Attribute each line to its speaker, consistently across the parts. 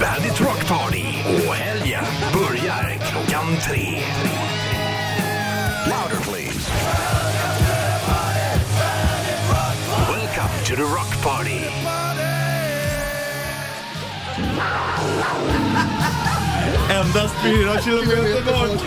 Speaker 1: Bandit Rock Party och helgen börjar klockan tre. Louder please. Welcome to the Rock Party.
Speaker 2: Endast fyra kilometer bort.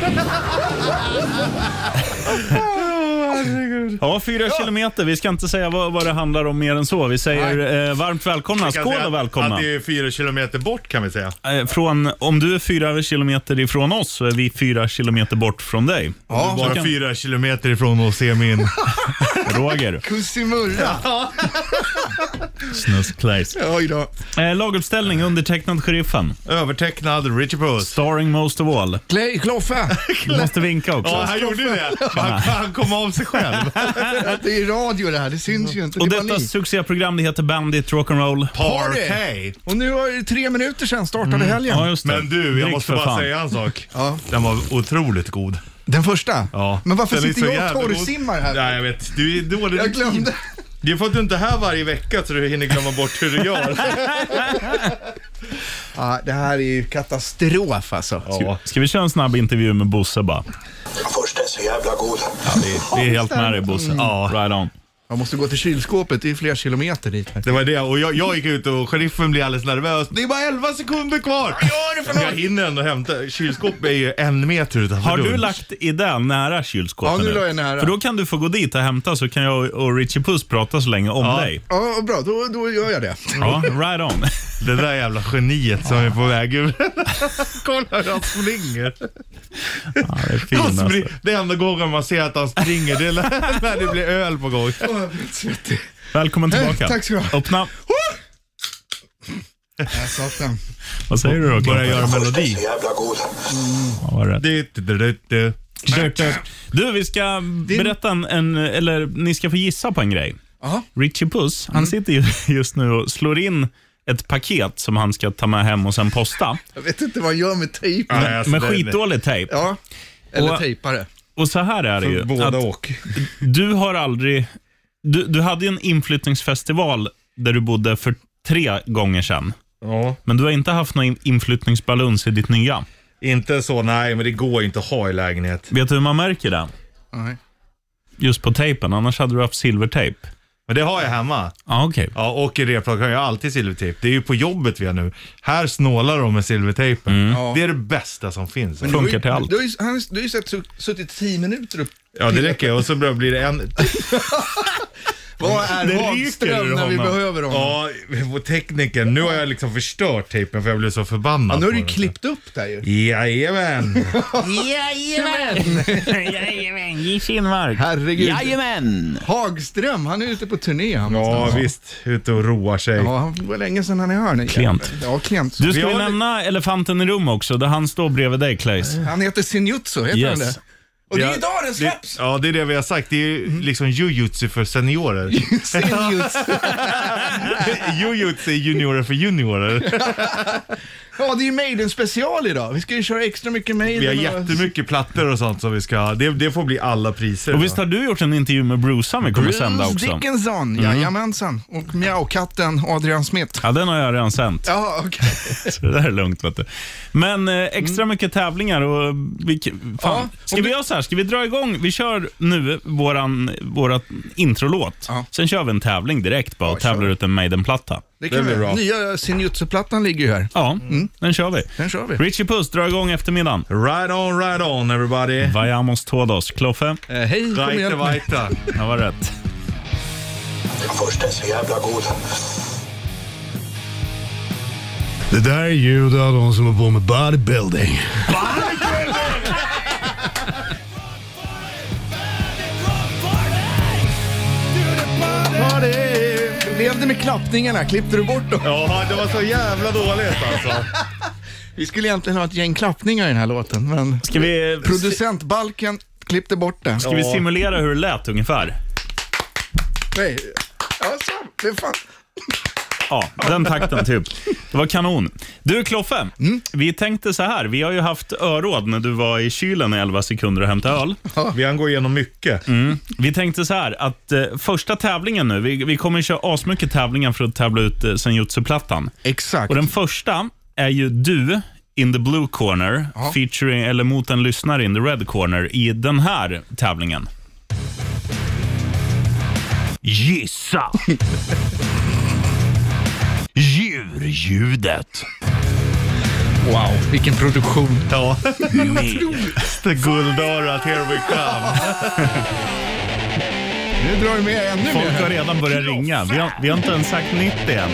Speaker 2: Ja, fyra kilometer. Vi ska inte säga vad, vad det handlar om mer än så. Vi säger eh, varmt välkomna.
Speaker 3: kan
Speaker 2: Skål
Speaker 3: säga
Speaker 2: och välkomna.
Speaker 3: Att det är fyra kilometer bort kan vi säga.
Speaker 2: Eh, Från, om du är fyra kilometer ifrån oss så är vi fyra kilometer bort från dig.
Speaker 3: Ja,
Speaker 2: Du
Speaker 3: bara
Speaker 2: kan-
Speaker 3: fyra kilometer ifrån att se min
Speaker 2: Roger.
Speaker 4: Kussimurra.
Speaker 2: Snuskplays.
Speaker 4: Oj då.
Speaker 2: Eh, laguppställning undertecknad sheriffen.
Speaker 3: övertecknad Richie Puss.
Speaker 2: Starring most of all.
Speaker 4: Clay, Kloffe.
Speaker 2: Du måste vinka också.
Speaker 3: Ja, han gjorde det. Han, han kom av sig själv.
Speaker 4: Det är radio det här, det syns ju inte.
Speaker 2: Och
Speaker 4: Det är bara
Speaker 2: detta
Speaker 4: ni.
Speaker 2: succéprogram det heter Bandit Rock'n'Roll.
Speaker 3: Party.
Speaker 4: Och nu har det tre minuter sedan startade helgen.
Speaker 2: Ja, just det.
Speaker 3: Men du, jag
Speaker 2: Drick
Speaker 3: måste
Speaker 2: för
Speaker 3: bara
Speaker 2: fan.
Speaker 3: säga en sak.
Speaker 4: Ja.
Speaker 3: Den var otroligt god.
Speaker 4: Den första?
Speaker 3: Ja.
Speaker 4: Men varför
Speaker 3: Den är så
Speaker 4: sitter jag
Speaker 3: jävla
Speaker 4: och
Speaker 3: god.
Speaker 4: torrsimmar här?
Speaker 3: Nej, jag vet. Du är dålig.
Speaker 4: Jag glömde.
Speaker 3: Det är för att du inte är här varje vecka så du hinner glömma bort hur du gör.
Speaker 4: Ja, det här är ju katastrof alltså.
Speaker 2: Ska, ska vi köra en snabb intervju med Bosse bara?
Speaker 1: Först är så jävla god.
Speaker 2: Vi är helt med dig Bosse. Ja. Right on.
Speaker 4: Jag måste gå till kylskåpet, det är flera kilometer dit. här.
Speaker 3: Det var det. Och jag, jag gick ut och sheriffen blev alldeles nervös. Det är bara 11 sekunder kvar. Jag hinner ändå hämta. Kylskåpet är ju en meter utanför
Speaker 2: Har du
Speaker 3: dörren.
Speaker 2: lagt i den nära kylskåpet
Speaker 4: Ja, nu la jag nära.
Speaker 2: För då kan du få gå dit och hämta så kan jag och Richie Puss prata så länge om dig.
Speaker 4: Ja, vad bra, då, då gör jag det.
Speaker 2: Ja, right on.
Speaker 3: Det där jävla geniet som är på väg ur. Kolla hur han springer.
Speaker 2: Ja, det är fin
Speaker 3: Han
Speaker 2: alltså.
Speaker 3: spring, det är enda gången man ser att han springer, det är när det blir öl på gång.
Speaker 4: Åh, jag blir svettig.
Speaker 2: Välkommen tillbaka.
Speaker 4: Eh, tack ska du ha.
Speaker 2: Öppna.
Speaker 4: Där satt den.
Speaker 2: Vad säger du
Speaker 3: Börjar
Speaker 2: då? Klockan?
Speaker 3: göra melodi.
Speaker 2: Ja, vad rätt.
Speaker 3: Du, du, du, du.
Speaker 2: Dirt, dirt. Du, vi ska berätta en, en, eller ni ska få gissa på en grej.
Speaker 4: Jaha.
Speaker 2: Richie Puss,
Speaker 4: Mm.
Speaker 2: han sitter ju just nu och slår in ett paket som han ska ta med hem och sen posta.
Speaker 4: Jag vet inte vad jag gör med tejp.
Speaker 3: Nej, alltså,
Speaker 2: Med
Speaker 3: det-
Speaker 2: skitdålig tejp.
Speaker 4: Ja, eller
Speaker 2: Och-
Speaker 4: tejpare.
Speaker 2: Och så här är det ju.
Speaker 3: Båda
Speaker 2: att
Speaker 3: och.
Speaker 2: Du har aldrig... Du, du hade ju en inflyttningsfestival där du bodde för tre gånger sedan.
Speaker 3: Ja.
Speaker 2: Men du har inte haft någon in- inflyttningsbaluns i ditt nya.
Speaker 3: Inte så, nej men det går ju inte att ha i lägenhet.
Speaker 2: Vet du hur man märker det?
Speaker 4: Nej.
Speaker 2: Just på tejpen, annars hade du haft silvertejp.
Speaker 3: Men det har jag hemma.
Speaker 2: Ja, okej.
Speaker 3: Ja, och i replokalen. Jag har alltid silvertejp. Det är ju på jobbet vi är nu. Här snålar de med silvertejpen.
Speaker 4: Ja.
Speaker 3: Det är det bästa som finns.
Speaker 2: Funkar till allt.
Speaker 4: Du har ju, han, har ju- du har ju sett, suttit tio minuter upp.
Speaker 3: Ja, det räcker. Och så blir det en
Speaker 4: Vad är
Speaker 3: ryker
Speaker 4: Hagström
Speaker 3: ur
Speaker 4: när vi
Speaker 3: honom.
Speaker 4: behöver honom?
Speaker 3: Ja, vår tekniker. Nu har jag liksom förstört tejpen för jag blev så förbannad.
Speaker 4: Ja, nu har du
Speaker 3: på
Speaker 4: ju
Speaker 3: den.
Speaker 4: klippt upp där ju.
Speaker 3: Jajamän.
Speaker 5: Jajamän!
Speaker 2: Jajamän, Jim Kinmark.
Speaker 4: Herregud.
Speaker 5: Jajamän!
Speaker 4: Hagström, han är ute på turné han.
Speaker 3: Ja, visst. Ute och roar sig.
Speaker 4: Ja, han- det var länge sedan han är här. nu.
Speaker 2: Klient.
Speaker 4: Ja, klient.
Speaker 2: Du
Speaker 3: Vi
Speaker 2: ska vi
Speaker 3: har-
Speaker 2: nämna elefanten i rummet också, där han står bredvid dig, Claes.
Speaker 4: Han heter Sinjutsu, heter
Speaker 2: Yes.
Speaker 4: han det? Och det är idag den
Speaker 3: det,
Speaker 4: släpps!
Speaker 3: ja, det är det vi har sagt. Det är
Speaker 4: Mm.
Speaker 3: ju liksom jujutsu för seniorer.
Speaker 4: Sinjutsu.
Speaker 3: jujutsu är juniorer för juniorer.
Speaker 4: Ja, det är ju Maiden-special idag. Vi ska ju köra extra mycket Maiden.
Speaker 3: Vi har
Speaker 4: och-
Speaker 3: jättemycket plattor och sånt som vi ska ha. Det, det får bli alla priser.
Speaker 2: Och
Speaker 3: va?
Speaker 2: visst har du gjort en intervju med Bruce som vi kommer sända
Speaker 4: Bruce
Speaker 2: också?
Speaker 4: Dickinson,
Speaker 3: Mm.
Speaker 4: jajamensan. Och Mjaukatten Adrian Smith.
Speaker 2: Ja, den har jag redan sänt.
Speaker 4: Ja, okej.
Speaker 2: Så det där är lugnt. Vet du. Men eh, extra mycket tävlingar och... Vi,
Speaker 4: Mm. Ja,
Speaker 2: fan.
Speaker 4: om
Speaker 2: Ska vi
Speaker 4: du-
Speaker 2: göra så här? Ska vi dra igång? Vi kör nu våran, vårat introlåt.
Speaker 4: Ja.
Speaker 2: Sen kör vi en tävling direkt bara och
Speaker 4: Ja, kör.
Speaker 2: tävlar ut en Maiden-platta.
Speaker 4: Det
Speaker 3: Den
Speaker 4: kan
Speaker 3: blir
Speaker 4: vi
Speaker 3: bra.
Speaker 4: göra. Nya Sinjutsu-plattan ligger ju här.
Speaker 2: Ja, den kör vi.
Speaker 4: Mm. Den kör vi.
Speaker 2: Richie Puss, dra igång eftermiddagen.
Speaker 3: Right on, right on everybody.
Speaker 2: Vajamos todos. Kloffe,
Speaker 4: Eh, hej, kom
Speaker 3: Vajta,
Speaker 4: igen.
Speaker 3: vajta.
Speaker 2: det var rätt.
Speaker 1: Först är så jävla god.
Speaker 6: Det där är ljud av de som har på med bodybuilding.
Speaker 4: Ja, det är- Blev det med klappningarna? Klippte du bort dem?
Speaker 3: Ja, det var så jävla dåligt alltså.
Speaker 4: Vi skulle egentligen ha ett gäng klappningar i den här låten, men
Speaker 2: Ska vi,
Speaker 4: producentbalken klippte bort det.
Speaker 2: ska vi simulera hur det lät ungefär?
Speaker 4: Nej. Ja, så. Det är fan.
Speaker 2: Ja, den takten typ. Det var kanon. Du Kloffe, vi tänkte så här. Vi har ju haft öråd när du var i kylen i 11 sekunder och hämtade öl.
Speaker 3: Vi hann gå igenom mycket.
Speaker 2: Mm. Vi tänkte så här att eh, första tävlingen nu, vi, vi kommer köra asmycket tävlingar för att tävla ut eh, Senjutsu-plattan.
Speaker 4: Exakt.
Speaker 2: Och den första är ju du in the blue corner featuring, eller mot en lyssnare in the red corner i den här tävlingen.
Speaker 1: Gissa. Djurljudet.
Speaker 4: Wow, vilken produktion.
Speaker 3: Ja.
Speaker 1: Med
Speaker 3: The Guldörat, here we come.
Speaker 4: Nu drar du med ännu mer.
Speaker 2: Folk har
Speaker 4: här.
Speaker 2: redan börjat ringa. Vi har, vi har inte ens sagt 90 än.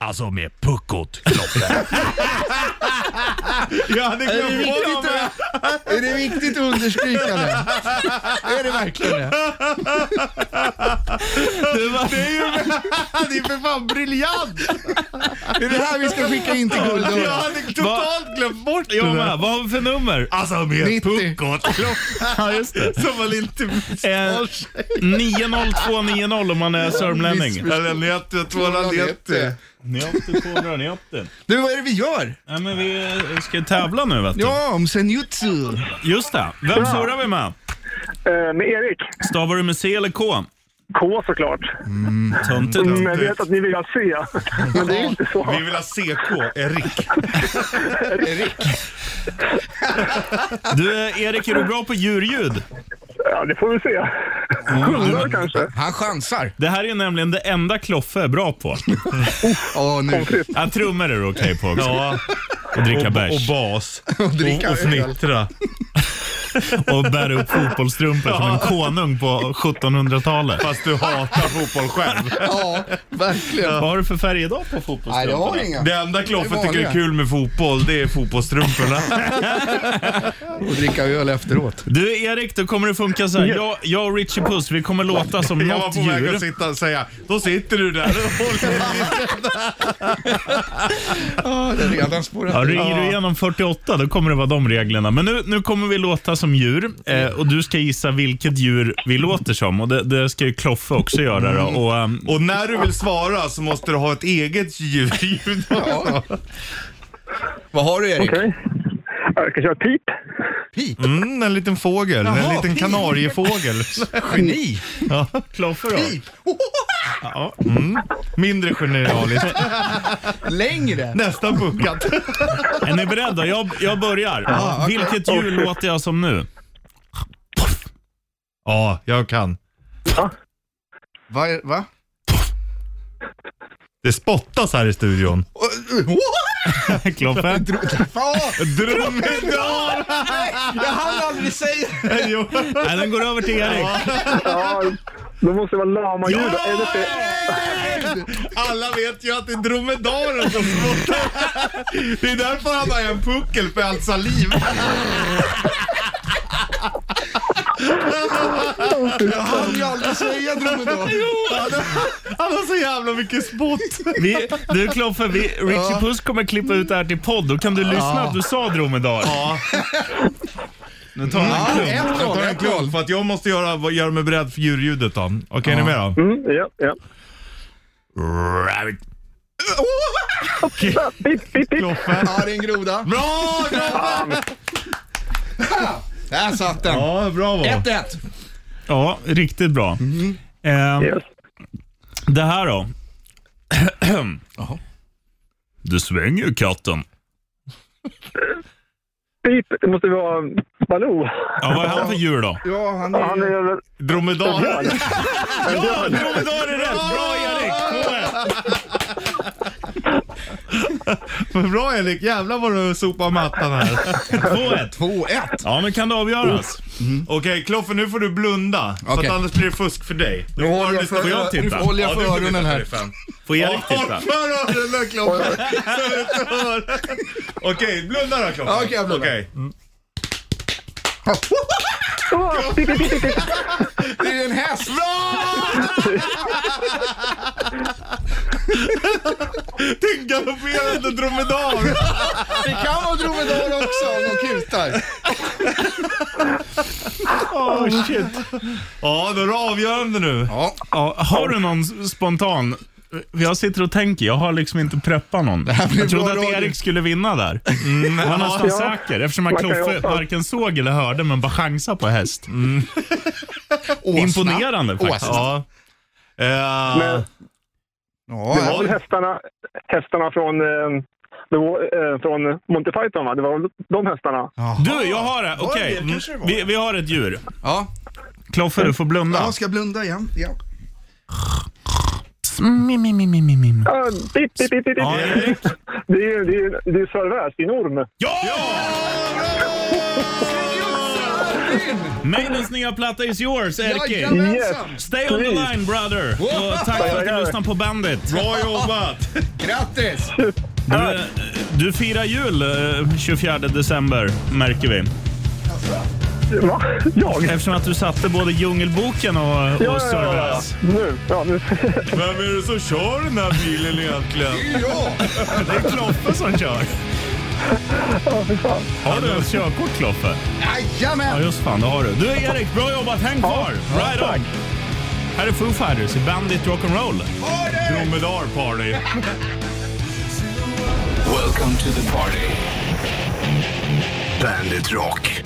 Speaker 1: Alltså med puckot, Kloffe.
Speaker 3: Jag hade
Speaker 4: Är det,
Speaker 3: glömt
Speaker 4: viktigt
Speaker 3: bort det.
Speaker 4: att, är det viktigt att understryka det? Är det verkligen det?
Speaker 3: Det är för fan briljant!
Speaker 4: Är det här vi ska skicka in till
Speaker 3: Jag
Speaker 4: Guldörat?
Speaker 3: hade totalt glömt bort det.
Speaker 2: Jag med. Vad har vi för nummer?
Speaker 3: Alltså med
Speaker 4: 90.
Speaker 3: puckot.
Speaker 2: Ja, just det.
Speaker 3: Som man inte
Speaker 2: Eh,
Speaker 3: förstår sig.
Speaker 2: 90290 om man är sörmlänning.
Speaker 3: Eller 90, 290.
Speaker 2: Ni har inte 200, ni har inte.
Speaker 4: Du, vad är det vi gör?
Speaker 2: Nej, men vi eh, ska tävla nu, vet du.
Speaker 4: Ja, om senjutsu.
Speaker 2: Just det. Vem surrar vi med?
Speaker 7: Eh, med Erik.
Speaker 2: Stavar du med C eller K?
Speaker 7: K såklart.
Speaker 2: Töntigt.
Speaker 8: Mm.
Speaker 7: Men jag vet att ni vill ha C. Men det är inte så.
Speaker 3: Vi vill ha CK, Erik.
Speaker 2: Du, eh, Erik, är du bra på djurljud?
Speaker 7: Ja, det får vi se. Hundar kanske.
Speaker 4: Han chansar.
Speaker 2: Det här är nämligen det enda Kloffe är bra på.
Speaker 4: Åh, nu.
Speaker 7: Konstigt.
Speaker 2: Ja, trummor är du okej på också.
Speaker 3: Ja.
Speaker 2: Och dricka
Speaker 3: Och
Speaker 2: bärs.
Speaker 3: bas.
Speaker 4: dricka
Speaker 3: och, och
Speaker 4: öl.
Speaker 3: fnittra.
Speaker 2: Och bära upp fotbollstrumpor som en konung på 1700-talet.
Speaker 3: Fast du hatar fotboll själv.
Speaker 4: Ja, verkligen.
Speaker 2: Vad har du för färg idag på fotbollstrumporna?
Speaker 4: Nej, det har vi inga.
Speaker 3: Det enda
Speaker 4: Det
Speaker 3: Kloffe
Speaker 4: är
Speaker 3: tycker
Speaker 4: vanliga.
Speaker 3: är kul med fotboll, det är fotbollstrumporna.
Speaker 4: Och dricka öl efteråt.
Speaker 2: Du Erik, då kommer det funka så här. Jag, jag och Richie Puss, vi kommer låta som
Speaker 3: Jag var
Speaker 2: något
Speaker 3: på väg att
Speaker 2: djur.
Speaker 3: sitta och säga, då sitter du där och håller
Speaker 4: Ja, det är redan
Speaker 2: Ja,
Speaker 4: spårat.
Speaker 2: ringer du igenom 48, då kommer det vara de reglerna. Men nu, nu kommer vi låta som djur eh, och du ska gissa vilket djur vi låter som. Och Det, det ska ju Kloffe också göra. Då. Och, ehm,
Speaker 3: Och när du vill svara så måste du ha ett eget ljud.
Speaker 4: Vad har du Erik?
Speaker 7: Okej. Ja, Jag kan köra pip.
Speaker 3: Mm, en liten fågel. en liten kanariefågel.
Speaker 4: Geni.
Speaker 2: Kloffe då?
Speaker 3: Mm. Mindre generaliskt.
Speaker 4: Längre.
Speaker 3: Nästan puckat.
Speaker 2: Är ni beredda? Jag, jag börjar. Vilket djur låter jag som nu?
Speaker 3: Ja, jag kan.
Speaker 4: Va? är- va?
Speaker 3: Det spottas här i studion.
Speaker 2: Kloffe?
Speaker 4: Fan,
Speaker 3: Dromedar!
Speaker 4: jag hann aldrig säga det.
Speaker 3: Jo.
Speaker 2: Nej, den går över till Erik.
Speaker 7: Ja, då måste det vara lamaljud. då. Eller så-
Speaker 3: Alla vet ju att det är dromedaren som spottar. Det är därför han har en puckel för allt saliv.
Speaker 4: Jag hann ju aldrig säga dromedar.
Speaker 3: Han har så jävla mycket spott.
Speaker 2: Vi, du Kloffe, vi, Richie Puss kommer klippa ut det här till podd. Då kan du lyssna att du sa dromedar. Nu tar han en klunk.
Speaker 4: Ett
Speaker 3: Jag
Speaker 4: noll,
Speaker 3: tar en
Speaker 4: ett noll.
Speaker 3: klunk för att jag måste göra, vad- göra mig beredd för djurljudet då. Okej, är ni med då?
Speaker 7: Mm, ja, ja.
Speaker 3: Rabbit.
Speaker 7: Ja, Pip, pip, pip.
Speaker 3: Kloffe.
Speaker 4: Ja, det är en groda.
Speaker 3: Bra Kloffe!
Speaker 4: Där satt den.
Speaker 3: Ja, bravo.
Speaker 4: 1-1.
Speaker 2: Ja, riktigt bra.
Speaker 3: Mm.
Speaker 2: Eh,
Speaker 7: Yes.
Speaker 2: det här då. Du svänger ju katten.
Speaker 7: Pip, det måste vara Baloo.
Speaker 2: Ja, vad är han för djur då?
Speaker 4: Ja, han
Speaker 7: Han
Speaker 4: är...
Speaker 7: är väl
Speaker 3: Dromedar.
Speaker 2: Ja, dromedar är rätt. Bra Erik!
Speaker 3: Bra Erik, jävlar vad du sopar mattan här.
Speaker 2: 2-1.
Speaker 4: 2-1.
Speaker 2: Ja, nu kan det avgöras.
Speaker 3: Okej Kloffe, nu får du blunda. För
Speaker 4: Okej.
Speaker 3: att annars blir det fusk för dig.
Speaker 4: Nu håller
Speaker 3: du-
Speaker 4: jag för,
Speaker 2: Får jag titta?
Speaker 4: nu håller jag
Speaker 3: Ja, du
Speaker 4: för
Speaker 3: får
Speaker 4: öronen
Speaker 3: titta,
Speaker 4: här.
Speaker 3: Riffen.
Speaker 2: Får Erik
Speaker 3: Ja,
Speaker 2: titta?
Speaker 3: För öronen Kloffe! Så du inte hör. Okej, blunda då Kloffe.
Speaker 4: Ja, okej, jag blundar.
Speaker 3: Okej.
Speaker 7: Åh, pip, pip, pip, pip, pip.
Speaker 4: Det är en häst.
Speaker 3: Din galopperande dromedar!
Speaker 4: Det kan vara dromedar också om de kutar.
Speaker 2: Oh, shit.
Speaker 3: Ja, då är det avgörande nu.
Speaker 4: Ja,
Speaker 2: Ja, har du någon s- spontan? Jag sitter och tänker, jag har liksom inte preppat någon.
Speaker 4: blir
Speaker 2: Jag trodde
Speaker 4: bra
Speaker 2: att
Speaker 4: radio.
Speaker 2: Erik skulle vinna där. jag var nästan
Speaker 7: Ja.
Speaker 2: säker eftersom han
Speaker 7: Man kan ju
Speaker 2: Kloffe
Speaker 7: hoppas.
Speaker 2: varken såg eller hörde men bara chansade på häst.
Speaker 4: åsna.
Speaker 2: Imponerande faktiskt.
Speaker 4: Åsna.
Speaker 3: Ja. Eh,
Speaker 7: Men-
Speaker 4: Ja,
Speaker 7: Det var väl hästarna, hästarna från, eh, det var, eh, från Monty Python, va? Det var väl de hästarna?
Speaker 2: Du, jag har det. Okej,
Speaker 4: det kanske det var.
Speaker 2: vi, vi har ett djur.
Speaker 4: ja.
Speaker 2: Kloffe, du får blunda.
Speaker 4: ja ska jag blunda igen? Ja.
Speaker 2: Mm,
Speaker 7: Ah, dit, dit, dit, dit,
Speaker 2: Ja,
Speaker 7: dit.
Speaker 2: Erik.
Speaker 7: Det är ju det är, det är Sir Väs, din orm.
Speaker 2: Maidens nya platta is yours, Erki.
Speaker 4: Jajamensan!
Speaker 2: Stay on the
Speaker 7: Precis.
Speaker 2: line, brother. Och tack för att du lyssnade på bandet.
Speaker 3: Bra jobbat!
Speaker 4: Grattis!
Speaker 2: Du, eh, du firar jul eh, 24 december, märker vi.
Speaker 7: Va? Jag?
Speaker 2: Eftersom att du satte både Djungelboken och, och Service.
Speaker 7: Nu. Ja, nu.
Speaker 3: Vem är det som kör den här bilen egentligen?
Speaker 4: Ja!
Speaker 2: Det är Kloffe som kör. Har du ett körkort, Kloffe? Ja,
Speaker 4: Jajamän!
Speaker 2: just fan, det har du. Du, Erik, bra jobbat. Häng kvar. Right on. Här är Foo Fighters i Bandit Rock'n'Roll.
Speaker 3: Dromedar party.
Speaker 1: Welcome to the party. Bandit Rock.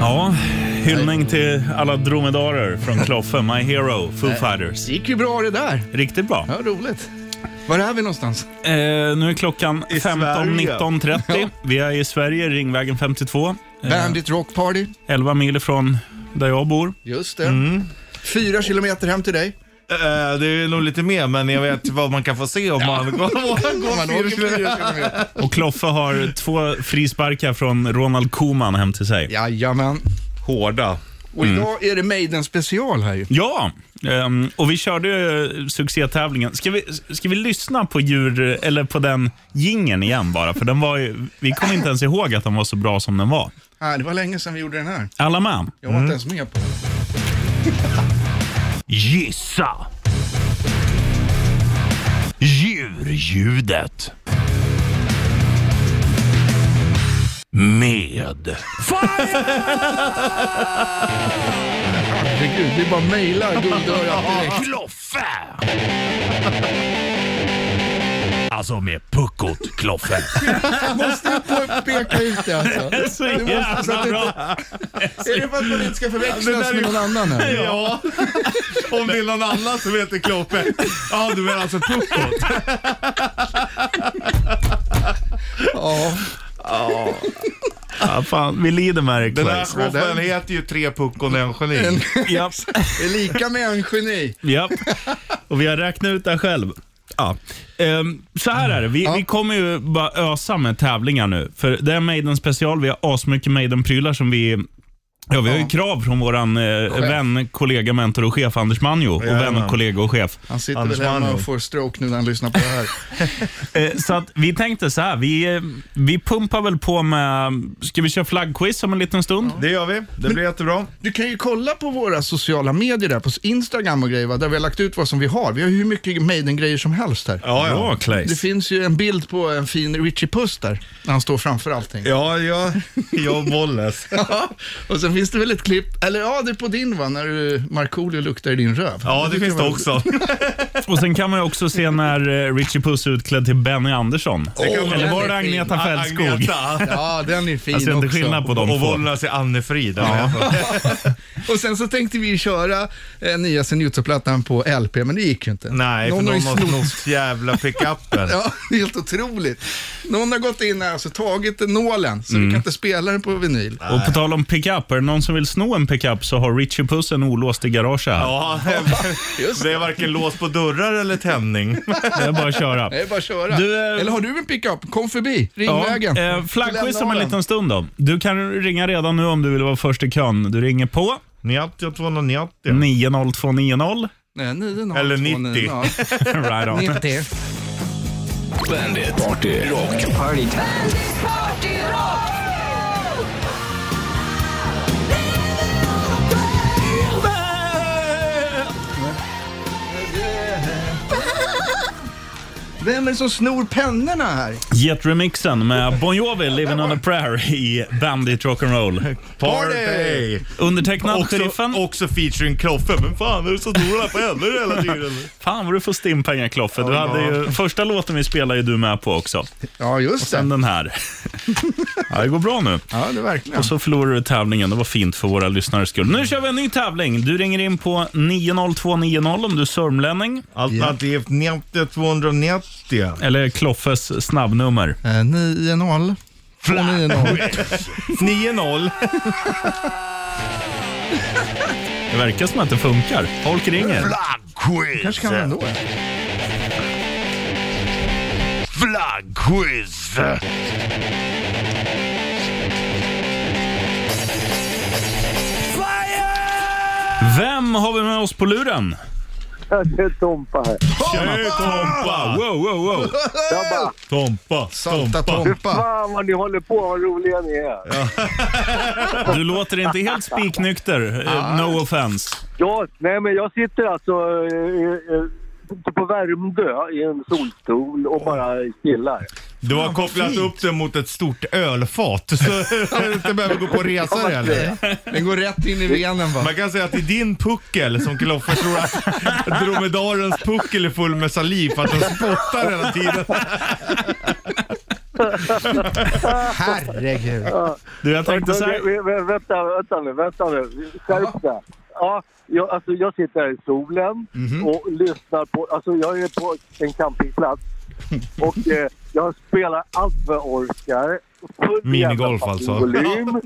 Speaker 2: Ja, hyllning till alla dromedarer från Kloffe, My Hero, Foo Fighters.
Speaker 4: Det gick ju bra det där.
Speaker 2: Riktigt bra.
Speaker 4: Ja, roligt. Var är vi någonstans?
Speaker 2: Eh, nu är klockan
Speaker 3: Sverige.
Speaker 2: 15.19.30. Vi är i Sverige, Ringvägen 52. Eh,
Speaker 4: Bandit Rock Party. Mm.
Speaker 2: 11 mil från där jag bor.
Speaker 4: Just det. Fyra kilometer hem till dig.
Speaker 3: Eh, det är nog lite mer, men jag vet vad man kan få se om man går, går,
Speaker 4: Om man åker
Speaker 3: fyra kilometer.
Speaker 4: fyra kilometer.
Speaker 2: Och Kloffe har två frisparkar från Ronald Koeman hem till sig.
Speaker 4: Jajamän.
Speaker 3: Hårda.
Speaker 4: Och idag är det Maiden special här ju.
Speaker 2: Ja, ehm, och vi körde ju succétävlingen. Ska vi, ska vi lyssna på djur, eller på den gingen igen bara? För den var ju, vi kom inte ens ihåg att den var så bra som den var.
Speaker 4: Ah, det var länge sedan vi gjorde den här.
Speaker 2: Alla med?
Speaker 4: Jag var inte ens med på den.
Speaker 1: Gissa. Djurljudet. Med.
Speaker 4: Herregud, vi bara mejlar guldörat direkt.
Speaker 1: Kloffe! Alltså med puckot Kloffe.
Speaker 4: Måste jag få peka ut det alltså?
Speaker 2: Det är så
Speaker 4: måste- så
Speaker 2: jävla
Speaker 4: att det-
Speaker 2: bra!
Speaker 4: Är det för att man inte ska förväxlas med någon annan här?
Speaker 3: Ja, om det är någon annan som heter Kloppe. Ja, du menar alltså puckot?
Speaker 4: Ja.
Speaker 2: Ja, fan, vi lider med dig
Speaker 3: Den här
Speaker 2: Claes.
Speaker 3: showen heter ju Tre puckon och en geni.
Speaker 2: Japp,
Speaker 4: Det är lika med en geni.
Speaker 2: japp. Och vi har räknat ut det här själv. Ja. Ehm, så här är det, vi, vi kommer ju bara ösa med tävlingar nu. För det är Maiden special, vi har asmycket Maiden-prylar som vi Ja, vi har ju krav från våran eh, vän, kollega, mentor och chef Anders Manjo. Och vän,
Speaker 3: Jajamän.
Speaker 2: kollega och chef.
Speaker 4: Han sitter
Speaker 3: Anders
Speaker 4: väl hemma
Speaker 3: Manjo.
Speaker 4: och får stroke nu när han lyssnar på det här.
Speaker 2: Eh, så att vi tänkte så här, vi, eh, vi pumpar väl på med... Ska vi köra flaggquiz om en liten stund?
Speaker 3: Det gör vi. Det blir jättebra.
Speaker 4: Du kan ju kolla på våra sociala medier där, på Instagram och grejer, va? där vi har lagt ut vad som vi har. Vi har ju hur mycket Maiden-grejer som helst här.
Speaker 3: Ja, ja.
Speaker 2: Bra,
Speaker 4: Det
Speaker 2: Claes.
Speaker 4: finns ju en bild på en fin Richie Puss där, när han står framför allting.
Speaker 3: Ja, ja. jag och Bolles.
Speaker 4: Ja, och sen finns det väl ett klipp, eller ja, det är på din va, när du- Markoolio luktar i din röv.
Speaker 3: Ja, det finns det också.
Speaker 2: Och sen kan man ju också se när eh, Richie Puss är utklädd till Benny Andersson.
Speaker 4: Åh,
Speaker 2: Eller var det
Speaker 4: den är fin.
Speaker 2: Agneta Fältskog?
Speaker 3: Agneta.
Speaker 4: Ja, den är fin
Speaker 2: Jag ser inte
Speaker 4: också.
Speaker 2: skillnad på de
Speaker 3: Och
Speaker 2: två.
Speaker 3: Bollnäs är Anne-Frid.
Speaker 4: Och sen så tänkte vi köra eh, nya Senjutsu-plattan på LP, men det gick ju inte.
Speaker 3: Nej, för
Speaker 4: någon
Speaker 3: någon
Speaker 4: har ju
Speaker 3: har
Speaker 4: snott.
Speaker 3: snott jävla pickuppen.
Speaker 4: Ja, det är helt otroligt. Någon har gått in här och så tagit nålen, så vi kan inte spela den på vinyl.
Speaker 2: Och på tal om pickup, är det någon som vill sno en pickup så har Richie Puss en olåst i garaget här.
Speaker 3: Ja,
Speaker 4: Just
Speaker 3: det är varken lås på dörrar eller tändning.
Speaker 2: Det är bara att köra.
Speaker 4: Det är bara att köra.
Speaker 2: Du, eh,
Speaker 4: Eller har du en pickup? Kom förbi, Ringvägen.
Speaker 2: Ja, eh, flaggquiz
Speaker 4: Lämna
Speaker 2: om en
Speaker 4: den.
Speaker 2: liten stund då. Du kan ringa redan nu om du vill vara först i kön. Du ringer på
Speaker 3: 90 290.
Speaker 2: 90290.
Speaker 4: Nej, 9,
Speaker 3: Eller 90.
Speaker 2: Right on.
Speaker 4: 90.
Speaker 1: Bandit Party Rock.
Speaker 4: Vem är det som snor pennorna här?
Speaker 2: Jet-remixen med Bon Jovi, Living on a Prayer i Bandit Rock'n'Roll.
Speaker 3: Party!
Speaker 2: Undertecknad Sheriffen.
Speaker 3: Också, också featuring Kloffe. Men fan, är det så stora på henne hela tiden?
Speaker 2: Fan vad du får stimpengar Kloffe. Du hade ju, första låten vi spelade är du med på också.
Speaker 4: Ja, just
Speaker 2: Sen
Speaker 4: det.
Speaker 2: den här. Ja, det går bra nu.
Speaker 4: Ja, det är verkligen.
Speaker 2: Och så förlorade du tävlingen. Det var fint för våra lyssnares skull. Nu kör vi en ny tävling. Du ringer in på 90290 om du är sörmlänning.
Speaker 3: Alternativt 90 290.
Speaker 2: Eller Kloffes snabbnummer.
Speaker 4: Eh, 9-0. 2-9-0.
Speaker 3: 9-0.
Speaker 2: Det verkar som att det funkar. Folk ringer.
Speaker 4: Kanske kan man ändå.
Speaker 1: Flaggquiz!
Speaker 2: Vem har vi med oss på luren?
Speaker 7: Det är Tompa här.
Speaker 3: Tjena Tompa!
Speaker 2: Wow, wow, wow.
Speaker 7: Jag bara,
Speaker 3: Tompa,
Speaker 4: Salta Tompa.
Speaker 7: fan vad ni håller på, vad roliga ni är.
Speaker 2: Du låter inte helt spiknykter. Eh, No offense.
Speaker 7: Ja, nej men jag sitter alltså eh, eh, på Värmdö i en solstol och bara chillar.
Speaker 3: Du har kopplat upp den mot ett stort ölfat så du inte behöver gå på resa heller.
Speaker 4: Den går rätt in i venen va?
Speaker 3: Man kan säga att det är din puckel som Kloffe tror att dromedarens puckel är full med saliv för att den spottar hela tiden.
Speaker 4: Herregud.
Speaker 2: Du, jag tänkte så här.
Speaker 7: Vä- vä- Vänta, vänta nu, vänta nu. Skärp dig. Ja, jag, alltså, jag sitter här i solen
Speaker 3: Mhm.
Speaker 7: och lyssnar på... Alltså jag är på en campingplats och eh, jag spelar allt vad jag orkar. Full
Speaker 3: Minigolf
Speaker 7: jävla
Speaker 3: alltså.
Speaker 7: Volym.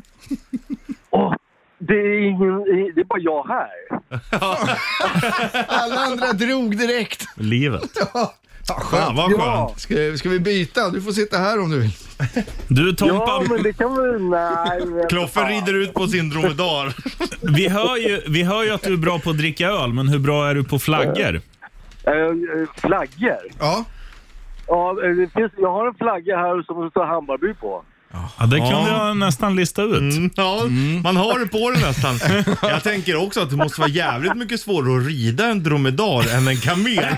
Speaker 7: Och det är, ingen, det är bara jag här.
Speaker 4: Alla andra drog direkt.
Speaker 2: Livet.
Speaker 4: Ja,
Speaker 3: Fan vad skönt.
Speaker 4: Ska, ska vi byta? Du får sitta här om du vill.
Speaker 2: Du
Speaker 7: Ja,
Speaker 2: Tompa,
Speaker 7: men det kan väl... Nej, men-
Speaker 3: Kloffe rider ut på sin dromedar.
Speaker 2: vi hör, ju, vi hör ju att du är bra på att dricka öl, men hur bra är du på flaggor?
Speaker 7: Eh, eh, Flaggor?
Speaker 4: Ja.
Speaker 7: Ja, eh, det finns, jag har en flagga här som det står Hammarby på.
Speaker 2: Ja, det kunde jag nästan lista ut.
Speaker 3: Mm. Ja,
Speaker 2: Mm.
Speaker 3: man har det på det nästan. Jag tänker också att det måste vara jävligt mycket svårare att rida en dromedar än en kamel.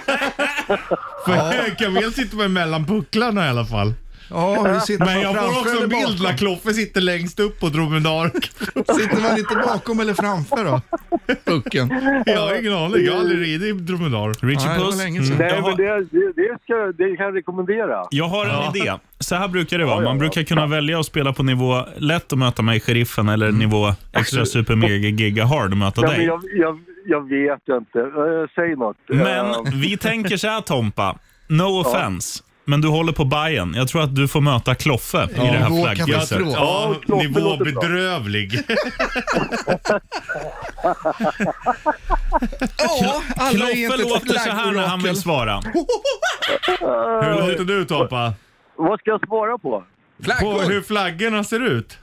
Speaker 3: För en kamel sitter med mellan pucklarna i alla fall.
Speaker 4: Ja, hur sitter
Speaker 3: Men
Speaker 4: man
Speaker 3: jag får
Speaker 4: framför
Speaker 3: också
Speaker 4: eller
Speaker 3: en bild
Speaker 4: bakom?
Speaker 3: när Kloffe sitter längst upp på dromedar.
Speaker 4: Sitter man lite bakom eller framför då? Pucken.
Speaker 3: Jag har ingen aning, jag har aldrig ridit dromedar.
Speaker 2: Richie
Speaker 4: Nej, det var
Speaker 2: Puss,
Speaker 4: länge sedan.
Speaker 7: Nej,
Speaker 2: jag har,
Speaker 7: men det, det, det, ska, det kan jag rekommendera.
Speaker 2: jag har en idé. Så här brukar det vara.
Speaker 7: ja,
Speaker 2: Man
Speaker 7: ja.
Speaker 2: brukar kunna välja att spela på nivå lätt och möta mig, sheriffen, eller
Speaker 3: Mm.
Speaker 2: nivå extra super mega giga hard och möta
Speaker 7: Ja, men
Speaker 2: dig.
Speaker 7: jag, jag, jag vet ju inte. Eh, säg något. Eh,
Speaker 2: Men vi tänker så här Tompa, no offense. Men du håller på Bayern. Jag tror att du får möta Kloffe i det här
Speaker 4: Nivå
Speaker 2: flaggquizet.
Speaker 4: katastrof.
Speaker 3: Ja,
Speaker 7: Kloffe
Speaker 3: nivå
Speaker 7: låter bra.
Speaker 3: bedrövlig.
Speaker 4: Ja, alla är
Speaker 2: Kloffe
Speaker 4: inte ett
Speaker 2: låter så här när han
Speaker 4: flaggorakel.
Speaker 2: vill svara.
Speaker 3: Hur låter du Tompa?
Speaker 7: vad ska jag svara på?
Speaker 3: På
Speaker 4: Flaggor.
Speaker 3: hur flaggorna ser ut?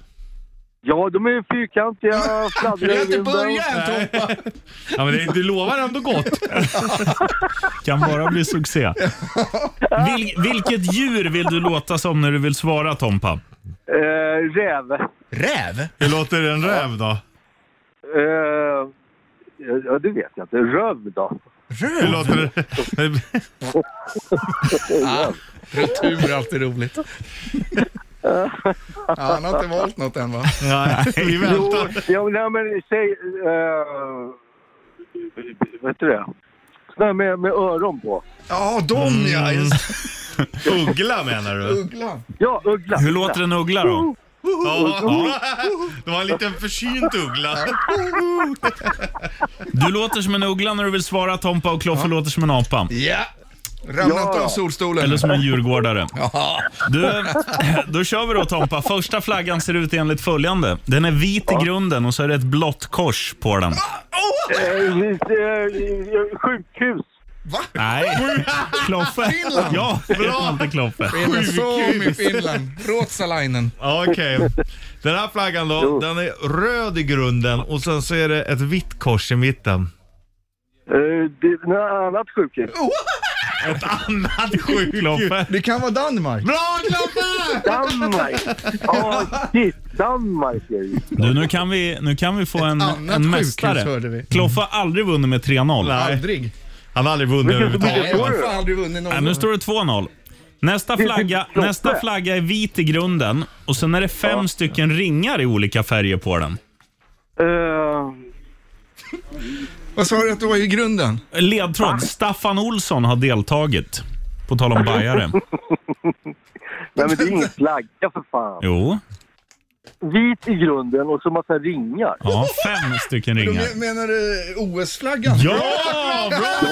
Speaker 7: Ja, de är ju fyrkantiga. fladdrar
Speaker 4: Vi har
Speaker 7: i
Speaker 4: inte
Speaker 7: vinden.
Speaker 4: börjat än Tompa.
Speaker 3: Ja, men det, du lovar ändå gott.
Speaker 2: Kan bara bli succé. Vil, vilket djur vill du låta som när du vill svara Tompa?
Speaker 7: Eh, räv.
Speaker 4: Räv?
Speaker 3: Hur låter en räv då?
Speaker 7: Eh, ja, det vet jag inte. Röv då?
Speaker 3: Hur
Speaker 4: Röv?
Speaker 3: låter det?
Speaker 4: Retur är alltid roligt. Ja, han har inte valt något än va?
Speaker 3: Nej, vi
Speaker 7: Jo,
Speaker 3: väntar.
Speaker 7: ja, nej, men säg... Eh, vet du det? Sådär med, med öron på.
Speaker 4: Ja, de ja.
Speaker 2: Mm.
Speaker 4: Just
Speaker 3: Uggla menar du?
Speaker 4: Ugglan.
Speaker 7: Ja, uggla.
Speaker 2: Hur låter en uggla då?
Speaker 3: Ja, ja. Det var en liten försynt uggla.
Speaker 2: Du låter som en uggla när du vill svara Tompa och Kloffe låter som en apa.
Speaker 4: Ja. Ramla inte
Speaker 7: Ja.
Speaker 4: av solstolen.
Speaker 2: Eller som en djurgårdare.
Speaker 4: Ja.
Speaker 2: Du, då kör vi då Tompa. Första flaggan ser ut enligt följande. Den är vit i grunden och så är det ett blått kors på den.
Speaker 7: Eh, eh, sjukhus.
Speaker 2: Nej. Kloffe.
Speaker 4: Finland.
Speaker 2: Ja, det inte Kloffe.
Speaker 4: Det är som i Finland. Ruotsalainen.
Speaker 3: Ja, Okej. Den här flaggan då,
Speaker 7: Jo.
Speaker 3: den är röd i grunden och sen så är det ett vitt kors i mitten.
Speaker 7: Eh, det, något annat sjukhus.
Speaker 4: Oh.
Speaker 3: Ett annat sjukhus.
Speaker 2: Kloffe.
Speaker 4: Det kan vara Danmark.
Speaker 3: Bra Kloffe!
Speaker 7: Danmark! Ja, shit. Danmark är ju...
Speaker 2: Du, nu kan vi, nu kan vi få en,
Speaker 4: annat
Speaker 2: en
Speaker 4: sjukhus,
Speaker 2: mästare.
Speaker 4: hörde vi.
Speaker 2: Kloffe har aldrig vunnit med 3-0.
Speaker 3: Nej.
Speaker 4: Aldrig.
Speaker 3: Han har aldrig vunnit
Speaker 7: Vilken-
Speaker 3: överhuvudtaget.
Speaker 7: vilken-
Speaker 3: va?
Speaker 7: du?
Speaker 4: Fan, aldrig vunnit någon
Speaker 2: Nej, nu
Speaker 4: gång.
Speaker 2: står det 2-0. Nästa
Speaker 7: Det är
Speaker 2: flagga,
Speaker 7: typ
Speaker 2: nästa
Speaker 7: Kloppe.
Speaker 2: flagga är vit i grunden och sen är det fem stycken ringar i olika färger på den.
Speaker 7: Eh,
Speaker 4: Vad sa du att det var i grunden?
Speaker 2: Ledtråd. Staffan Olsson har deltagit. På tal om bajare.
Speaker 7: nej, men det är ingen flagga för fan.
Speaker 2: Jo.
Speaker 7: Vit i grunden och så massa ringar.
Speaker 2: Ja, fem stycken ringar.
Speaker 4: Men- Menar eh, du OS-flaggan?
Speaker 2: Ja, bra!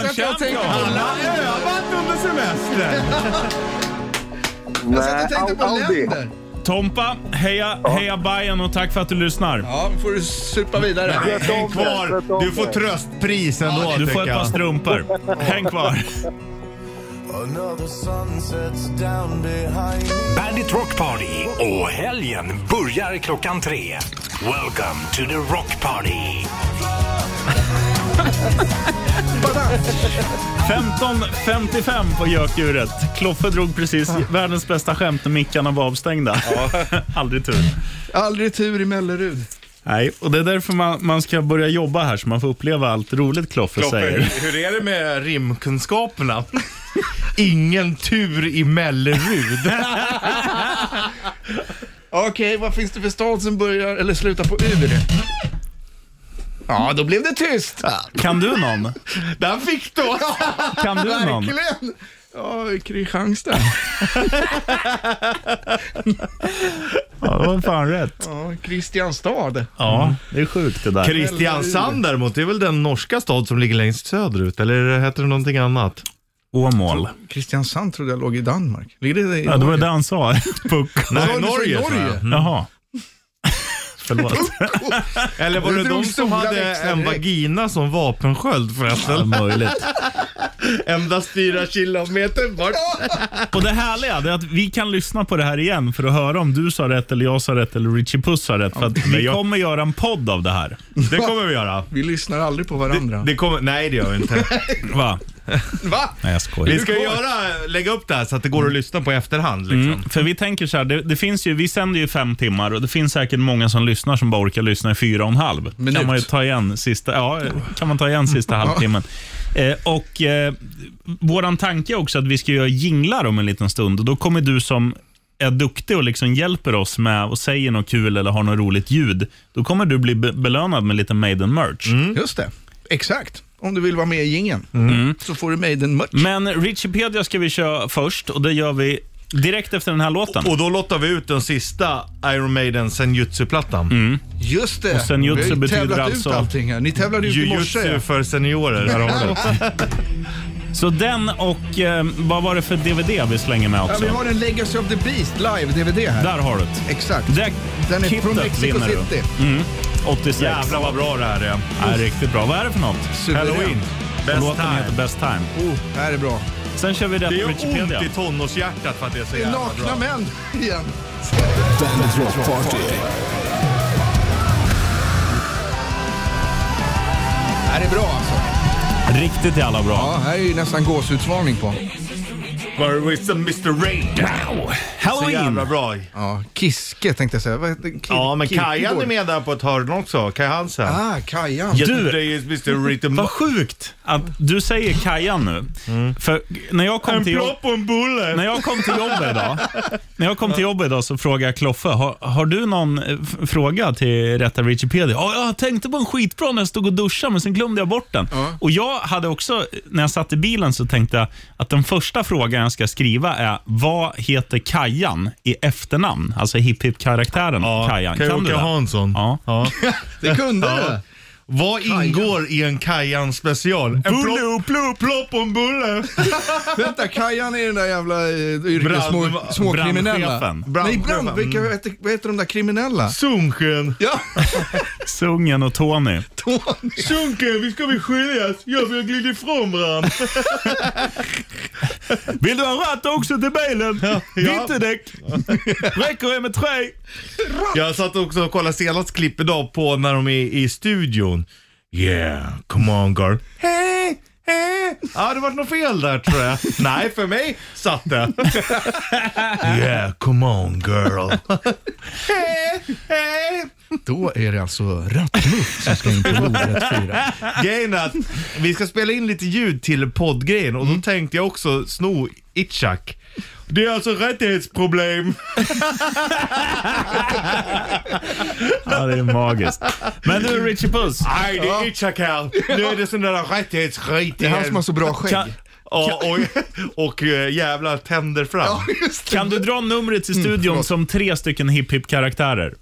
Speaker 4: Så att jag tänkte på
Speaker 2: Champion.
Speaker 3: Han har övat under semestern!
Speaker 4: Jag satt och tänkte på
Speaker 7: Audi.
Speaker 4: länder.
Speaker 2: Tompa, heja, heja Bayern och tack för att du lyssnar.
Speaker 4: Ja, får du supa vidare.
Speaker 7: Sköt om
Speaker 3: Häng
Speaker 7: det, sköt
Speaker 3: kvar.
Speaker 7: om
Speaker 3: Du får
Speaker 7: det.
Speaker 3: tröstpris ändå,
Speaker 2: Du
Speaker 3: tycker
Speaker 2: får ett par
Speaker 3: jag.
Speaker 2: strumpor. Häng kvar.
Speaker 1: Bandit Rock Party och helgen börjar klockan tre. Welcome to the Rock Party.
Speaker 2: 15.55 på gökuret. Kloffe drog precis världens bästa skämt när mickarna var avstängda. Aldrig tur.
Speaker 4: Aldrig tur i Mellerud.
Speaker 2: Nej, och det är därför man, man ska börja jobba här så man får uppleva allt roligt Kloffe, säger.
Speaker 3: Klopper, hur är det med rimkunskaperna? Ingen tur i Mellerud.
Speaker 4: Okej, vad finns det för stad som börjar eller slutar på U? Ja, då blev det tyst.
Speaker 2: Kan du någon?
Speaker 3: Där fick du oss!
Speaker 2: Kan du någon?
Speaker 4: Verkligen. Ja, Kristianstad.
Speaker 2: Ja, det var fan rätt.
Speaker 4: Ja, Kristianstad.
Speaker 2: Ja, det är sjukt det där.
Speaker 3: Kristiansand däremot, det är väl den norska stad som ligger längst söderut, eller heter det någonting annat?
Speaker 2: Åmål.
Speaker 4: Kristiansand trodde jag låg i Danmark. Ligger det i
Speaker 2: Ja, det var det han sa. Puck.
Speaker 4: sa
Speaker 3: Nej,
Speaker 4: du?
Speaker 3: Norge,
Speaker 4: Norge?
Speaker 3: tror jag. Mm.
Speaker 2: Jaha. Förlåt.
Speaker 3: Eller var
Speaker 4: Du
Speaker 3: det
Speaker 4: drog
Speaker 3: de som
Speaker 4: stora
Speaker 3: hade
Speaker 4: växlar
Speaker 3: en
Speaker 4: direkt.
Speaker 3: vagina som vapensköld förresten?
Speaker 2: Möjligt.
Speaker 3: Endast fyra kilometer bort.
Speaker 2: Och det härliga det är att vi kan lyssna på det här igen för att höra om du sa rätt eller jag sa rätt eller Richie Puss sa rätt. För att vi
Speaker 3: jag-
Speaker 2: kommer göra en podd av det här.
Speaker 3: Det kommer vi göra.
Speaker 4: Vi lyssnar aldrig på varandra.
Speaker 3: Det kommer, nej, det gör vi inte.
Speaker 2: Va?
Speaker 4: Va?
Speaker 2: Nej, jag
Speaker 3: Vi
Speaker 2: skojar.
Speaker 3: ska göra, lägga upp det här så att det går att lyssna på i efterhand. Liksom.
Speaker 2: Mm, för vi tänker så här, det, det finns ju, vi sänder ju fem timmar och det finns säkert många som lyssnar som bara orkar lyssna i fyra och en halv.
Speaker 4: Minut.
Speaker 2: Kan man ju ta igen sista, ja, kan man ta igen sista halvtimmen. Eh, och eh, våran tanke är också att vi ska göra jinglar om en liten stund och då kommer du som är duktig och liksom hjälper oss med och säger något kul eller har något roligt ljud. Då kommer du bli be- belönad med lite Maiden-merch.
Speaker 4: Just det. Exakt. Mm. Om du vill vara med i gängen så får du Maiden-merch.
Speaker 2: Men Richipedia ska vi köra först och det gör vi direkt efter den här låten.
Speaker 3: Och då lottar vi ut den sista Iron Maiden senjutsu-plattan.
Speaker 2: Mm.
Speaker 4: Just det.
Speaker 2: sen jutsu
Speaker 4: Vi har ju
Speaker 2: betyder
Speaker 4: tävlat
Speaker 2: alltså-
Speaker 4: ut allting här. Ni tävlade ut i morse.
Speaker 3: Jujutsu
Speaker 4: ja.
Speaker 3: för seniorer. Där har vi det.
Speaker 2: Så den och eh, vad var det för DVD vi slänger med
Speaker 4: Ja,
Speaker 2: också?
Speaker 4: vi har en Legacy of the Beast live-DVD här.
Speaker 2: Där har du det.
Speaker 4: Exakt.
Speaker 2: Det
Speaker 4: Den är från
Speaker 2: kittet
Speaker 4: Mexico
Speaker 2: vinner du.
Speaker 4: City.
Speaker 2: 86.
Speaker 3: Jävlar vad bra det här är.
Speaker 2: Ja, riktigt bra. Vad är det för något?
Speaker 4: Suverän.
Speaker 3: Halloween. Best
Speaker 2: Låten heter
Speaker 3: time.
Speaker 2: Best time.
Speaker 4: Oh, det här är bra.
Speaker 2: Sen kör vi rätt
Speaker 3: Det
Speaker 2: på
Speaker 3: gör
Speaker 2: Wikipedia.
Speaker 3: ont i tonårshjärtat för att det är så
Speaker 4: Det är
Speaker 3: jävla
Speaker 4: nakna
Speaker 3: bra.
Speaker 4: män igen.
Speaker 9: Bandit Rock Party.
Speaker 4: Det här är bra alltså.
Speaker 2: Riktigt jävla bra.
Speaker 4: Ja, här är ju nästan gåshudsvarning på.
Speaker 3: Where is the Mr. Rain? Så jävla
Speaker 2: Halloween.
Speaker 3: bra.
Speaker 4: Ja, Kiske tänkte jag säga. Vad heter Ki-
Speaker 3: Ja, men Kajan
Speaker 4: Kierkegaard.
Speaker 3: är med där på ett hörn också. Kaj Hansen.
Speaker 4: Ah, Kajan.
Speaker 2: Du-
Speaker 3: Yesterday is Mr. Rhythm.
Speaker 2: Vad sjukt att du säger Kajan nu.
Speaker 4: Mm.
Speaker 2: För när jag kom
Speaker 3: En
Speaker 2: till jobb-
Speaker 3: plopp och en bulle.
Speaker 2: när jag kom till jobbet idag, när jag kom till jobbet idag så frågade jag Kloffe, har, har du någon eh, f- fråga till rätta Wikipedia? Ja, jag tänkte på en skitbra när jag stod och duschade, men sen glömde jag bort den.
Speaker 4: Ja.
Speaker 2: Och jag hade också, när jag satt i bilen så tänkte jag att den första frågan jag ska skriva är, vad heter Kajan i efternamn? Alltså hip hip karaktären Kajan. Kan du
Speaker 3: Kaj-Åke
Speaker 2: det?
Speaker 3: Hansson.
Speaker 2: Ja.
Speaker 4: Det kunde du.
Speaker 3: Vad ingår i en Kajan special? En plopp, plopp, plopp och en bulle.
Speaker 4: Vänta, Kajan är den där jävla eh, yrkes-
Speaker 3: Brand-
Speaker 4: små- småkriminella.
Speaker 2: brandchefen.
Speaker 4: Nej, brand,
Speaker 3: Brandchefen.
Speaker 4: vilka, vad, heter, vad heter de där kriminella?
Speaker 3: Sunken.
Speaker 4: Ja,
Speaker 2: Sungen och Tony.
Speaker 4: Tony.
Speaker 3: Sunken, vi ska vi skiljas? Jag vill glida ifrån varandra.
Speaker 2: Vill du ha ratt också till bilen? Vinterdäck. Räcker det med tre?
Speaker 3: Jag satt också och kollade senast klipp idag på när de är i studion. Yeah, come on girl. Hey, hey, eh. Ja, det vart något fel där tror jag. Nej, för mig satt det. yeah, come on girl. Eh, eh.
Speaker 4: Då är det alltså Rattmuff som ska in på bordet fyra.
Speaker 3: Grejen är att vi ska spela in lite ljud till poddgrejen och
Speaker 4: Mm.
Speaker 3: då tänkte jag också sno Itchak. Det är alltså rättighetsproblem.
Speaker 2: Ja, det är magiskt. Men du, Richie Puss.
Speaker 3: Nej, det är Itchak här. Nu är det sån där rättighetsskit
Speaker 4: Det är han som har så bra skägg.
Speaker 2: Kan,
Speaker 3: och, och, och eh, jävla tänder fram. Ja.
Speaker 2: kan du dra numret till studion som tre stycken hip hip karaktärer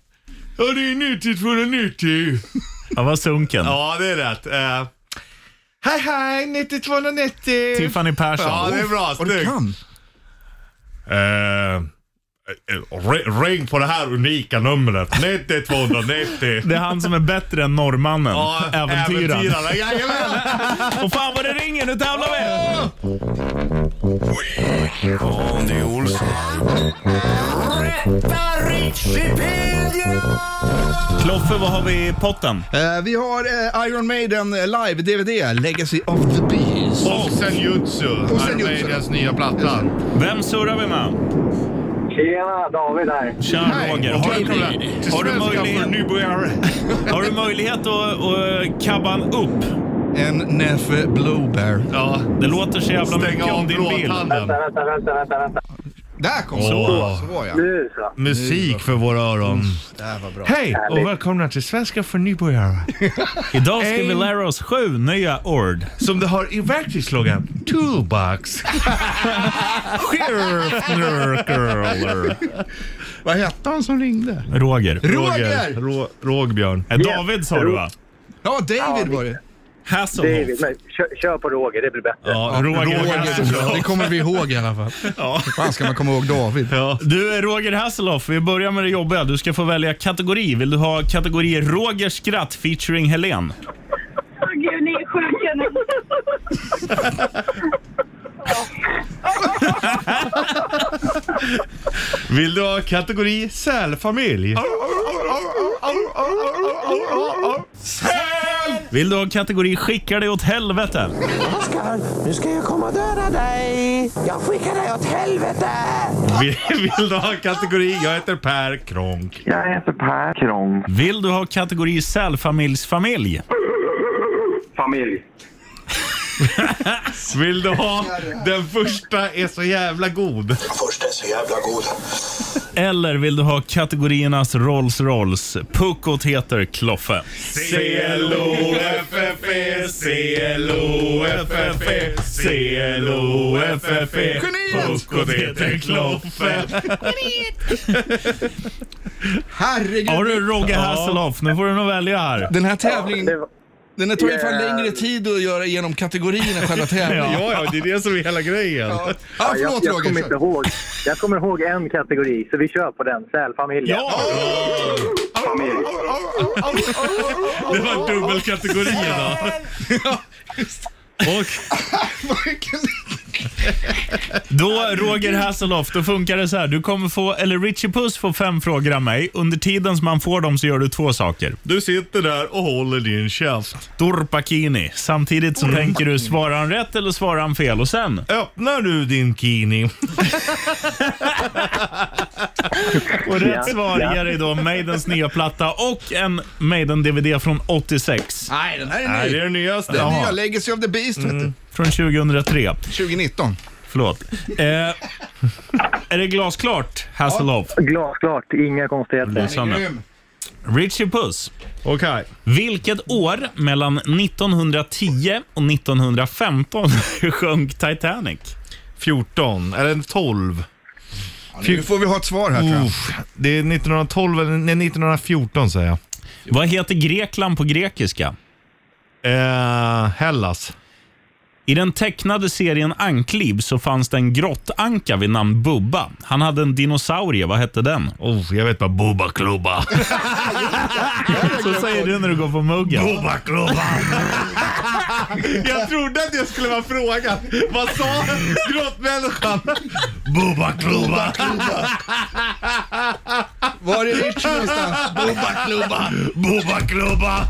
Speaker 3: det är 90 290.
Speaker 2: Ja, vad sunken.
Speaker 3: Ja, det är rätt. Eh, hej, hej, 90 290.
Speaker 2: Tiffany Persson.
Speaker 3: Ja, det är bra.
Speaker 4: Och du
Speaker 3: Snyggt.
Speaker 4: kan.
Speaker 3: Eh, ri- ring på det här unika numret. 90 290.
Speaker 2: Det är han som är bättre än norrmannen.
Speaker 3: Ja,
Speaker 2: Äventyraren.
Speaker 3: äventyraren. Jajamän.
Speaker 2: Och fan vad det ringer, nu tävlar vi!
Speaker 1: Andy Olsson.
Speaker 2: Kloffe, vad har vi i potten?
Speaker 4: Eh, vi har eh, Iron Maiden eh, live-DVD, Legacy of the Beast.
Speaker 3: Och Senjutsu. Och
Speaker 4: Senjutsu.
Speaker 3: Armenias nya platta.
Speaker 2: Vem surrar vi med?
Speaker 7: Tjena, David här.
Speaker 2: Tja, Roger. Har du,
Speaker 3: Har du
Speaker 2: möjlighet-
Speaker 3: möjlighet? nybörjare.
Speaker 2: har du möjlighet att, att kabba en upp?
Speaker 4: En Neffe Blowbear.
Speaker 3: Ja.
Speaker 2: Det låter så jävla
Speaker 3: Stäng
Speaker 2: mycket
Speaker 3: av
Speaker 2: om din bil.
Speaker 3: blåtanden.
Speaker 7: Vänta, vänta, vänta, vänta.
Speaker 4: Där kom
Speaker 3: Åh.
Speaker 4: så. Så ja.
Speaker 7: Nu så.
Speaker 3: Musik för våra öron.
Speaker 4: Det här var bra.
Speaker 3: Mm. Hej och välkomna till Svenska för nybörjare.
Speaker 2: Idag ska
Speaker 3: Hej.
Speaker 2: vi lära oss sju nya ord.
Speaker 3: Som det har i verktygslådan. Toolbox. Skärpnörkörler.
Speaker 4: Vad hette han som ringde?
Speaker 2: Roger.
Speaker 4: Roger!
Speaker 3: Rå- Rågbjörn.
Speaker 2: Eh, David sa du va?
Speaker 4: Ja, David var det.
Speaker 2: Hasselhoff.
Speaker 7: David, men kör, kör på Roger, det blir bättre.
Speaker 2: Ja, Roger, Hasselhoff.
Speaker 4: Det kommer vi ihåg i alla fall. Hur fan ska man komma ihåg David?
Speaker 2: Du är Roger Hasselhoff. Vi börjar med det jobbiga. Du ska få välja kategori. Vill du ha kategori Roger skratt featuring Helen?
Speaker 10: Åh gud, ni är sjuka nu.
Speaker 3: Vill du ha kategori sälfamilj?
Speaker 2: Vill du ha kategori Skicka dig åt helvete?
Speaker 11: Oskar, nu ska jag komma och döda dig! Jag skickar dig åt helvete!
Speaker 3: Vill, vill du ha kategori Jag heter Per Kronk?
Speaker 11: Jag heter Per Kronk.
Speaker 2: Vill du ha kategori Sälfamiljsfamilj?
Speaker 7: Familj.
Speaker 3: Vill du ha Den första är så jävla god?
Speaker 9: Först är så jävla god.
Speaker 2: Eller vill du ha kategoriernas Rolls Rolls? Puckot heter Kloffe.
Speaker 3: C-L-O-F-F-E, C-L-O-F-F-E, C-L-O-F-F-E.
Speaker 4: Geniet!
Speaker 3: Puckot heter Kloffe.
Speaker 2: Har
Speaker 4: Herregud.
Speaker 2: du Roger Hasselhoff? Nu får du nog välja här.
Speaker 4: Den här tävlingen,
Speaker 7: var-
Speaker 4: den här tar ju fan
Speaker 7: Yeah.
Speaker 4: längre tid att göra genom kategorierna än själva tävlingen.
Speaker 3: Ja, ja, det är det som är hela grejen.
Speaker 4: Ja,
Speaker 7: jag,
Speaker 4: förlåt
Speaker 7: jag
Speaker 4: Roger.
Speaker 7: kommer inte
Speaker 4: kör.
Speaker 7: ihåg. Jag kommer ihåg en kategori, så vi kör på den. Sälfamiljen.
Speaker 2: Ja!
Speaker 7: Familj.
Speaker 3: Det var dubbelkategori idag. Och
Speaker 2: Då, Roger Hasselhoff, då funkar det så här. Du kommer få, eller Richie Puss får fem frågor av mig. Under tiden som man får dem så gör du två saker.
Speaker 3: du sitter där och håller din käft. Mm.
Speaker 2: Dorpakini. Samtidigt så tänker du, svarar han rätt eller svarar han fel? Och sen,
Speaker 3: Öppnar du din kini?
Speaker 2: och
Speaker 7: Ja,
Speaker 2: rätt svar
Speaker 7: ja.
Speaker 2: ger dig då Maidens nya platta och en Maiden-DVD från 86.
Speaker 4: Nej, den här är
Speaker 3: Nej, det Mm.
Speaker 4: ny.
Speaker 3: är det nyaste.
Speaker 4: Den nya Legacy of the Beast, vet du.
Speaker 2: Från 2003.
Speaker 4: 2019.
Speaker 2: Förlåt. Eh, är det glasklart, Hasselhoff?
Speaker 7: Glasklart, inga konstigheter.
Speaker 2: Sanne.
Speaker 4: Grym.
Speaker 2: Richie Puss.
Speaker 3: Okej.
Speaker 2: Vilket år mellan 1910 och 1915 sjönk Titanic?
Speaker 3: 14, eller 12.
Speaker 4: Nu får vi ha ett svar här tror jag.
Speaker 3: Uff, det är 1912 eller nej, 1914 säger jag.
Speaker 2: Vad heter Grekland på grekiska?
Speaker 3: Eh, Hellas.
Speaker 2: I den tecknade serien Ankliv så fanns det en grottanka vid namn Bubba. Han hade en dinosaurie. Vad hette den?
Speaker 3: Oh, jag vet bara Bubba Klubba.
Speaker 2: Så säger du när du går på muggen.
Speaker 3: Bubba Klubba. jag trodde att jag skulle vara frågan. Vad sa grottmänniskan? Bubba Klubba.
Speaker 4: Var är Richie någonstans?
Speaker 3: Bubba Klubba. Bubba Klubba.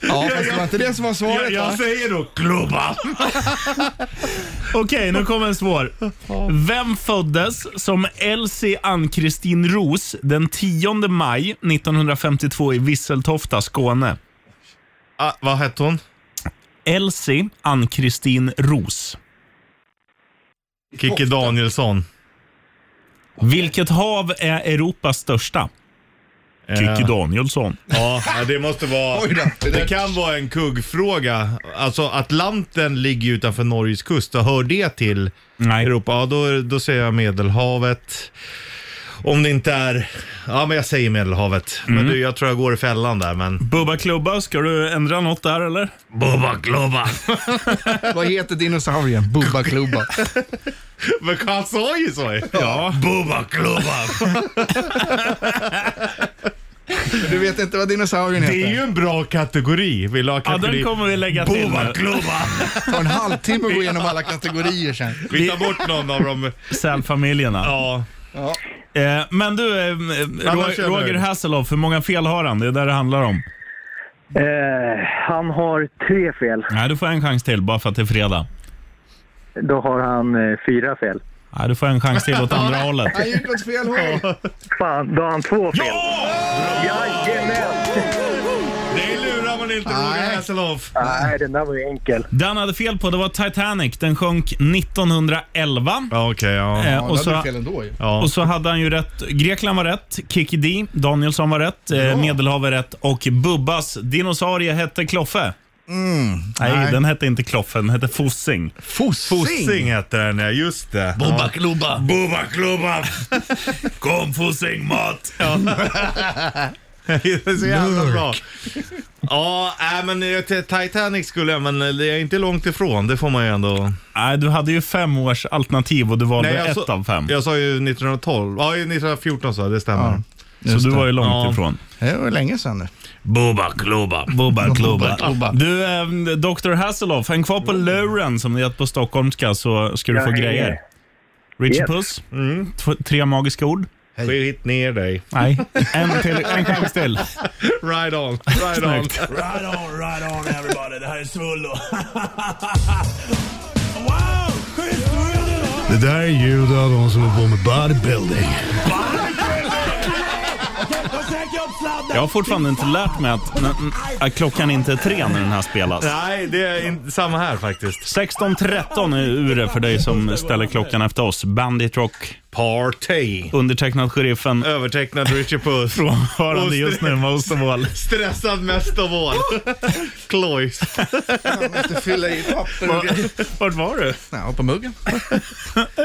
Speaker 4: Ja, fast det var inte det som var svaret
Speaker 2: Jag, jag
Speaker 4: va?
Speaker 2: säger då klubban. Okej, nu kommer en svår. Vem föddes som Elsie Ann-Kristin Ros den 10 maj 1952 i Visseltofta, Skåne?
Speaker 3: Ah, vad hette hon?
Speaker 2: Elsie Ann-Kristin Ros.
Speaker 3: Kikki Danielsson.
Speaker 2: Vilket hav är Europas största?
Speaker 3: Eh.
Speaker 2: Kikki Danielsson.
Speaker 3: Ja, ja, det måste vara...
Speaker 4: Oj då, det
Speaker 3: det,
Speaker 4: där-
Speaker 3: kan vara en kuggfråga. Alltså Atlanten ligger ju utanför Norges kust och hör det till
Speaker 2: Nej.
Speaker 3: Europa? Ja, då, då säger jag Medelhavet. Om det inte är... Ja, men jag säger Medelhavet. Men du, jag tror jag går i fällan där, men...
Speaker 2: Bubba Klubba, ska du ändra något där eller?
Speaker 3: Bubba Globa!
Speaker 4: Vad heter dinosaurien? Bubba Klubba.
Speaker 3: men han sa ju så!
Speaker 2: Ja.
Speaker 3: Bubba Globa!
Speaker 4: Du vet inte vad dinosaurien
Speaker 3: Det är
Speaker 4: heter?
Speaker 3: ju en bra kategori. Vill du ha
Speaker 2: ja
Speaker 3: kategori?
Speaker 2: den kommer vi lägga till
Speaker 3: Bubba
Speaker 2: nu.
Speaker 3: Globa!
Speaker 4: Ta en halvtimme att gå igenom alla kategorier sen.
Speaker 3: Vi tar bort någon av dem.
Speaker 2: Sälfamiljerna.
Speaker 3: Ja.
Speaker 2: Eh, men du, eh,
Speaker 3: Annars
Speaker 2: Ro-
Speaker 3: kör vi.
Speaker 2: Roger Hasselhoff, hur många fel har han? Det är det det handlar om.
Speaker 7: Eh, han har tre fel.
Speaker 2: Nej, du får en chans till bara för att det är fredag.
Speaker 7: Då har han eh, fyra fel.
Speaker 2: Nej, du får en chans till åt andra hållet.
Speaker 4: Han gick åt fel håll.
Speaker 7: Fan, då har han två fel. Jajamän!
Speaker 3: Det lurar man inte Roger Hasselhoff.
Speaker 7: Nej, den där var ju enkel.
Speaker 2: Det han hade fel på det var Titanic. Den sjönk 1911.
Speaker 3: Ja, okej, ja.
Speaker 2: Eh,
Speaker 4: Ja,
Speaker 2: och,
Speaker 4: det hade
Speaker 2: så,
Speaker 4: du fel ändå ju.
Speaker 3: ja.
Speaker 2: och så hade han ju rätt. Grekland var rätt, Kikki D, Danielsson var rätt, eh, Medelhavet rätt och Bubbas dinosaurie hette Kloffe. nej,
Speaker 4: nej.
Speaker 2: den hette inte Kloffe, den hette Fossing.
Speaker 4: Fossing.
Speaker 3: Fossing hette den ja, just det.
Speaker 2: Bubba klubba. Bubba klubba. Kom Fossing mat.
Speaker 3: Det är så jävla bra. Ja, äh, men eh, t- Titanic skulle jag, men eh, det är inte långt ifrån. Det får man ju ändå.
Speaker 2: Nej, du hade ju fem års alternativ och du valde
Speaker 3: jag
Speaker 2: ett
Speaker 3: sa-
Speaker 2: av fem.
Speaker 3: Jag sa ju 1912. Ja, 1914 sa jag, det stämmer.
Speaker 2: så du var ju långt
Speaker 3: Ja.
Speaker 2: ifrån.
Speaker 4: Det var länge sedan nu.
Speaker 2: Bubba klubba. Bubba klubba.
Speaker 4: klubba.
Speaker 2: Du, eh, Dr Hasselhoff, häng kvar på luren som det heter på stockholmska så ska du få
Speaker 7: hänger.
Speaker 2: grejer. Richie
Speaker 7: Yes.
Speaker 2: Puss, Tv- tre magiska ord.
Speaker 3: Skit ner dig.
Speaker 2: Nej, en, till, en chans till.
Speaker 3: Ride on, ride on.
Speaker 2: Snyggt. Right on, right on everybody. Det här är Svullo. wow! Schysst Svullo!
Speaker 6: Det där är ljud av de som håller på med bodybuilding.
Speaker 2: Jag har fortfarande inte lärt mig att, n- n- att klockan inte är tre när den här spelas.
Speaker 3: Nej, det är in, samma här faktiskt.
Speaker 2: 16.13 är ure för dig som ställer klockan efter oss. Bandit Rock,
Speaker 3: Party.
Speaker 2: undertecknad sheriffen,
Speaker 3: Övertecknad Richard Puss.
Speaker 2: hörande just nu med Osterwall.
Speaker 3: Stressad mest av all. Klois.
Speaker 4: Man måste fylla i papper och grejer.
Speaker 2: Vart var du?
Speaker 4: Nej, och på muggen.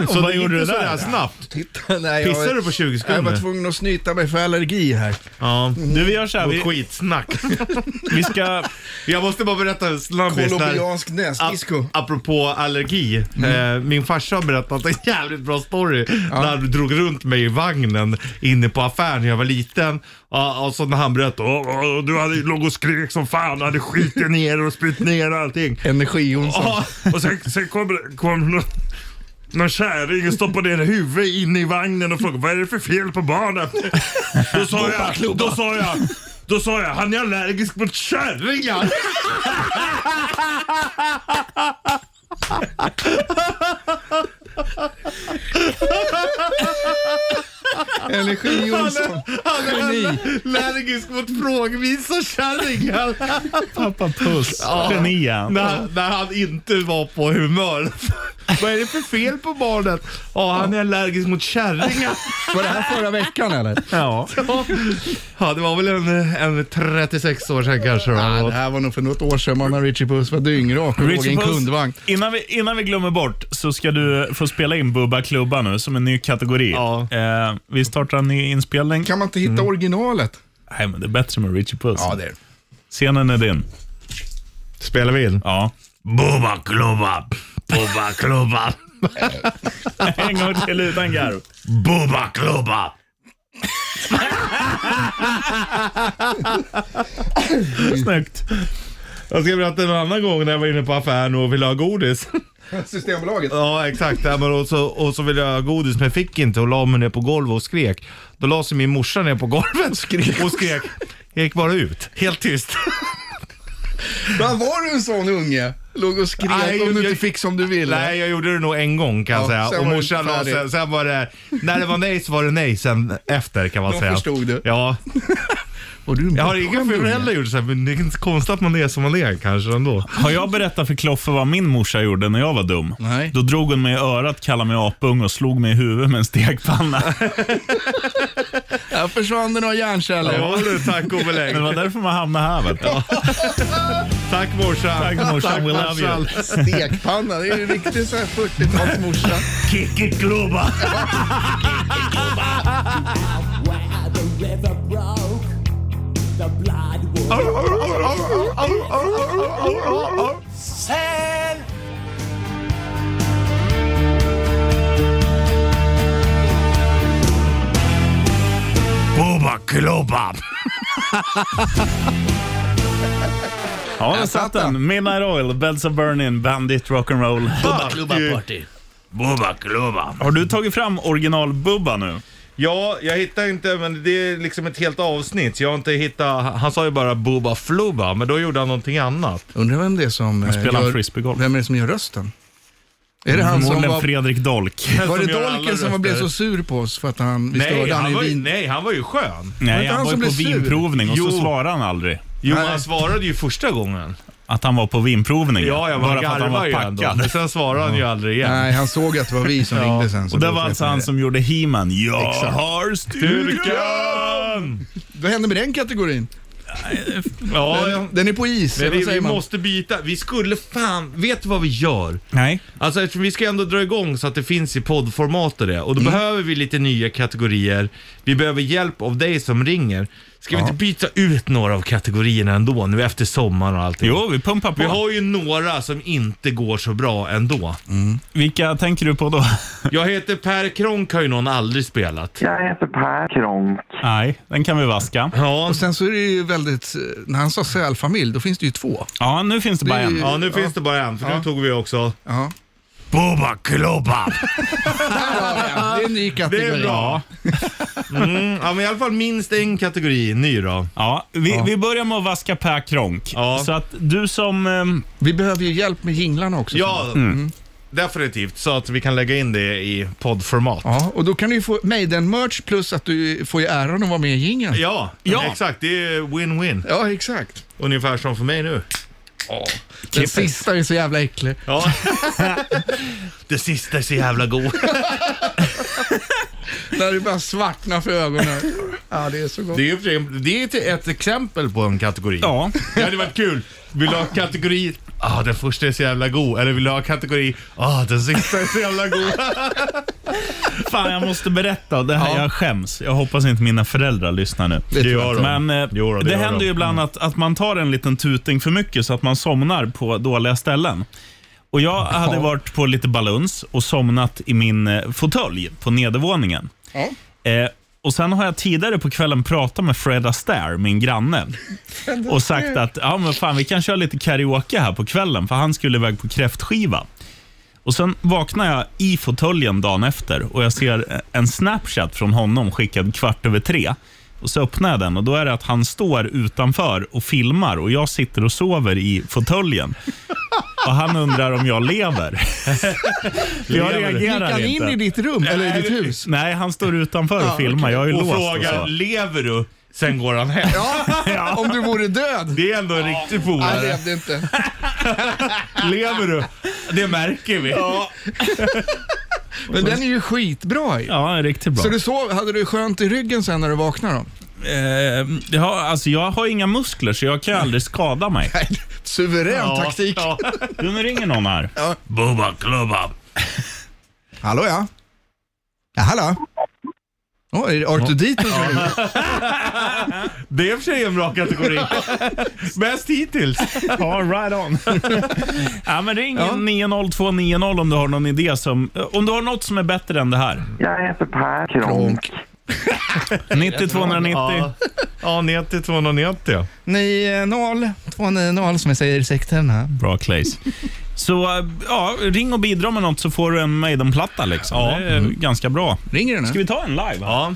Speaker 3: Så
Speaker 2: vad
Speaker 3: det
Speaker 2: gjorde
Speaker 3: gick
Speaker 2: du
Speaker 3: ju
Speaker 2: där?
Speaker 3: sådär snabbt.
Speaker 4: Titta, nej, jag-
Speaker 3: Pissade du på 20
Speaker 4: Jag var
Speaker 3: sekunder?
Speaker 4: tvungen att snyta mig för allergi här.
Speaker 3: Ja.
Speaker 2: Du, vi gör så här.
Speaker 3: Och
Speaker 2: Vi,
Speaker 3: skitsnack.
Speaker 2: vi ska...
Speaker 3: Jag måste bara berätta en snabbis. där.
Speaker 4: Colombiansk näsdisco.
Speaker 3: Ap- apropå allergi. Eh, min farsa har berättat en jävligt bra story. När han drog runt mig i vagnen inne på affären när jag var liten. Och, och så när han berättade, "Åh, åh, du hade låg och skrek som fan, du hade skitit ner och spytt ner allting.
Speaker 4: Energi-Jonsson.
Speaker 3: Ja, och sen, sen kom, det- kom någon, någon kärring och stoppade ner huvudet inne i vagnen och frågade vad är det för fel på barnet? Då sa jag, då sa jag, då sa jag, han är allergisk mot kärringar.
Speaker 4: Energi-Jonsson. Geni.
Speaker 3: Allergisk mot frågvisa kärringar.
Speaker 2: Pappa Puss, genien.
Speaker 3: när, han- när han inte var på humör. vad är det för fel på barnet? Ja, han är allergisk mot kärringar.
Speaker 4: Var det här förra veckan eller?
Speaker 2: Ja.
Speaker 3: ja, det var väl en, en 36 år sedan kanske.
Speaker 4: Ja,
Speaker 3: då.
Speaker 4: det här var nog för något år sedan man när Richie Puss var dyngrak och låg i
Speaker 2: Richie
Speaker 4: en
Speaker 2: Puss,
Speaker 4: kundvagn.
Speaker 2: Innan vi, innan vi glömmer bort så ska du få spela in Bubba Klubba nu som en ny kategori.
Speaker 3: Ja.
Speaker 2: Eh, vi startar en ny inspelning.
Speaker 4: Kan man inte hitta originalet?
Speaker 2: Nej, men det är bättre med Richie Puss.
Speaker 4: Ja, det är det.
Speaker 2: Scenen är din.
Speaker 3: Spelar vi in?
Speaker 2: Ja.
Speaker 3: Bubba klubba, bubba klubba,
Speaker 2: En gång till utan garv.
Speaker 3: bubba klubba.
Speaker 2: Snyggt.
Speaker 3: Jag ska berätta en annan gång när jag var inne på affären och ville ha godis.
Speaker 4: Systembolaget.
Speaker 3: Ja, exakt. Ja, men och, så, och så ville jag ha godis men jag fick inte och la mig ner på golvet och skrek. Då la sig min morsa ner på golvet och skrek. Jag gick bara ut, helt tyst.
Speaker 4: Men var du en sån unge? Låg och skrek
Speaker 3: Nej,
Speaker 4: om du
Speaker 3: jag-
Speaker 4: inte fick som du ville?
Speaker 3: Nej, jag gjorde det nog en gång kan jag
Speaker 4: Ja, sen
Speaker 3: säga. Och
Speaker 4: var det
Speaker 3: morsan la
Speaker 4: färdigt.
Speaker 3: sen, sen var det, när det var nej så var det nej sen efter kan man
Speaker 4: De
Speaker 3: säga.
Speaker 4: förstod det.
Speaker 3: Ja.
Speaker 4: Var du en
Speaker 3: Jag har
Speaker 4: bortskämd
Speaker 3: inga
Speaker 4: unge?
Speaker 3: föräldrar gjort så här, men det är inte konstigt att man är som man är kanske ändå.
Speaker 2: Har jag berättat för Kloffe vad min morsa gjorde när jag var dum?
Speaker 4: Nej.
Speaker 2: Då drog hon mig i örat, kallade mig apung och slog mig i huvudet med en stekpanna.
Speaker 4: Där försvann det några hjärnceller.
Speaker 3: Ja du, tack och belägg.
Speaker 2: Det var därför man hamnade här. Vet du.
Speaker 3: Tack morsan.
Speaker 2: Tack, morsan. We love you.
Speaker 3: farsan.
Speaker 4: Stekpanna, det är ju riktigt så här 40-talsmorsa.
Speaker 2: Kick it, Globa!
Speaker 3: Boba klobba.
Speaker 2: Ja, där satt den. Midnight Oil, Beds of Burning, Bandit Rock'n'Roll.
Speaker 3: Boba klobba.
Speaker 2: Har du tagit fram original-Bubba nu?
Speaker 3: Ja, jag hittar inte, men det är liksom ett helt avsnitt. Jag har inte hittat, han sa ju bara Boba Floba, men då gjorde han någonting annat.
Speaker 4: Undrar vem det är som... eh,
Speaker 2: spelar
Speaker 4: gör-
Speaker 2: frisbeegolf.
Speaker 4: Vem är det som gör rösten? Är det han som
Speaker 2: Förmodligen
Speaker 4: var...
Speaker 2: Fredrik Dolk.
Speaker 4: Var det
Speaker 3: som gör alla
Speaker 4: Dolken som
Speaker 3: röster?
Speaker 4: blev så sur på oss för att han, vi
Speaker 3: Nej
Speaker 4: störde han
Speaker 3: han,
Speaker 4: i
Speaker 3: var ju,
Speaker 4: vin?
Speaker 3: nej, han var ju skön.
Speaker 2: Nej,
Speaker 4: inte han
Speaker 2: han var
Speaker 4: som
Speaker 2: ju på
Speaker 4: blev sur?
Speaker 2: vinprovning och
Speaker 3: Jo.
Speaker 2: så svarade han aldrig.
Speaker 3: Jo,
Speaker 4: Nej.
Speaker 3: han svarade ju första gången.
Speaker 2: Att han var på vinprovning.
Speaker 3: Ja, jag
Speaker 2: bara
Speaker 3: var
Speaker 2: för att han
Speaker 3: garvar
Speaker 2: var
Speaker 3: ju ändå.
Speaker 2: packad.
Speaker 3: Men sen svarade han ju aldrig igen.
Speaker 4: Nej, han såg att det var vi som ringde sen. så
Speaker 2: Och det
Speaker 4: då
Speaker 2: var alltså
Speaker 4: släppte
Speaker 2: han
Speaker 4: vi det.
Speaker 2: som gjorde He-Man. Jag
Speaker 4: Exakt.
Speaker 2: har styrkan!
Speaker 3: Styrkan!
Speaker 4: Vad hände med den kategorin?
Speaker 3: Ja, ja.
Speaker 4: Den, den är på is,
Speaker 3: Men
Speaker 4: eller
Speaker 3: vi,
Speaker 4: vad säger
Speaker 3: vi
Speaker 4: man?
Speaker 3: måste byta. Vi skulle fan, vet du vad vi gör?
Speaker 2: Nej.
Speaker 3: Alltså eftersom vi ska ändå dra igång så att det finns i poddformat och det. Och då behöver vi lite nya kategorier. Vi behöver hjälp av dig som ringer. Ska vi inte byta ut några av kategorierna ändå nu efter sommaren och allting?
Speaker 2: Jo, vi pumpar på.
Speaker 3: Vi har ju några som inte går så bra ändå.
Speaker 2: Vilka tänker du på då?
Speaker 3: Jag heter Per Kronk har ju någon aldrig spelat.
Speaker 11: Jag heter Per Kronk.
Speaker 2: Nej, den kan vi vaska.
Speaker 3: Ja,
Speaker 4: Och sen så är det ju väldigt, eh, när han sa sälfamilj, då finns det ju två.
Speaker 2: Ja, nu finns det bara
Speaker 4: Det är
Speaker 2: en.
Speaker 4: ju-
Speaker 3: ja nu finns det bara en för nu tog vi också
Speaker 4: Ja.
Speaker 3: Boba Klobba.
Speaker 4: Där har vi en. Det är en ny
Speaker 3: Det
Speaker 4: kategori.
Speaker 3: är bra. Mm, ja, men i alla fall minst en kategori ny då.
Speaker 2: Ja, vi, vi börjar med att vaska Per Kronk.
Speaker 3: Ja.
Speaker 2: Så att du som... ehm,
Speaker 4: Vi behöver ju hjälp med jinglarna också.
Speaker 3: Ja, Mm. definitivt. Så att vi kan lägga in det i poddformat. Ja,
Speaker 4: Ja, och då kan du ju få Maiden-merch plus att du får ju äran att vara med i jingeln.
Speaker 3: ja,
Speaker 2: Ja.
Speaker 3: exakt. Det är win-win.
Speaker 4: Ja, exakt.
Speaker 3: Ungefär som för mig nu.
Speaker 4: Den sista är så jävla äcklig.
Speaker 3: Ja. det sista är så jävla god.
Speaker 4: När det bara svartnar för ögonen. Ja, det är så gott.
Speaker 3: Det är, ju för sig- det är ett- ett exempel på en kategori.
Speaker 2: ja.
Speaker 3: Det hade varit kul. Vill du ha kategori Ah, den första är så jävla god. Eller vill du ha kategori Ah, den sista är så jävla god.
Speaker 2: Fan, jag måste berätta. Det här, Jag skäms. Jag hoppas inte mina föräldrar lyssnar nu.
Speaker 4: Det tror jag
Speaker 3: gör
Speaker 4: inte.
Speaker 3: de.
Speaker 2: Men eh,
Speaker 3: Jo då, det
Speaker 2: det,
Speaker 3: gör
Speaker 2: händer
Speaker 3: de. Mm.
Speaker 2: ju ibland att, att man tar en liten tuting för mycket så att man somnar på dåliga ställen. Och Jag hade varit på lite baluns och somnat i min eh, fåtölj på nedervåningen.
Speaker 4: Ja.
Speaker 2: Eh, och Sen har jag tidigare på kvällen pratat med Fred Astaire, min granne, och sagt att ja, men fan, vi kan köra lite karaoke här på kvällen, för han skulle iväg på kräftskiva. Och Sen vaknar jag i fåtöljen dagen efter och jag ser en Snapchat från honom skickad kvart över tre. Och Så öppnar jag den och då är det att han står utanför och filmar och jag sitter och sover i fåtöljen. Och han undrar om jag lever. jag
Speaker 4: Gick
Speaker 2: reagerar
Speaker 4: han in
Speaker 2: inte.
Speaker 4: i ditt rum eller i ditt hus?
Speaker 2: Nej, han står utanför och filmar. Jag är ju
Speaker 3: Och
Speaker 2: låst
Speaker 3: frågar,
Speaker 2: och så.
Speaker 3: lever du? Sen går han hem.
Speaker 4: Ja. Om du vore död.
Speaker 3: Det är ändå en riktig
Speaker 4: Han
Speaker 3: polare.
Speaker 4: levde inte.
Speaker 3: Lever du? Det märker vi.
Speaker 4: Men den är ju skitbra ju.
Speaker 2: Ja, riktigt bra.
Speaker 4: Så du sov, hade du skönt i ryggen sen när du vaknade då?
Speaker 2: Eh, ja, alltså, jag har inga muskler så jag kan ju aldrig skada mig.
Speaker 4: Nej, Suverän taktik.
Speaker 3: Ja.
Speaker 2: Du, nu ringer någon här.
Speaker 3: Boba klubba.
Speaker 4: Hallå ja. Ja, hallå. Åh, är det Arthur Dito som ringer?
Speaker 3: Det är i och för sig en bra kategori. Bäst hittills.
Speaker 2: Ja, right on. ja, men ring 90290 om du har någon idé som... Om du har något som är bättre än det här.
Speaker 11: Jag heter Per Kronk.
Speaker 4: Kronk.
Speaker 2: 90-290.
Speaker 3: Ja, ja 90 290.
Speaker 4: 90 290 som jag säger i sekten här.
Speaker 2: Bra Claes. Så ja, ring och bidra med något så får du
Speaker 3: Mm.
Speaker 2: en Maiden-platta. Liksom. Det är ganska bra.
Speaker 4: Ringer den
Speaker 2: Ska vi ta en live?
Speaker 3: Ja.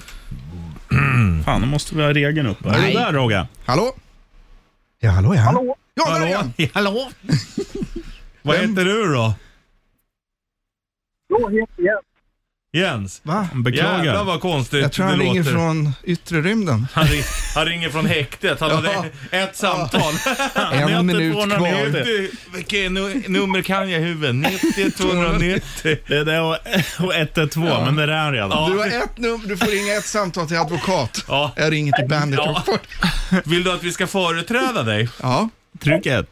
Speaker 2: Fan, nu måste vi ha regeln upp. Är
Speaker 4: Nej.
Speaker 2: du där Rogga?
Speaker 4: Hallå? Ja, hallå ja. Hallå? Ja, där är
Speaker 2: Hallå?
Speaker 4: han.
Speaker 2: Hallå? Vad heter du då?
Speaker 7: Då heter jag...
Speaker 3: Jens.
Speaker 4: Va?
Speaker 2: Beklagar.
Speaker 3: Jävlar vad konstigt
Speaker 4: Jag tror
Speaker 3: det
Speaker 4: han ringer
Speaker 3: låter.
Speaker 4: från yttre rymden.
Speaker 3: Han, ring, han ringer från häktet. Han hade ett samtal.
Speaker 4: En minut kvar.
Speaker 3: 90, vilket nu- nummer kan jag i huvudet? 90 290.
Speaker 2: Det där och, och 112, men det är han redan.
Speaker 4: Du har ett nummer, du får ringa ett samtal till advokat.
Speaker 3: Ja.
Speaker 4: Jag ringer till Bandit
Speaker 3: Ja.
Speaker 4: Rockford.
Speaker 3: Vill du att vi ska företräda dig?
Speaker 4: Ja.
Speaker 2: Tryck 1.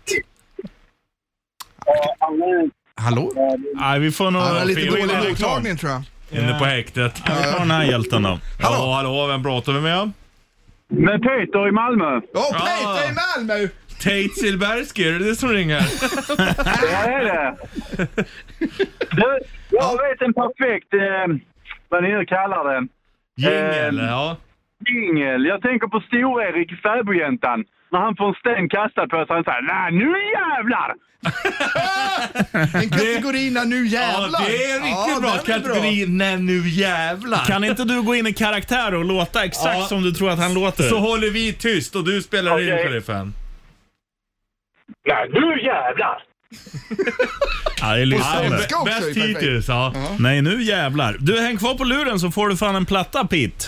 Speaker 4: Hallå?
Speaker 2: Nej, vi får nog...
Speaker 4: Han har lite
Speaker 2: vi-
Speaker 4: dålig
Speaker 2: vi- vi-
Speaker 4: mottagning tror jag.
Speaker 3: Inne på häktet.
Speaker 2: Vi tar den här hjälten då.
Speaker 3: Hallå, hallå, vem pratar vi med?
Speaker 7: Med Peter i Malmö.
Speaker 4: Åh, Peter i Malmö!
Speaker 3: Tate Silbersky, är det du som ringer?
Speaker 7: Ja, det är det. Du, jag vet en perfekt, eh, vad ni nu kallar det,
Speaker 3: Jingel,
Speaker 7: Ehm.
Speaker 3: ja.
Speaker 7: jingel. Jag tänker på Stor-Erik, fäbodjäntan. När han får en sten kastad på sig, han säger Nej, nu jävlar!
Speaker 4: En kategorina nu
Speaker 3: Ja,
Speaker 4: jävlar.
Speaker 3: det är riktigt
Speaker 4: Ja,
Speaker 3: bra.
Speaker 4: den är
Speaker 3: Kategori när nu jävlar.
Speaker 2: Kan inte du gå in i karaktär och låta exakt
Speaker 3: Ja.
Speaker 2: som du tror att han låter?
Speaker 3: Så håller vi tyst och du spelar in
Speaker 7: Okej.
Speaker 3: sheriffen.
Speaker 7: Nej, nu jävlar!
Speaker 2: Ja, det är
Speaker 4: Och
Speaker 2: lysande.
Speaker 4: sen- också
Speaker 3: Bäst
Speaker 4: i perfekt.
Speaker 3: hittills, ja.
Speaker 2: Nej, nu jävlar. Du, häng kvar på luren så får du fan en platta, Pete.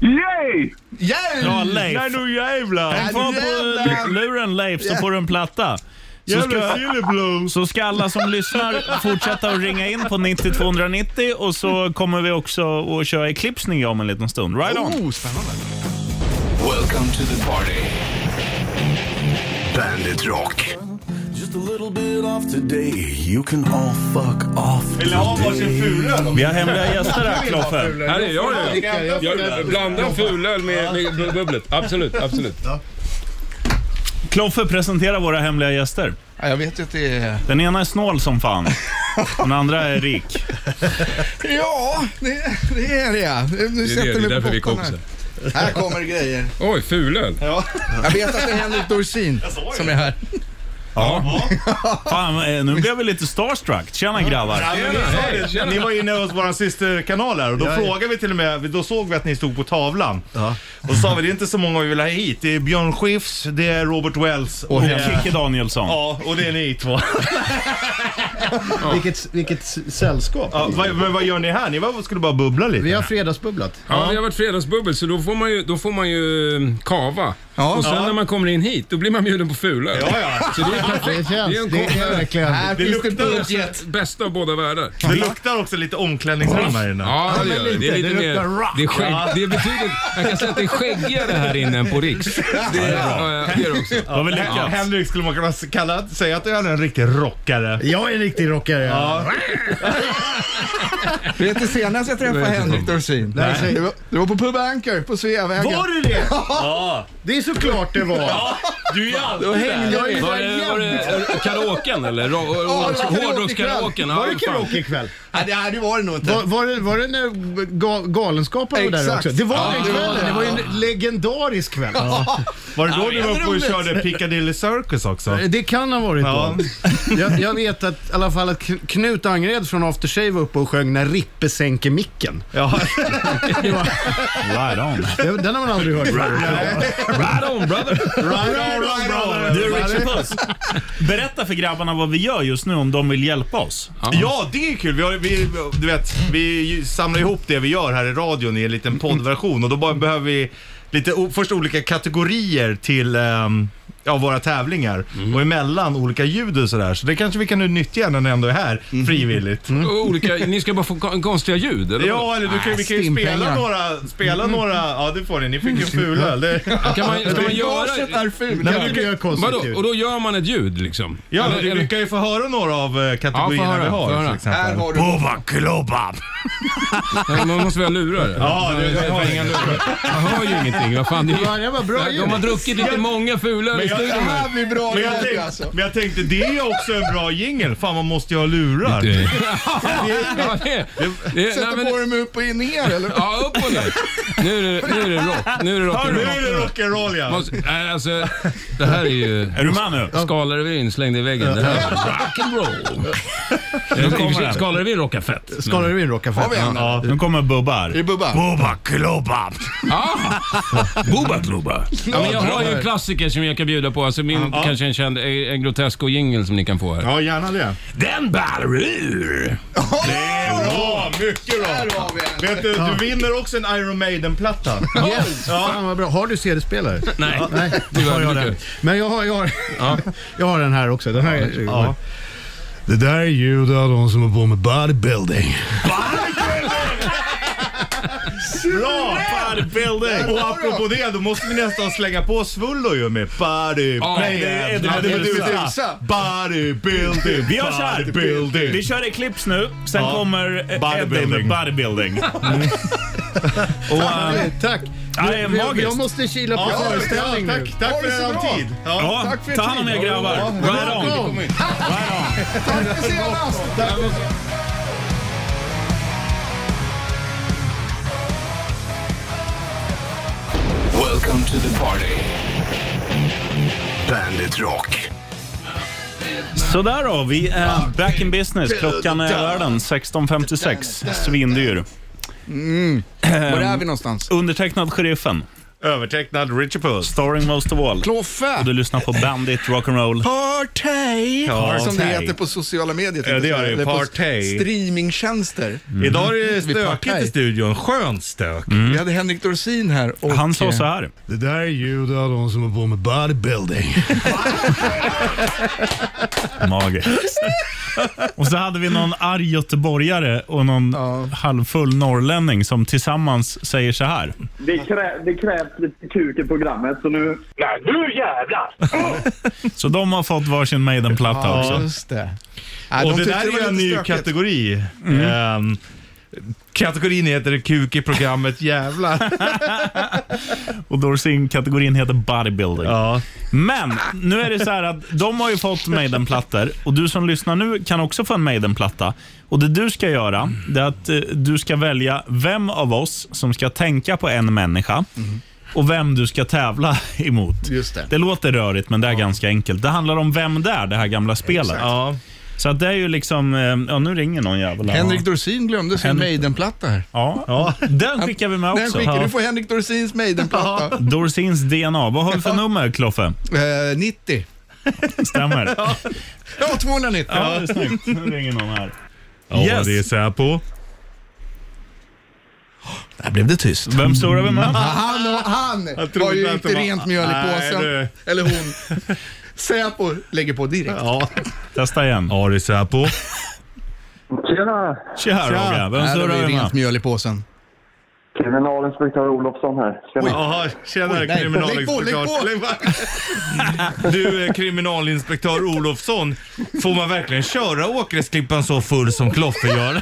Speaker 7: Yay!
Speaker 4: Yay!
Speaker 2: Ja, Leif.
Speaker 3: Nej nu jävlar.
Speaker 2: Häng kvar på
Speaker 4: jävlar.
Speaker 2: luren, Leif, så får du en platta. Så
Speaker 3: Jävla
Speaker 2: ska,
Speaker 3: Silverblom.
Speaker 2: så ska alla som lyssnar fortsätta att ringa in på 90290 och så kommer vi också att köra eclipsning om en liten stund. Right on!
Speaker 4: Oh, spännande.
Speaker 9: Welcome to the party.
Speaker 1: Bandit Rock.
Speaker 9: Just a little bit off today. You can all fuck off.
Speaker 3: Vill ni ha varsin fulöl?
Speaker 2: Vi har hemliga gäster här, Kloffe.
Speaker 12: Här är jag ju. Jag blandar fulöl med, med bu- bubblet. Absolut, absolut.
Speaker 2: Kloffe presenterar våra hemliga gäster.
Speaker 4: Ja, jag vet ju att det är...
Speaker 2: Den ena är snål som fan. Den andra är rik.
Speaker 4: Ja, det, det är det ja. Nu
Speaker 12: Det är, det,
Speaker 4: sätter
Speaker 12: det är
Speaker 4: vi
Speaker 12: därför vi är
Speaker 4: på botten
Speaker 12: kompisar.
Speaker 4: här. Här kommer grejer.
Speaker 12: Oj, fulöl.
Speaker 4: Jag vet att det är Henrik Dorsin som är här.
Speaker 2: Ja. Fan, eh, nu blev vi lite starstruck. Tjena grabbar.
Speaker 12: Hej, tjena.
Speaker 3: Ni var inne hos vår systerkanal här och då frågade vi till och med, då såg vi att ni stod på tavlan. Och så sa vi det är inte så många vi vill ha hit. Det är Björn Skifs, det är Robert Wells och,
Speaker 2: Och
Speaker 3: det är,
Speaker 2: Kikki Danielsson.
Speaker 3: Ja, och det är ni två.
Speaker 13: Vilket, vilket s- sällskap.
Speaker 3: Ja, vad, men vad gör ni här? Ni var, skulle bara bubbla
Speaker 13: Vi
Speaker 3: lite.
Speaker 13: har fredagsbubblat.
Speaker 12: Ja, det har varit fredagsbubbel så då får man ju, då får man ju mm, kava.
Speaker 4: Ja.
Speaker 12: och sen när man kommer in hit, då blir man bjuden på fulöl.
Speaker 3: Ja, ja.
Speaker 12: Så det är
Speaker 13: Det
Speaker 12: perfekt.
Speaker 13: känns.
Speaker 12: Det är en kombo.
Speaker 13: Det är verkligen.
Speaker 4: Här finns det
Speaker 3: luktar-
Speaker 4: budget.
Speaker 12: Bästa av båda världar.
Speaker 3: Det luktar också lite omklädningsrum här inne.
Speaker 12: Ja, det
Speaker 13: men
Speaker 12: gör det. Det är
Speaker 13: lite.
Speaker 12: lite
Speaker 13: Det
Speaker 12: mer...
Speaker 13: luktar rock.
Speaker 12: Det är skägg. Det är betydligt... Jag kan säga att det är skäggigare här inne än på Riks. Det är, ja, det är det också.
Speaker 2: Vad vi
Speaker 3: Ja,
Speaker 2: lyckats.
Speaker 3: Henrik skulle man kunna kalla, säga att han är en riktig rockare.
Speaker 13: Jag är en riktig rockare. Ja.
Speaker 4: Vet du senast jag träffade
Speaker 12: Det var inte
Speaker 4: Henrik
Speaker 12: bra.
Speaker 4: Dorsin? Det var, det var på Pub Anchor på Sveavägen.
Speaker 3: Var det det? Ja.
Speaker 13: Det är såklart det var.
Speaker 3: Du är alltid där.
Speaker 13: Jag är
Speaker 12: Var det,
Speaker 3: Eh,
Speaker 12: var det karaoken eller? Ro-
Speaker 13: var
Speaker 12: ro-
Speaker 13: karaoke
Speaker 12: Hårdrockskaraoken?
Speaker 13: Var det
Speaker 12: fan.
Speaker 13: karaoke ikväll?
Speaker 4: Nej, det- nej, det var det nog inte.
Speaker 13: Var, var, det, var det när ga, Galenskaparna var där
Speaker 4: Exakt.
Speaker 13: också? Det var
Speaker 4: Ja,
Speaker 13: den
Speaker 4: det var
Speaker 13: kvällen.
Speaker 4: det.
Speaker 13: Det var ju en legendarisk kväll.
Speaker 3: Var det då du var uppe och
Speaker 4: roligt.
Speaker 3: körde Piccadilly Circus också?
Speaker 13: Det kan ha varit
Speaker 3: Ja.
Speaker 13: då. Jag, jag vet att, i alla fall att Kn- Knut Angered från After Shave var uppe och sjöng När Rippe sänker micken.
Speaker 3: Ja.
Speaker 2: Right on.
Speaker 13: Det- Den har man aldrig hört förut.
Speaker 12: Right on brother!
Speaker 2: Du Richard Puss, berätta för grabbarna vad vi gör just nu om de vill hjälpa oss.
Speaker 3: Ja, det är kul. Vi, har, vi, du vet, vi ju- samlar ihop det vi gör här i radion i en liten poddversion och då bara behöver vi lite, o- först olika kategorier till ehm, ja, våra tävlingar och emellan olika ljud och sådär. Så det kanske vi kan nu nyttja när ni ändå är här frivilligt.
Speaker 12: Och Olika, ni ska bara få kon- konstiga ljud eller?
Speaker 3: Ja, eller du kan, vi kan ju spela
Speaker 4: stimpengar.
Speaker 3: några, spela några, ja det får ni, ni fick ju fulöl. Det-
Speaker 12: Kan man, ska man
Speaker 4: Gaget
Speaker 12: göra...
Speaker 4: är fult.
Speaker 13: Det här blir
Speaker 12: Vadå?
Speaker 13: konstigt
Speaker 12: Och
Speaker 13: ju.
Speaker 12: då gör man ett ljud liksom?
Speaker 3: Ja,
Speaker 12: Eller-
Speaker 3: men du
Speaker 12: eller-
Speaker 3: kan ju få höra några av eh, kategorierna
Speaker 12: höra,
Speaker 3: vi har
Speaker 12: få höra.
Speaker 3: till exempel.
Speaker 4: Här har du...
Speaker 1: Bova klubba!
Speaker 12: Nej, Man måste väl ha lurar?
Speaker 3: Ja, du, du har inga lurar.
Speaker 12: Jag hör ju ingenting. Vad fan, det är
Speaker 13: Ja, det var bra
Speaker 12: ju... De har
Speaker 13: ljud.
Speaker 12: druckit lite många fulöl i
Speaker 3: jag-
Speaker 12: studion
Speaker 4: Det
Speaker 12: här.
Speaker 4: här blir bra
Speaker 3: Men jag,
Speaker 4: radio
Speaker 3: tänkte,
Speaker 4: alltså.
Speaker 3: men jag tänkte, det är ju också en bra jingel. Fan, man måste ju ha lurar.
Speaker 12: Ja, det, det, nej,
Speaker 4: Sätta
Speaker 12: men,
Speaker 4: på dem upp och in ner eller?
Speaker 12: ja, upp och ner. Nu är det, nu är det rock. Nu är det rock.
Speaker 3: Nu är det rock'n'roll ja.
Speaker 12: Måste- Nej, alltså, det här är ju...
Speaker 2: Är du med nu?
Speaker 12: Skalarrevyn slängd i väggen. Det här är rock'n'roll.
Speaker 2: kommer den.
Speaker 12: Skalarrevyn rockar fett.
Speaker 13: Skalar du in rockafett?
Speaker 4: Har vi en
Speaker 2: Ja, nu kommer Bubba här.
Speaker 4: Är det Bubba?
Speaker 2: Bubba klubba.
Speaker 12: Bubba klubba. Ja, men jag har ju en klassiker som jag kan bjuda på. Alltså min,
Speaker 3: Ja.
Speaker 12: Kanske en känd, en grotesk och jingle som ni kan få här.
Speaker 3: Ja, gärna det.
Speaker 12: Den ballar ur!
Speaker 3: Bra, mycket bra. Vet du,
Speaker 13: Ja.
Speaker 3: du vinner också en Iron Maiden-platta.
Speaker 13: Yes! Fan vad bra. Har du CD-spelare?
Speaker 3: Nej.
Speaker 13: Nej,
Speaker 3: Tyvärr,
Speaker 13: har jag
Speaker 3: mycket.
Speaker 13: den. Men jag har, jag, har, jag har den här också. Den här är
Speaker 6: Ja. Det där är ljud av de som har på med bodybuilding.
Speaker 3: Bra! Bodybuilding! Och apropå det, då måste vi nästan slänga på Svullo ju med body...
Speaker 2: Ja,
Speaker 3: nej,
Speaker 2: det är Eddie Meduza.
Speaker 3: Bodybuilding!
Speaker 2: Vi gör så här.
Speaker 3: Bodybuilding!
Speaker 2: Vi kör i clips nu, sen
Speaker 3: Ja.
Speaker 2: kommer eh, Eddie med
Speaker 3: Bodybuilding.
Speaker 2: bodybuilding. Och, eh,
Speaker 13: Tack!
Speaker 2: Ja, det är magiskt.
Speaker 13: Jag måste kila på
Speaker 3: Ja,
Speaker 13: föreställning
Speaker 3: ja,
Speaker 13: nu.
Speaker 3: tack, tack
Speaker 13: Ha det
Speaker 3: för
Speaker 13: så
Speaker 3: eran
Speaker 13: bra.
Speaker 3: tid. Ja.
Speaker 2: Ja,
Speaker 13: Tack för
Speaker 2: ta hand om
Speaker 13: tid.
Speaker 2: er grabbar.
Speaker 13: Ja,
Speaker 2: Right on.
Speaker 13: welcome.
Speaker 4: Tack för senast.
Speaker 9: Welcome to the party. Bandit Rock.
Speaker 2: Sådär då, vi är
Speaker 4: Ah,
Speaker 2: back in business. Klockan är i världen 16.56. Svindyr.
Speaker 4: Mm. Var är vi någonstans?
Speaker 2: Undertecknad Sheriffen.
Speaker 3: Övertecknad Richard Puss.
Speaker 2: Starring most of all.
Speaker 4: Kloffe!
Speaker 2: Och du lyssnar på Bandit Rock'n'Roll.
Speaker 4: Party!
Speaker 2: Ja,
Speaker 4: som det
Speaker 2: party.
Speaker 4: heter på sociala medier.
Speaker 3: Ja, det gör det.
Speaker 4: Eller på
Speaker 3: Party.
Speaker 4: Streamingtjänster.
Speaker 3: Idag är
Speaker 2: Mm.
Speaker 3: det
Speaker 4: Vi
Speaker 3: stökigt
Speaker 4: party.
Speaker 3: i studion. Mm. Skönt stök.
Speaker 4: Vi hade Henrik Dorsin här och...
Speaker 6: Det där är ljud av de som har på med bodybuilding.
Speaker 2: Magiskt. Och så hade vi någon arg göteborgare och någon halvfull norrlänning som tillsammans säger så här.
Speaker 14: Det, krä, det krävs lite kuk i programmet, så nu... Nej, nu jävlar!
Speaker 2: Så de har fått varsin Maiden-platta
Speaker 3: Ja,
Speaker 2: också.
Speaker 3: just
Speaker 4: det.
Speaker 3: och det där är ju en ny kategori.
Speaker 2: Mm.
Speaker 3: Ehm, kategorin heter Kuk i programmet jävlar.
Speaker 2: Och Dorsin-kategorin heter bodybuilding. Men nu är det så här att de har ju fått Maiden-plattor och du som lyssnar nu kan också få en Maiden-platta. Och det du ska göra, det är att eh, du ska välja vem av oss som ska tänka på en människa och vem du ska tävla emot.
Speaker 4: Just det.
Speaker 2: låter rörigt, men det är ganska enkelt. Det handlar om Vem där? det här gamla spelet. Så att det är ju liksom... eh, Ja, nu ringer någon jävel. här.
Speaker 4: Henrik Dorsin glömde sin
Speaker 2: Henrik-
Speaker 4: Maiden-platta här.
Speaker 2: Ja. den skickar vi med
Speaker 4: Den
Speaker 2: också.
Speaker 4: skickar,
Speaker 2: Ja.
Speaker 4: du får Henrik Dorsins Maiden-platta.
Speaker 2: Dorsins DNA. Vad har vi för nummer, Kloffe?
Speaker 4: Eh, 90.
Speaker 2: Stämmer.
Speaker 4: Ja, 290.
Speaker 2: Ja, det är snyggt. Nu ringer någon här.
Speaker 3: Ja,
Speaker 2: Yes.
Speaker 3: det är så här på.
Speaker 4: Där blev det tyst. Mm.
Speaker 2: Vem surrar vi med?
Speaker 4: Han, han
Speaker 3: Jag trodde
Speaker 4: har ju
Speaker 3: att det
Speaker 4: inte
Speaker 3: var-
Speaker 4: rent mjöl i
Speaker 3: Nej,
Speaker 4: påsen.
Speaker 3: du.
Speaker 4: Eller hon. Säpo lägger på direkt.
Speaker 3: Ja.
Speaker 2: Testa igen.
Speaker 3: Ja, det är så här på.
Speaker 15: Tjena!
Speaker 2: Tjena Rogge, vem
Speaker 4: Nej, det
Speaker 2: surrar
Speaker 4: var ju
Speaker 2: vi med?
Speaker 4: rent mjöl i påsen.
Speaker 15: Kriminalinspektör Olofsson här.
Speaker 3: Jaha, tjenare
Speaker 15: Oj, nej,
Speaker 4: lägg på,
Speaker 3: kriminalinspektör.
Speaker 4: lägg
Speaker 3: Du eh, kriminalinspektör Olofsson, får man verkligen köra Åkresklippan så full som Kloffe gör?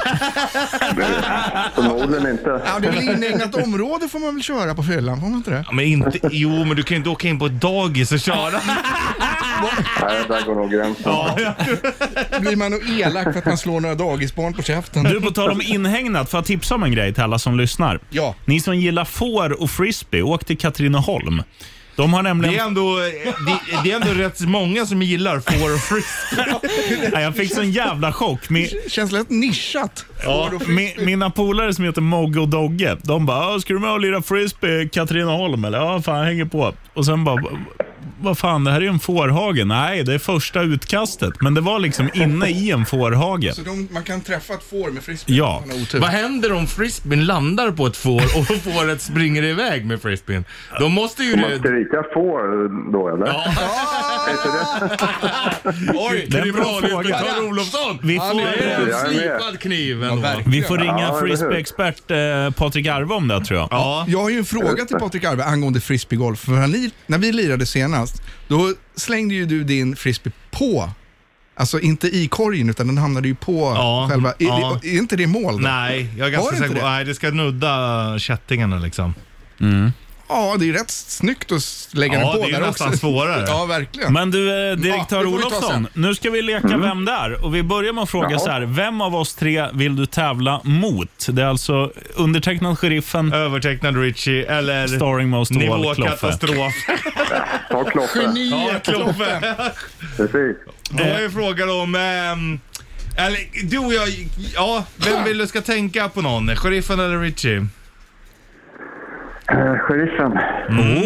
Speaker 15: Förmodligen inte.
Speaker 4: Ja, det är väl inägnat område får man väl köra på fyllan, får man inte det?
Speaker 3: Ja, Men inte, jo, men du kan ju inte åka in på ett dagis och köra.
Speaker 15: Nej, där går nog gränsen.
Speaker 4: Blir man nog elak för att man slår några dagisbarn på käften?
Speaker 2: Du, på tal om inhägnat, får jag tipsa om en grej till alla som lyssnar?
Speaker 4: Ja.
Speaker 2: Ni som gillar får och frisbee, åk till Katrineholm. De har nämligen...
Speaker 3: Det är ändå, det, det är ändå rätt många som gillar får och frisbee.
Speaker 2: Nej, jag fick sån jävla chock. Min,
Speaker 4: Känns lätt nischat.
Speaker 2: ja, min, mina polare som heter Mogge och Dogge, de bara "Ja, “Ska du med och lira frisbee i Katrineholm eller?” “Ja, fan, jag hänger på”. Och sen bara “Vad fan, det här är ju en fårhage.” Nej, det är första utkastet. Men det var liksom inne i en fårhage.
Speaker 4: Så de, man kan träffa ett får med frisbee.
Speaker 2: Ja.
Speaker 4: Man har otur.
Speaker 3: Vad händer om frisbeen landar på ett får och fåret springer iväg med frisbeen? Då måste ju
Speaker 15: Får man
Speaker 3: du...
Speaker 15: skrika får då eller? Ja.
Speaker 3: Oj,
Speaker 2: Det är en bra
Speaker 3: kriminalinspektör
Speaker 2: fråga.
Speaker 3: Olofsson!
Speaker 2: Vi
Speaker 3: Han
Speaker 2: får-
Speaker 3: är en
Speaker 2: Jag är med.
Speaker 3: slipad kniv ändå.
Speaker 2: Vi får ringa
Speaker 4: Ja, eller hur?
Speaker 2: frisbeeexpert eh, Patrik Arve om det tror jag.
Speaker 4: Jag har ju en fråga till Patrik Arve angående frisbeegolf. För när, ni, när vi lirade senast, då slängde ju du din frisbee på. Alltså inte i korgen, utan den hamnade ju på själva. Är,
Speaker 3: ja.
Speaker 4: det, är inte det mål? Då?
Speaker 3: Nej, jag
Speaker 4: Var
Speaker 3: är ganska
Speaker 4: det
Speaker 3: säker
Speaker 4: inte
Speaker 3: på...
Speaker 4: det?
Speaker 3: Nej, det ska nudda kättingarna liksom.
Speaker 4: Ja, det är rätt snyggt att lägga
Speaker 3: Ja,
Speaker 4: den på
Speaker 3: det är ju
Speaker 4: där
Speaker 3: nästan
Speaker 4: också.
Speaker 3: svårare.
Speaker 4: Ja, verkligen.
Speaker 2: Men du, eh, direktör
Speaker 4: Ja, det får vi ta
Speaker 2: Olofsson,
Speaker 4: sen. Mm.
Speaker 2: nu ska vi leka Vem där? Och vi börjar med att fråga
Speaker 4: Jaha.
Speaker 2: så här, vem av oss tre vill du tävla mot? Det är alltså undertecknad sheriffen,
Speaker 3: övertecknad Richie eller
Speaker 2: starring most of all Kloffe.
Speaker 3: Nivåkatastrof.
Speaker 15: Ta Kloffe.
Speaker 3: Ja, Kloffe.
Speaker 15: Precis.
Speaker 3: Det var ju frågan om ehm, Eller du och jag, ja, vem vill du ska tänka på någon? Sheriffen eller Richie?
Speaker 15: Eh, sheriffen.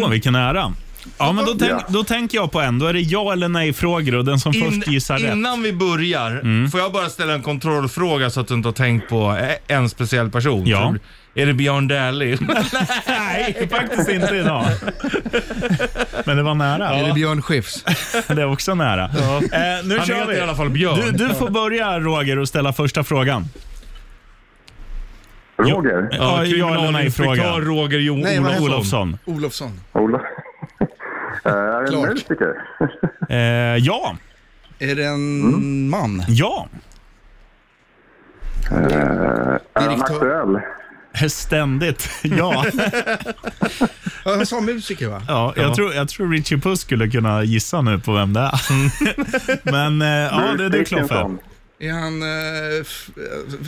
Speaker 2: Åh, vilken ära. Ja, men då, tänk,
Speaker 3: Mm. Ja.
Speaker 2: då tänker jag på en. Då är det ja eller nej-frågor och den som först gissar rätt. Mm.
Speaker 3: Innan vi börjar, får jag bara ställa en kontrollfråga så att du inte har tänkt på eh, en speciell person?
Speaker 2: Ja.
Speaker 3: Är det Björn Dählie?
Speaker 2: Nej, faktiskt inte idag. Men det var nära.
Speaker 3: Är det
Speaker 2: Björn Skifs? det är också nära. Eh, nu
Speaker 3: Han
Speaker 2: kör
Speaker 3: heter
Speaker 2: vi.
Speaker 3: i alla fall Björn.
Speaker 2: Du, du får börja Roger och ställa första frågan. Roger? Ja, ja eller nej-fråga.
Speaker 3: Kriminalinspektör Roger Jo-
Speaker 4: Nej, vad heter
Speaker 2: Olofsson.
Speaker 4: hon? Olofsson.
Speaker 15: Ola. Eh, är det en
Speaker 4: Klart.
Speaker 15: musiker?
Speaker 2: Eh, ja.
Speaker 4: Är det en man?
Speaker 2: Ja.
Speaker 15: Eh, är han aktuell?
Speaker 2: Ständigt. Ja.
Speaker 4: Ja, Han sa musiker va?
Speaker 2: Ja, jag, Tror, jag tror Richie Puss skulle kunna gissa nu på vem det är.
Speaker 3: Mm.
Speaker 2: Men eh, ja, det är du Kloffe.
Speaker 4: Är han eh, f-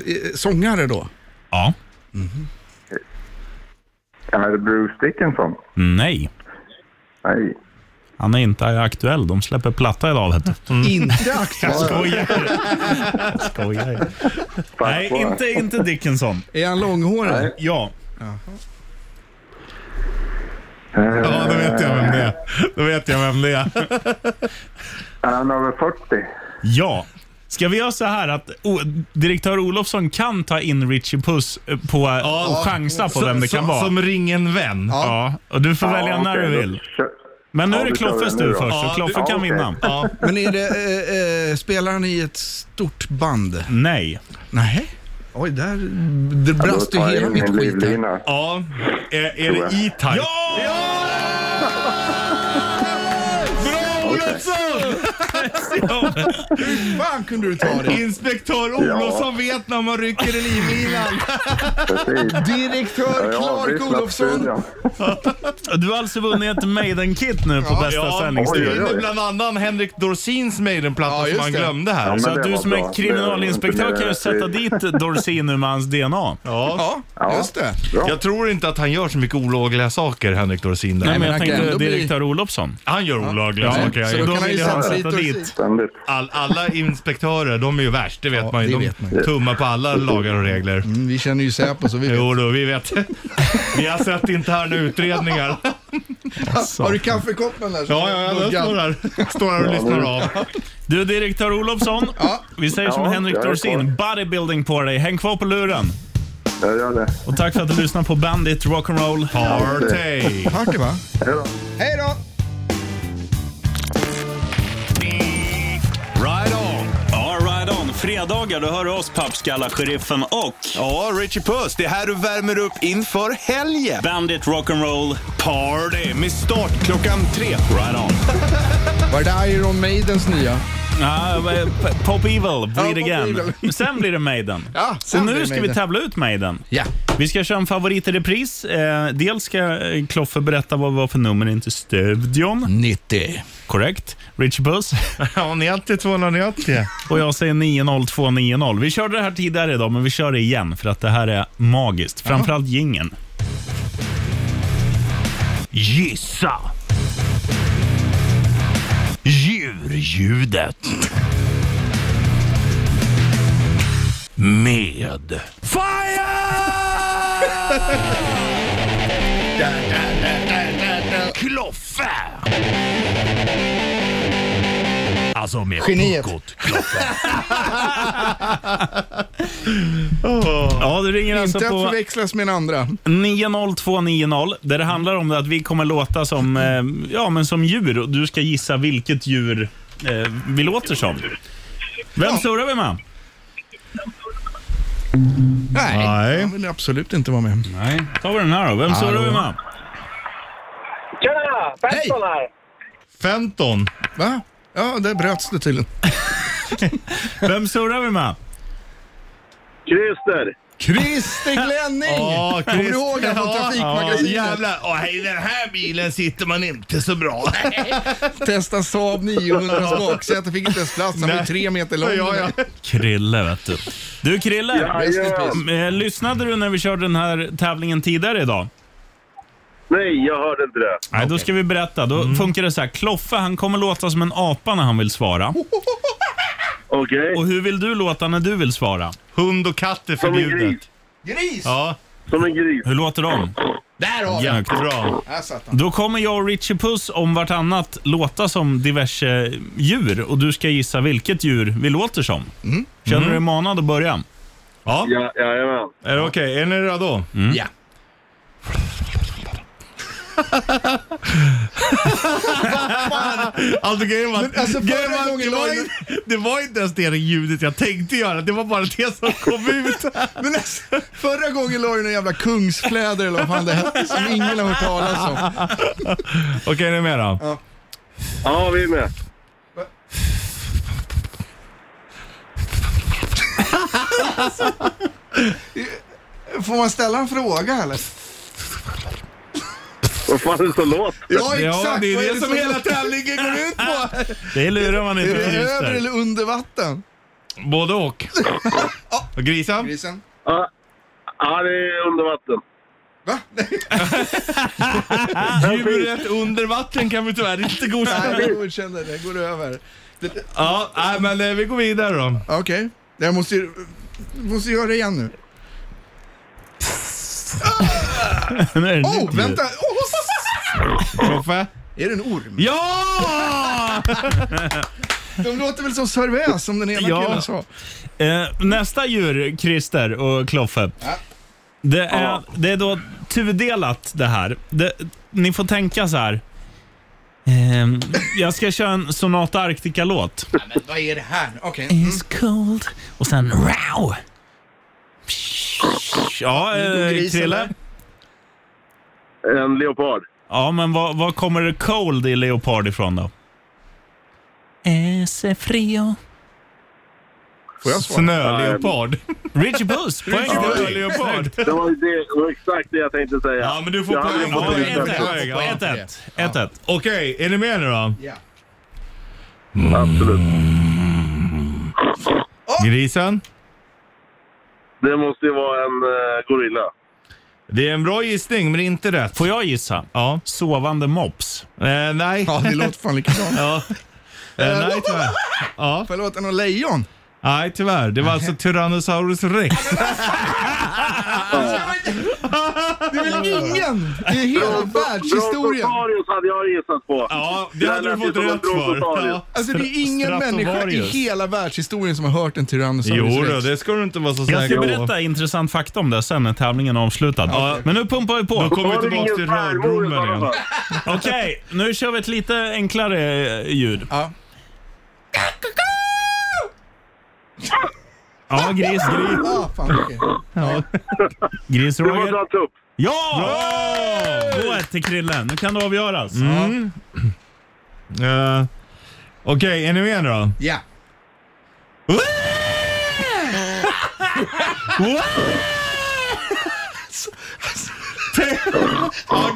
Speaker 4: eh, sångare då?
Speaker 2: Ja.
Speaker 15: Är det Bruce Dickinson?
Speaker 2: Nej.
Speaker 15: Nej.
Speaker 2: Han är inte aktuell. De släpper platta idag vet du.
Speaker 3: Mm.
Speaker 4: Inte aktuell.
Speaker 2: Jag skojar. Jag skojar. Nej, inte, inte Dickinson.
Speaker 4: Är han långhårig?
Speaker 2: Ja.
Speaker 3: Ja, då vet jag vem det är. Då vet jag vem det är.
Speaker 15: Är han över 40?
Speaker 2: Ja. Ska vi göra så här att o, direktör Olofsson kan ta in Richie Puss eh, på
Speaker 3: Ja.
Speaker 2: och chansa på
Speaker 3: Som-
Speaker 2: vem det kan
Speaker 3: som-
Speaker 2: vara.
Speaker 3: Som ring en vän.
Speaker 2: Ja. Och du får
Speaker 3: Ja,
Speaker 2: välja när
Speaker 3: okej,
Speaker 2: du
Speaker 3: då
Speaker 2: vill.
Speaker 15: kör-
Speaker 2: Men nu
Speaker 3: Ja,
Speaker 2: är det
Speaker 3: då kör vi
Speaker 2: Kloffes
Speaker 3: nu
Speaker 2: tur
Speaker 3: då.
Speaker 2: först,
Speaker 3: Ja,
Speaker 2: så Kloffe
Speaker 3: ja,
Speaker 2: kan
Speaker 3: okej.
Speaker 2: vinna.
Speaker 3: Ja.
Speaker 4: Men är det, eh, eh, spelar han i ett stort band?
Speaker 2: Nej.
Speaker 4: Nej. Oj, där det brast du hela mitt skit. här.
Speaker 3: Ja. Är, är
Speaker 4: Tror
Speaker 3: det
Speaker 4: jag.
Speaker 3: E-Type? Ja! Bra Olofsson!
Speaker 4: Hur fan kunde du ta det?
Speaker 3: Inspektör Olofsson vet när man rycker i livlinan.
Speaker 4: Direktör Clark Olofsson.
Speaker 2: Du har alltså vunnit ett Maiden-kit nu på bästa sändningstid.
Speaker 3: och det är bland annat Henrik Dorsins Maiden-platta som han glömde här.
Speaker 2: så att du som är kriminalinspektör kan ju sätta dit Dorsin nu med hans DNA.
Speaker 3: Ja.
Speaker 4: Ja, just det.
Speaker 3: Jag tror inte att han gör så mycket olagliga saker, Henrik Dorsin. där.
Speaker 2: Nej, men jag tänkte direktör Olofsson.
Speaker 3: Han gör olagliga
Speaker 2: Ja,
Speaker 3: saker.
Speaker 2: så då kan han ju sätta dit
Speaker 3: All, alla inspektörer, de är ju värst, det vet man ju.
Speaker 4: det
Speaker 3: De
Speaker 4: vet man ju.
Speaker 3: tummar på alla lagar och regler.
Speaker 4: Mm, vi känner ju Säpo så vi vet.
Speaker 3: Jo då, vi vet. Vi har sett interna utredningar.
Speaker 4: Har du kaffekoppen där?
Speaker 3: Ja, ja, ja, den står här. Står här och lyssnar av.
Speaker 2: Du, direktör Olofsson. Vi säger som
Speaker 15: Ja,
Speaker 2: Henrik
Speaker 15: jag är
Speaker 2: Dorsin, bodybuilding på dig. Häng kvar på luren.
Speaker 15: Jag gör det.
Speaker 2: Och tack för att du lyssnar på Bandit Rock'n'Roll
Speaker 3: Party.
Speaker 4: Party, va?
Speaker 15: Hej då.
Speaker 4: Hej då!
Speaker 2: Right on! Ja, right on. Fredagar, då hör du oss, pappskallar, sheriffen och...
Speaker 16: Ja, Richie Puss, det är här du värmer upp inför helgen.
Speaker 2: Bandit Rock'n'Roll
Speaker 16: Party med start klockan tre.
Speaker 2: Right on.
Speaker 4: Var det Iron Maidens nya?
Speaker 2: Ja, eh, P- Pop Evil, Bleed
Speaker 4: Pop
Speaker 2: Again. Sen blir det Maiden.
Speaker 4: Ja,
Speaker 2: så
Speaker 4: sen blir
Speaker 2: nu
Speaker 4: det
Speaker 2: ska vi
Speaker 4: Maiden.
Speaker 2: tävla ut Maiden.
Speaker 4: Ja.
Speaker 2: Vi ska köra en favorit i repris. Eh, dels ska eh, Kloffe berätta vad vi var för nummer in till studion.
Speaker 4: 90.
Speaker 2: Korrekt. Rich Buss.
Speaker 3: Ja, 90 290.
Speaker 2: Och jag säger 90290. Vi körde det här tidigare idag, men vi kör det igen för att det här är magiskt. Framförallt gingen. Gissa!
Speaker 1: Djurljudet. Med. Kloffe! Alltså med
Speaker 2: Geniet.
Speaker 1: puckot, Kloffe.
Speaker 2: Ja, det ringer alltså
Speaker 4: Inte att
Speaker 2: på
Speaker 4: förväxlas med en andra.
Speaker 2: 90290. Där det handlar om att vi kommer låta som, eh, ja, men som djur och du ska gissa vilket djur eh, vi låter som. Vem surrar vi med?
Speaker 4: Nej, han vill absolut inte vara med.
Speaker 2: Nej, tar vi den här då. Vem surrar vi med?
Speaker 14: Tjena! Benson här!
Speaker 3: Fenton.
Speaker 4: Va? Ja, där bröts det tydligen.
Speaker 2: Vem surrar vi med?
Speaker 14: Christer!
Speaker 4: Christer Glenning!
Speaker 3: Ja,
Speaker 4: Kommer du
Speaker 3: Chris-
Speaker 4: ihåg han från
Speaker 3: Ja,
Speaker 4: Trafikmagasinet?
Speaker 3: Ja, jävlar. Och i den här bilen sitter man inte så bra.
Speaker 4: Testa Saab 900 baksäte, fick inte ens plats. Han var ju
Speaker 2: Nej.
Speaker 4: tre meter lång.
Speaker 2: Ja, ja. Krille, vet du. Du Krille,
Speaker 4: Ja, ja.
Speaker 2: m- eh, lyssnade du när vi körde den här tävlingen tidigare idag?
Speaker 14: Nej, jag hörde inte det.
Speaker 2: Nej, då ska vi berätta. Då funkar det så här. Kloffe, han kommer låta som en apa när han vill svara. Okej. Och hur vill du låta när du vill svara?
Speaker 3: Hund och katt är
Speaker 2: Som en
Speaker 3: förbjudet.
Speaker 4: Gris!
Speaker 3: Ja.
Speaker 7: Som en gris.
Speaker 2: Hur låter de?
Speaker 4: Där har vi den.
Speaker 2: Jättebra.
Speaker 4: Där satt han.
Speaker 2: Då kommer jag och Richie Puss om vartannat låta som diverse djur och du ska gissa vilket djur vi låter som.
Speaker 3: Mm.
Speaker 2: Känner du dig manad att börja?
Speaker 3: Ja.
Speaker 7: ja jajamän.
Speaker 3: Är det okej? Är ni redo?
Speaker 1: Mm.
Speaker 2: Ja.
Speaker 3: Alltså grejen
Speaker 2: Mm.
Speaker 3: var att-
Speaker 4: Men, alltså, förra
Speaker 3: grejen var att
Speaker 4: gången
Speaker 3: det
Speaker 4: var
Speaker 3: var
Speaker 4: det-
Speaker 3: inte- det var inte ens det ljudet jag tänkte göra. Det var bara det som kom ut.
Speaker 4: Men alltså, förra gången la du några jävla kungsfläder eller vad fan det hette som ingen har hört talas om.
Speaker 3: Okej, är ni med då?
Speaker 4: Ja.
Speaker 7: Ja, vi är med.
Speaker 4: Får man ställa en fråga eller?
Speaker 7: Vad fan är det som låter?
Speaker 4: Ja, exakt.
Speaker 3: Ja, det är
Speaker 4: Vad
Speaker 3: det som hela
Speaker 4: tävlingen går ut på.
Speaker 2: Det lurar man
Speaker 4: Är
Speaker 2: inte
Speaker 4: det över
Speaker 2: grisar.
Speaker 4: eller under vatten?
Speaker 3: Både och. Och grisen?
Speaker 4: Grisen?
Speaker 7: Ja, ja, det är under vatten.
Speaker 3: Djuret under vatten kan vi tyvärr inte godkänna.
Speaker 4: Nej, jag godkänner det. Går över. Det-
Speaker 3: Ja, nej, men eh, vi går vidare då.
Speaker 4: Okej. Jag måste ju... måste göra det igen nu.
Speaker 2: Nu är det
Speaker 4: Åh,
Speaker 2: ditt
Speaker 4: oh,
Speaker 2: ljud.
Speaker 4: vänta! Oh!
Speaker 3: Roffe?
Speaker 4: Är det en orm?
Speaker 3: Ja!
Speaker 4: De låter väl som Sörväs som den ena
Speaker 2: Ja.
Speaker 4: killen sa.
Speaker 2: Eh, nästa djur, Christer och Kloffe. Det, är, det är då tudelat det här. Det, ni får tänka så här. Ehm, jag ska köra en Sonata Arctica-låt.
Speaker 4: Men vad är det här? Okej.
Speaker 2: It's cold. Och sen row. Ja, eh, Krille.
Speaker 7: En leopard.
Speaker 2: Ja, men vad, vad kommer det cold i leopard ifrån då? Ese frio.
Speaker 4: Får jag svara?
Speaker 3: Snöleopard.
Speaker 2: Richie Puss, poäng till
Speaker 3: Ja,
Speaker 2: dig.
Speaker 3: Leopard.
Speaker 7: Det var, ju det, det var exakt det jag tänkte säga.
Speaker 3: Ja, men du får
Speaker 7: Jag hade
Speaker 3: poäng.
Speaker 7: fått
Speaker 3: Ja,
Speaker 7: ut det.
Speaker 3: en poäng. Ja.
Speaker 2: 1-1. 1-1.
Speaker 3: Okej, är ni med nu då?
Speaker 4: Ja.
Speaker 7: Absolut.
Speaker 3: Grisen?
Speaker 7: Det måste ju vara en eh, gorilla.
Speaker 3: Det är en bra gissning, men inte rätt.
Speaker 2: Får jag gissa?
Speaker 3: Ja.
Speaker 2: Sovande mops.
Speaker 3: Eh, nej.
Speaker 4: Ja, det låter fan likadant.
Speaker 3: Ja. Eh, nej, tyvärr. Ja.
Speaker 4: Får jag låta någon lejon?
Speaker 3: Nej, tyvärr. Det var alltså Tyrannosaurus rex.
Speaker 4: Det är väl ingen i hela världshistorien?
Speaker 7: Brontosaurus hade jag gissat på.
Speaker 3: Ja, det hade
Speaker 7: lät
Speaker 3: du
Speaker 7: ju
Speaker 3: fått
Speaker 7: som en
Speaker 3: rätt för.
Speaker 7: brontosaurus.
Speaker 3: Ja.
Speaker 4: Alltså det är ingen
Speaker 2: Stratovarius.
Speaker 4: människa i hela världshistorien som har hört en
Speaker 3: Jo,
Speaker 4: Tyrannosaurus
Speaker 3: då,
Speaker 4: rex.
Speaker 3: det ska du inte vara så
Speaker 2: Jag
Speaker 3: säker på.
Speaker 2: ska berätta intressant fakta om det sen när tävlingen är avslutad. Men nu pumpar vi på.
Speaker 3: Då kommer vi
Speaker 7: Har du
Speaker 3: tillbaka
Speaker 7: ingen
Speaker 3: till
Speaker 7: svärmor i
Speaker 3: rörbromen
Speaker 7: sådana
Speaker 3: igen.
Speaker 7: fall?
Speaker 2: Okej, nu kör vi ett lite enklare eh, ljud.
Speaker 4: Ja.
Speaker 2: Ja, gris, gris,
Speaker 4: Ah, fan, okej.
Speaker 2: gris
Speaker 7: Det var
Speaker 2: Roger.
Speaker 7: en tupp.
Speaker 2: Ja! 2-1 till Krille. Nu kan det avgöras.
Speaker 3: Mm. Eh, Okej, är ni med då?
Speaker 4: Ja.
Speaker 3: Ja,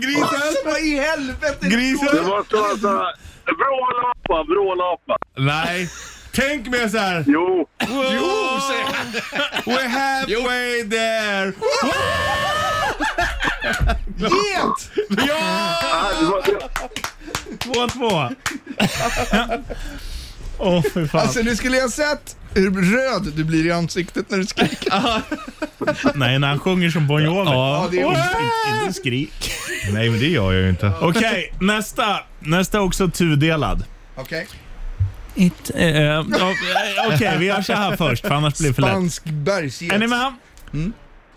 Speaker 3: grisen!
Speaker 4: Alltså vad i helvete?
Speaker 7: Det
Speaker 3: Grisen!
Speaker 7: måste vara så här... Vrålapa, vrålapa.
Speaker 3: Nej. Tänk mig så här.
Speaker 7: Jo,
Speaker 3: Jo, säger han. We're halfway there.
Speaker 4: Get!
Speaker 3: Ja!
Speaker 7: ah, det var, det,
Speaker 2: 2-2. Åh, fy fan.
Speaker 4: Alltså nu skulle jag sett hur röd du blir i ansiktet när du skriker.
Speaker 2: Nej, när han sjunger som Bon Jovi.
Speaker 4: Ja, det är
Speaker 2: Inte- Inte skrik.
Speaker 3: Nej, men det gör jag ju inte.
Speaker 2: Okej, nästa. Nästa är också tudelad.
Speaker 4: Okej.
Speaker 2: It, eh, eh, Okej, vi gör så här först, för annars blir det för lätt.
Speaker 4: Spansk bergsget.
Speaker 2: Är ni med?
Speaker 4: Mm.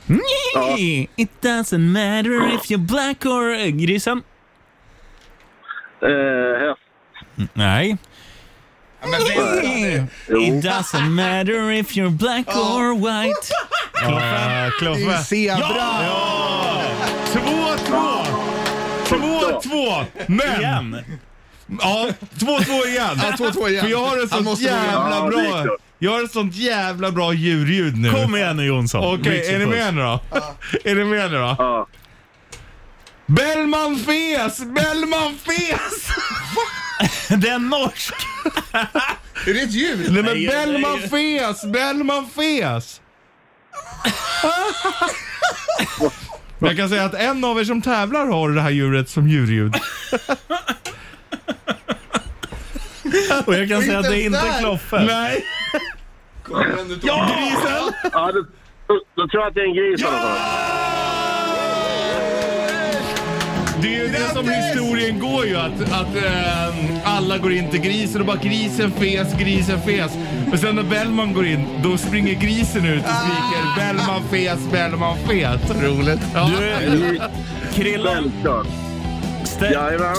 Speaker 2: Nej, It doesn't matter if you're black or... eh, Grisen?
Speaker 7: eh, häst.
Speaker 2: Mm, Nej.
Speaker 4: Ja, men vem är det?
Speaker 2: It doesn't matter if you're black or white.
Speaker 3: Ja,
Speaker 4: Det är ju
Speaker 3: Kloffe.
Speaker 4: zebra.
Speaker 3: Två, två. Två, två. Men.
Speaker 2: Igen.
Speaker 3: Ja, två, två igen.
Speaker 4: Ja, 2-2 igen.
Speaker 3: För jag har ett
Speaker 4: Han
Speaker 3: sånt
Speaker 4: måste gå in.
Speaker 7: Ja,
Speaker 3: jävla
Speaker 7: det är
Speaker 3: bra...
Speaker 7: klart.
Speaker 3: Jag har ett sånt jävla bra djurljud nu.
Speaker 2: Kom igen nu Jonsson.
Speaker 3: Okej,
Speaker 2: Richie
Speaker 3: är ni
Speaker 2: Puss.
Speaker 3: med nu då? Är ni med nu då?
Speaker 7: Ja.
Speaker 3: Bellman fes! Bellman fes!
Speaker 2: Det är norsk.
Speaker 4: Är det ett djur?
Speaker 3: Nej men
Speaker 2: Nej,
Speaker 3: Bellman fes! Bellman fes! Jag kan säga att en av er som tävlar har det här djuret som djurljud.
Speaker 2: Och jag kan säga att det är
Speaker 4: ens
Speaker 2: inte
Speaker 4: där.
Speaker 2: Kloffe.
Speaker 3: Nej.
Speaker 7: Ja! Grisen! Ja, då, då, då tror jag att det är en gris i alla fall.
Speaker 3: Det är ju det som historien går ju att, att eh, alla går in till grisen och bara grisen fes, grisen fes. Och sen när Bellman går in, då springer grisen ut och skriker Bellman fes, Bellman fes. Roligt. Ja.
Speaker 2: Du, Krillan. Eh, Stay,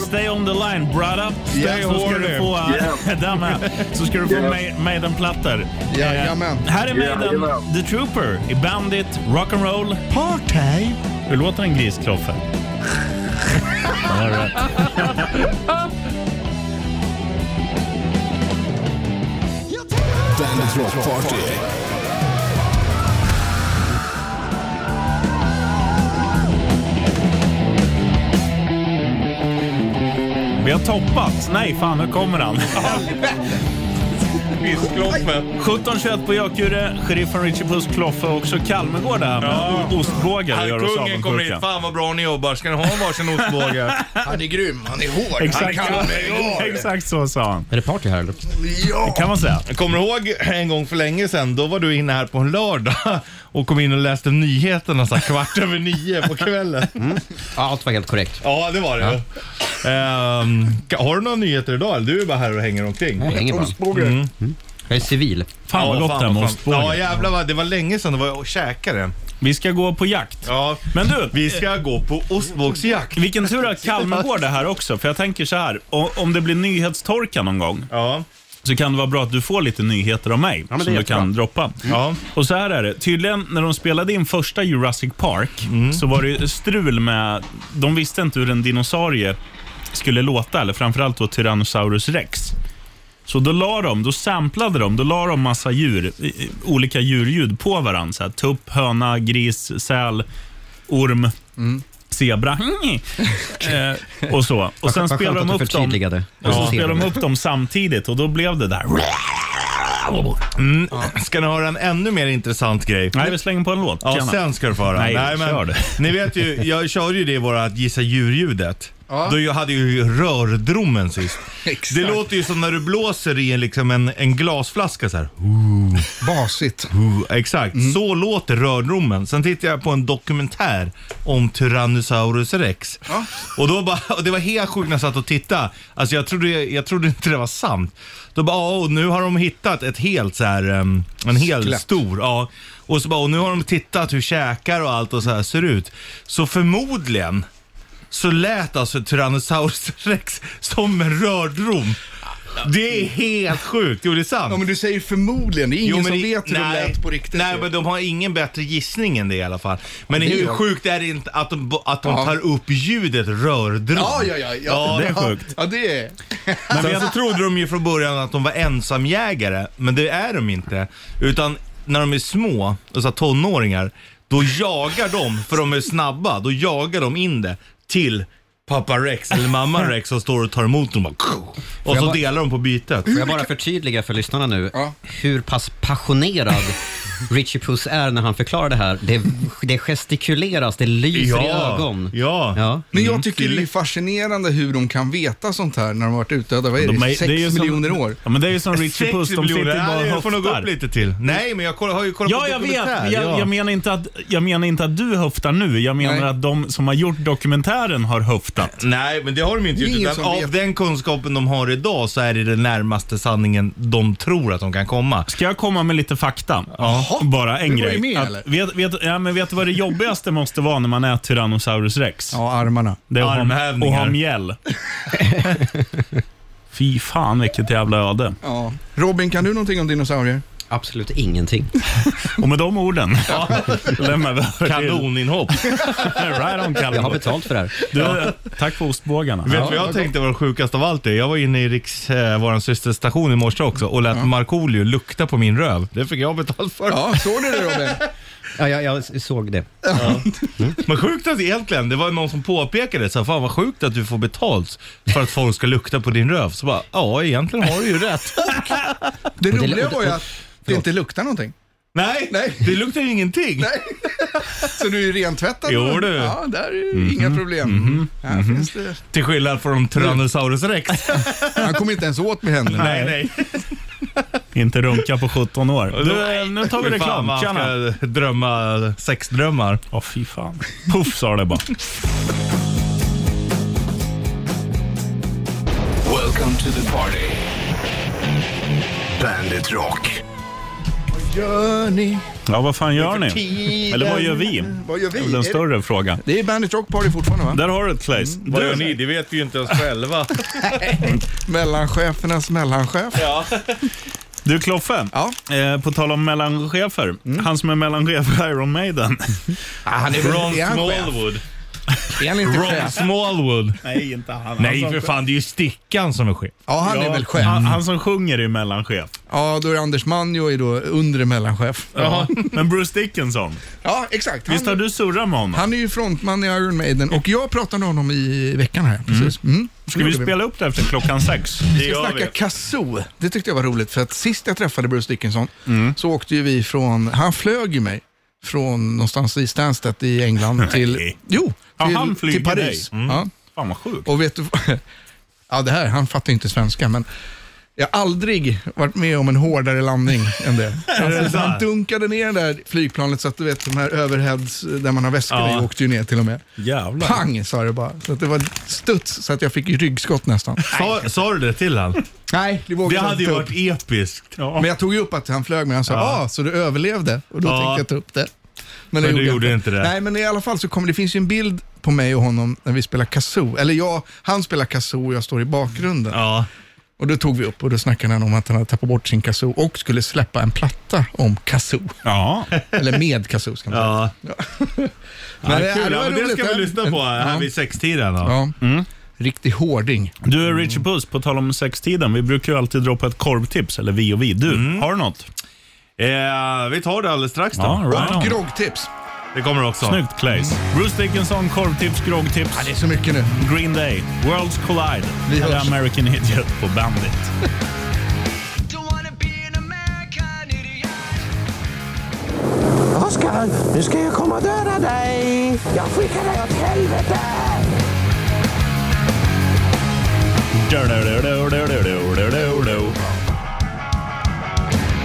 Speaker 2: stay on the line, brother. Stay
Speaker 3: Yes,
Speaker 2: så ska du
Speaker 3: warrior.
Speaker 2: få,
Speaker 3: Yeah.
Speaker 2: den här, så ska du få
Speaker 3: Yeah.
Speaker 2: yeah. Maiden-plattor.
Speaker 4: Jajamän.
Speaker 2: Eh, Här är Maiden,
Speaker 4: Jajamän.
Speaker 2: The Trooper, i Bandit, Rock'n'Roll. Party! Hur låter en gris, Kloffe? All right.
Speaker 9: Bandit Rock Party.
Speaker 2: Vi har toppat. Nej, fan, nu kommer han. Viskloffe. 17.21 på Jakure. Sheriffen Richie Puss Kloffe och också Kalmegård där med
Speaker 3: Ja.
Speaker 2: o- ostbågar och
Speaker 3: Han
Speaker 2: gör oss
Speaker 3: kungen kommer hit.
Speaker 2: avundsjuka.
Speaker 3: Fan vad bra ni jobbar. Ska ni ha en varsin ostbåge?
Speaker 4: Han är grym, han är hård.
Speaker 2: Exakt,
Speaker 4: Han kan mig.
Speaker 2: exakt så sa han.
Speaker 3: Är det party här eller?
Speaker 4: Ja.
Speaker 2: Det kan man säga.
Speaker 3: Jag kommer ihåg en gång för länge sedan, då var du inne här på en lördag och kom in och läste nyheterna så här, kvart över nio på kvällen.
Speaker 17: Ja, allt var helt korrekt.
Speaker 3: Ja, det var det. Ehm, ka- har du några nyheter idag eller du är bara här och hänger omkring?
Speaker 17: Jag hänger bara.
Speaker 3: Ostbåge.
Speaker 17: Jag är civil.
Speaker 2: Fan vad gott det här med ostbåge.
Speaker 3: Ja jävlar vad, det var länge sedan det var och käkade.
Speaker 2: Vi ska gå på jakt.
Speaker 3: Ja.
Speaker 2: Men du,
Speaker 3: Vi ska gå på ostbågsjakt.
Speaker 2: Vilken tur att Kalmargård är här också, för jag tänker så här. o- Om det blir nyhetstorka någon gång, så kan det vara bra att du får lite nyheter av mig
Speaker 3: men det är
Speaker 2: som du
Speaker 3: jättebra.
Speaker 2: kan droppa. Och så här är det. Tydligen, när de spelade in första Jurassic Park, så var det ju strul med... De visste inte hur en dinosaurie skulle låta, eller framförallt då Tyrannosaurus rex. Så då la de, då samplade de, då la de massa djur, i- i- olika djurljud på varandra. Så här, tupp, höna, gris, säl, orm, zebra. eh, och så. Och
Speaker 17: Vad-
Speaker 2: sen
Speaker 17: vad
Speaker 2: spelar
Speaker 17: skönt
Speaker 2: de
Speaker 17: att du
Speaker 2: upp dem.
Speaker 17: förtydligade.
Speaker 2: Och så
Speaker 17: Ja.
Speaker 2: spelar de upp dem samtidigt och då blev det där.
Speaker 3: Mm. Ska ni höra en ännu mer intressant grej?
Speaker 2: Nej, vi slänger på en låt.
Speaker 3: Ja,
Speaker 2: Tjena.
Speaker 3: sen ska du få höra.
Speaker 2: Nej, kör du.
Speaker 3: Ni vet ju, jag körde ju det i våra att gissa djurljudet.
Speaker 2: Ja.
Speaker 3: Då jag hade ju rördrommen sist.
Speaker 4: Exakt.
Speaker 3: Det låter ju som när du blåser i en, liksom en, en glasflaska så här.
Speaker 4: Basigt.
Speaker 3: Exakt, så låter rördrommen. Sen tittade jag på en dokumentär om Tyrannosaurus rex. Och, då bara, och det var helt sjukt när jag satt och tittade. Alltså jag trodde, jag trodde inte det var sant. Då bara, ja, och nu har de hittat ett helt så här, em, en hel
Speaker 4: Skelett.
Speaker 3: stor. Ja. Och så bara, och nu har de tittat hur käkar och allt och så här ser ut. Så förmodligen så lät alltså Tyrannosaurus rex som en rördrom. Det är helt sjukt. Jo, det är sant. Ja, men
Speaker 4: du säger förmodligen. Det är ingen som vet hur de
Speaker 3: nej,
Speaker 4: lät på riktigt.
Speaker 3: Nej, men de har ingen bättre gissning än det i alla fall. Men
Speaker 4: Ja, det är
Speaker 3: hur
Speaker 4: de.
Speaker 3: sjukt är det inte att de, att de
Speaker 4: Ja.
Speaker 3: tar upp ljudet rördrom?
Speaker 4: Ja, ja, ja, ja.
Speaker 3: det är
Speaker 4: Ja,
Speaker 3: sjukt.
Speaker 4: Ja, det är...
Speaker 3: Men Sen så trodde de ju från början att de var ensamjägare, men det är de inte. Utan när de är små, alltså tonåringar, då jagar de, för de är snabba, då jagar de in det till pappa Rex eller mamma Rex som står och tar emot dem. Och så delar de på bytet.
Speaker 17: Får jag bara förtydliga för lyssnarna nu hur pass passionerad Richie Puss är när han förklarar det här. Det, det gestikuleras, det lyser i
Speaker 4: Ja,
Speaker 17: ögon.
Speaker 3: Ja.
Speaker 4: Men
Speaker 3: Mm,
Speaker 4: jag tycker det är fascinerande hur de kan veta sånt här när de har varit utdöda, vad är det,
Speaker 2: De är- det är
Speaker 4: sex
Speaker 2: ju som-
Speaker 4: miljoner år?
Speaker 2: Ja, men det är ju som Richie
Speaker 3: Sex
Speaker 2: Puss, de sitter ju
Speaker 3: miljoner.
Speaker 2: bara
Speaker 3: Nej,
Speaker 2: och
Speaker 3: jag får nog gå
Speaker 2: höftar.
Speaker 3: upp lite till. Nej, men jag kollar- har ju kollat
Speaker 2: ja,
Speaker 3: på
Speaker 2: jag
Speaker 3: dokumentär,
Speaker 2: vet. Jag,
Speaker 3: ja.
Speaker 2: jag, menar inte att, jag menar inte att du höftar nu. Jag menar
Speaker 3: Nej.
Speaker 2: att de som har gjort dokumentären har höftat.
Speaker 3: Nej, men det har de inte
Speaker 2: Det är
Speaker 3: gjort.
Speaker 2: ingen
Speaker 3: Utan
Speaker 2: som
Speaker 3: av
Speaker 2: vet.
Speaker 3: den kunskapen de har idag så är det den närmaste sanningen de tror att de kan komma.
Speaker 2: Ska jag komma med lite fakta? Ja. Bara en
Speaker 3: Du var ju
Speaker 2: grej.
Speaker 3: med,
Speaker 2: Att-
Speaker 3: eller?
Speaker 2: vet, vet, ja, men vet du vad det jobbigaste måste vara när man är Tyrannosaurus rex?
Speaker 4: Ja, armarna.
Speaker 2: Det är att ha, och
Speaker 3: Armhävningar.
Speaker 2: ha mjäll. Fy fan vilket jävla öde.
Speaker 4: Ja. Robin, kan du någonting om dinosaurier?
Speaker 17: Absolut ingenting.
Speaker 2: Och med de orden lämnar vi över till-
Speaker 3: Kanoninhopp.
Speaker 2: right on, Kalle.
Speaker 17: Jag har betalt för det här.
Speaker 2: Du, tack för ostbågarna.
Speaker 3: Vet du vad jag tänkte var det sjukaste av allt det? Jag var inne i Riks, eh, vår systerstation i morse också och lät Markoolio lukta på min röv. Det fick jag betalt för.
Speaker 4: Ja, såg du det Robin?
Speaker 17: Ja, jag, jag såg det.
Speaker 3: Mm. Men sjukt att egentligen, det var någon som påpekade så här, fan vad sjukt att du får betalt för att folk ska lukta på din röv. Så bara, ja egentligen har du ju rätt.
Speaker 4: Det roliga var ju att det inte luktar någonting.
Speaker 3: Nej, det luktar ju ingenting.
Speaker 4: Så du är ju rentvättad?
Speaker 3: Jo, du.
Speaker 4: Ja, där är ju
Speaker 3: Mhm.
Speaker 4: inga problem. Här
Speaker 2: Mhm.
Speaker 4: finns det...
Speaker 3: Till skillnad från Tyrannosaurus rex.
Speaker 4: Han kom inte ens åt med händerna.
Speaker 3: nej, nej.
Speaker 2: Inte runka på 17 år. Du, eh, nu tar vi
Speaker 3: Fy fan,
Speaker 2: reklam.
Speaker 3: man ska
Speaker 2: Tjena.
Speaker 3: Drömma sexdrömmar.
Speaker 2: Ja, fy fan. Puff sa det bara.
Speaker 1: Welcome to the party. Bandit Rock.
Speaker 4: Vad gör ni?
Speaker 2: Ja, vad fan gör ni?
Speaker 4: Tiden.
Speaker 2: Eller vad gör vi?
Speaker 4: Vad gör vi?
Speaker 2: Det är väl en
Speaker 4: Är det-
Speaker 2: större fråga.
Speaker 4: Det är Bandit Rock Party fortfarande va?
Speaker 2: Där har du ett Claes.
Speaker 3: Mm. Vad
Speaker 2: Du-
Speaker 3: gör ni? Det vet vi ju inte ens själva.
Speaker 4: Mellanchefernas mellanchef.
Speaker 3: ja.
Speaker 2: Du Kloffe, eh, på tal om mellanchefer.
Speaker 3: Mm.
Speaker 2: Han som är mellanchef i Iron Maiden.
Speaker 3: Ah,
Speaker 4: han är väl- Ron är han chef? Är han inte
Speaker 3: Ron
Speaker 4: chef?
Speaker 3: Smallwood.
Speaker 2: Nej, inte han.
Speaker 3: Nej,
Speaker 2: Han
Speaker 3: för
Speaker 2: som-
Speaker 3: fan. Det är ju Stickan som är chef.
Speaker 4: Ja, han är väl chef.
Speaker 2: Han, han som sjunger är ju mellanchef.
Speaker 4: Ja, då är Anders Manjo är då undre mellanchef.
Speaker 2: Ja. Men Bruce Dickinson.
Speaker 4: Ja, exakt.
Speaker 2: Visst har du surrat med honom?
Speaker 4: Han är ju frontman i Iron Maiden och jag pratade med honom i veckan här. Precis. Mm.
Speaker 2: Ska vi spela upp det efter klockan sex?
Speaker 4: Vi ska snacka kazoo. Det tyckte jag var roligt för att sist jag träffade Bruce Dickinson
Speaker 2: Mm.
Speaker 4: så åkte ju vi från, han flög ju mig från någonstans i Stansted i England till, jo,
Speaker 2: Ja,
Speaker 4: till,
Speaker 2: han flyger
Speaker 4: till Paris.
Speaker 2: dig. Mm.
Speaker 4: Ja.
Speaker 2: Fan vad sjukt.
Speaker 4: Och vet du, ja det här, han fattar ju inte svenska men jag har aldrig varit med om en hårdare landning än det.
Speaker 2: det
Speaker 4: Alltså,
Speaker 2: så?
Speaker 4: han dunkade ner det där flygplanet så att du vet de här överheads där man har väskor
Speaker 2: Ja.
Speaker 4: i åkte ju ner till och med.
Speaker 2: Jävlar.
Speaker 4: Pang sa det bara. Så att det var studs så att jag fick ryggskott nästan.
Speaker 3: Sa, sa du det till han?
Speaker 4: Nej, det vågade
Speaker 3: Det
Speaker 4: jag
Speaker 3: hade ju
Speaker 4: inte ta
Speaker 3: varit episkt.
Speaker 4: Men jag tog ju upp att han flög med. Han sa,
Speaker 3: Ja.
Speaker 4: ah, så du överlevde? Och då
Speaker 3: Ja.
Speaker 4: tänkte jag ta upp det.
Speaker 3: Men
Speaker 4: det
Speaker 3: du
Speaker 4: jag
Speaker 3: gjorde inte det.
Speaker 4: Nej, men i alla fall så kommer det finns ju en bild på mig och honom när vi spelar kazoo. Eller jag, han spelar kazoo och jag står i bakgrunden. Och då tog vi upp och då snackade han om att han hade tappat bort sin kazoo och skulle släppa en platta om kazoo.
Speaker 2: Ja.
Speaker 4: Eller med kazoo ska man säga.
Speaker 3: Ja.
Speaker 4: Men det-
Speaker 3: ja, kul.
Speaker 4: det
Speaker 3: Det,
Speaker 4: var
Speaker 3: ja, men det
Speaker 4: roligt.
Speaker 3: ska vi lyssna på här
Speaker 4: Ja.
Speaker 3: vid sextiden. Då.
Speaker 4: Ja. Riktig hårding.
Speaker 2: Du Richie Puss, på tal om sextiden. Vi brukar ju alltid droppa ett korvtips, eller vi och vi. Du,
Speaker 4: Mm.
Speaker 2: har du något?
Speaker 3: Eh, vi tar det alldeles strax då.
Speaker 2: Ja, right
Speaker 4: Och
Speaker 2: on.
Speaker 4: groggtips.
Speaker 3: Det kommer också.
Speaker 2: Snyggt Clays. Bruce Dickinson, korvtips, groggtips.
Speaker 4: Mm. det är så mycket nu.
Speaker 2: Green Day, Worlds Collide.
Speaker 4: Vi
Speaker 2: Eller
Speaker 4: hörs.
Speaker 2: American Idiot på Bandit.
Speaker 11: Oskar, nu ska jag komma och döda dig. Jag skickar dig åt helvete.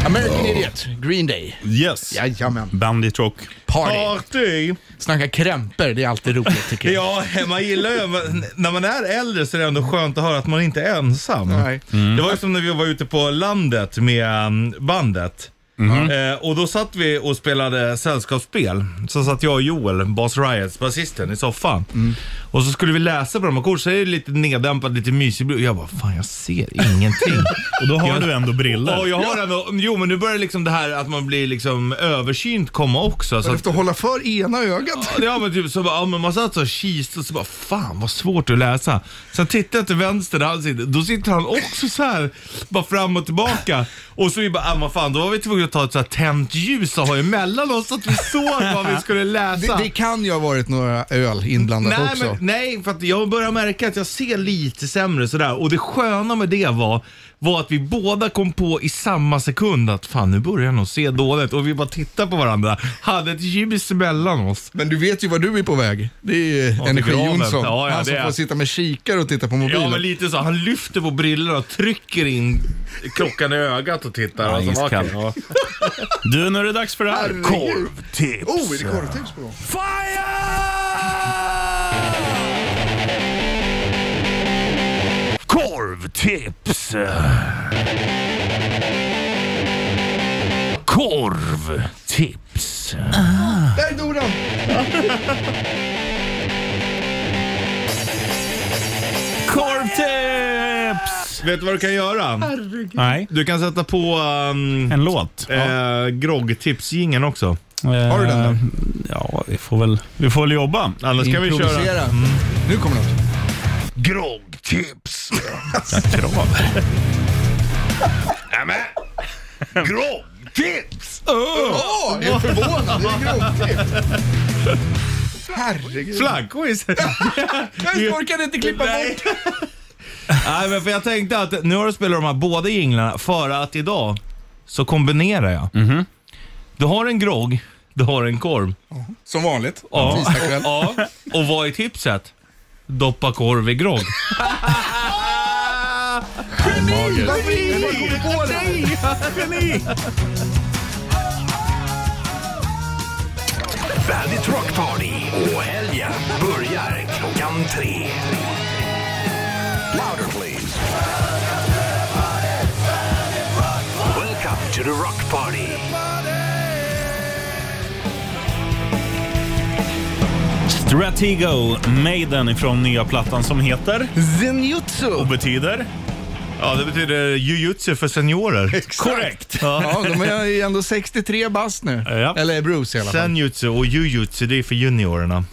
Speaker 4: American Idiot, Green Day.
Speaker 2: Yes.
Speaker 4: Jajamän.
Speaker 2: Bandit Rock.
Speaker 4: Party. Snacka krämpor, det är alltid roligt tycker jag.
Speaker 3: Ja, man gillar ju, men när man är äldre så är det ändå skönt att höra att man inte är ensam.
Speaker 4: Nej.
Speaker 2: Mm.
Speaker 3: Det var ju som när vi var ute på landet med um, bandet.
Speaker 2: Mm-hmm.
Speaker 3: Eh, och då satt vi och spelade sällskapsspel. Så satt jag och Joel, Bas Riots, basisten, i soffan.
Speaker 2: Mm.
Speaker 3: Och så skulle vi läsa på de här kort, så är det lite neddämpat, lite mysig blues. Jag bara, fan jag ser ingenting.
Speaker 2: Och då har
Speaker 3: Jag-
Speaker 2: du ändå briller.
Speaker 3: Ja, jag har ändå, jo men nu börjar liksom det här att man blir liksom översynt komma också. Så
Speaker 4: Du
Speaker 3: att,
Speaker 4: får hålla för ena ögat.
Speaker 3: Ja men typ så bara, ja, men man satt så och kiste och så bara fan vad svårt att läsa. Sen tittade jag till vänster där han sitter, då sitter han också så här bara fram och tillbaka. Och så vi bara, ah, vad fan då var vi tvungna att ta ett så här tänt ljus och ha emellan oss så att vi såg vad vi skulle läsa.
Speaker 4: Det, det kan ju ha varit några öl inblandat
Speaker 3: Nej,
Speaker 4: också.
Speaker 3: men, nej, för att jag börjar märka att jag ser lite sämre sådär. Och det sköna med det var, var att vi båda kom på i samma sekund att fan nu börjar jag nog se dåligt. Och vi bara tittade på varandra, hade ett ljus mellan oss.
Speaker 4: Men du vet ju var du är på väg. Det är ju
Speaker 3: till
Speaker 4: Energi
Speaker 3: graven.
Speaker 4: Jonsson.
Speaker 3: Ja, ja,
Speaker 4: han
Speaker 3: det
Speaker 4: som
Speaker 3: är-
Speaker 4: får sitta med kikare och titta på mobilen.
Speaker 3: Ja men lite så, han lyfter på brillorna och trycker in klockan i ögat och tittar. Alltså,
Speaker 2: Ja,
Speaker 3: och så,
Speaker 2: iskall.
Speaker 3: "Okej."
Speaker 2: Du, nu är det dags för det här.
Speaker 4: Korvtips. Oh, är det korvtips på gång?
Speaker 1: Korvtips! Korvtips.
Speaker 4: Där dog den!
Speaker 2: Korvtips!
Speaker 3: Vet du vad du kan göra?
Speaker 2: Nej.
Speaker 3: Du kan sätta på... um,
Speaker 2: En låt?
Speaker 3: Eh, Groggtipsjingeln också.
Speaker 2: Har du den där? Eh, Ja, vi får väl, vi får väl jobba.
Speaker 3: Annars kan vi köra...
Speaker 4: Improvisera. Nu kommer något.
Speaker 1: Groggtips.
Speaker 2: Krav.
Speaker 1: Nämen! Groggtips!
Speaker 4: Åh, jag är förvånad. Det är groggtips. Herregud.
Speaker 3: Flaggquiz!
Speaker 4: Jag orkade inte klippa bort.
Speaker 3: Nej men för jag tänkte att nu har du spelat de här båda jinglarna för att idag så kombinerar jag.
Speaker 4: Mhm.
Speaker 3: Du har en grogg, du har en korv.
Speaker 4: Som vanligt.
Speaker 3: Ja.
Speaker 4: Tisdagkväll.
Speaker 3: ja. Och vad är tipset? Doppa korv i grogg.
Speaker 4: Mager.
Speaker 11: Geni! Geni!
Speaker 1: Bandit Rock Party och helgen börjar klockan tre. Louder please. Welcome to the Rock Party.
Speaker 2: Stratego, Maiden ifrån nya plattan som heter?
Speaker 4: Zenjutsu.
Speaker 2: Och betyder?
Speaker 3: Ja, det betyder jujutsu för seniorer.
Speaker 2: Korrekt.
Speaker 4: Ja, de är ju ändå 63 bast nu. Eller Bruce i alla fall.
Speaker 3: Senjutsu och jujutsu, det är för juniorerna.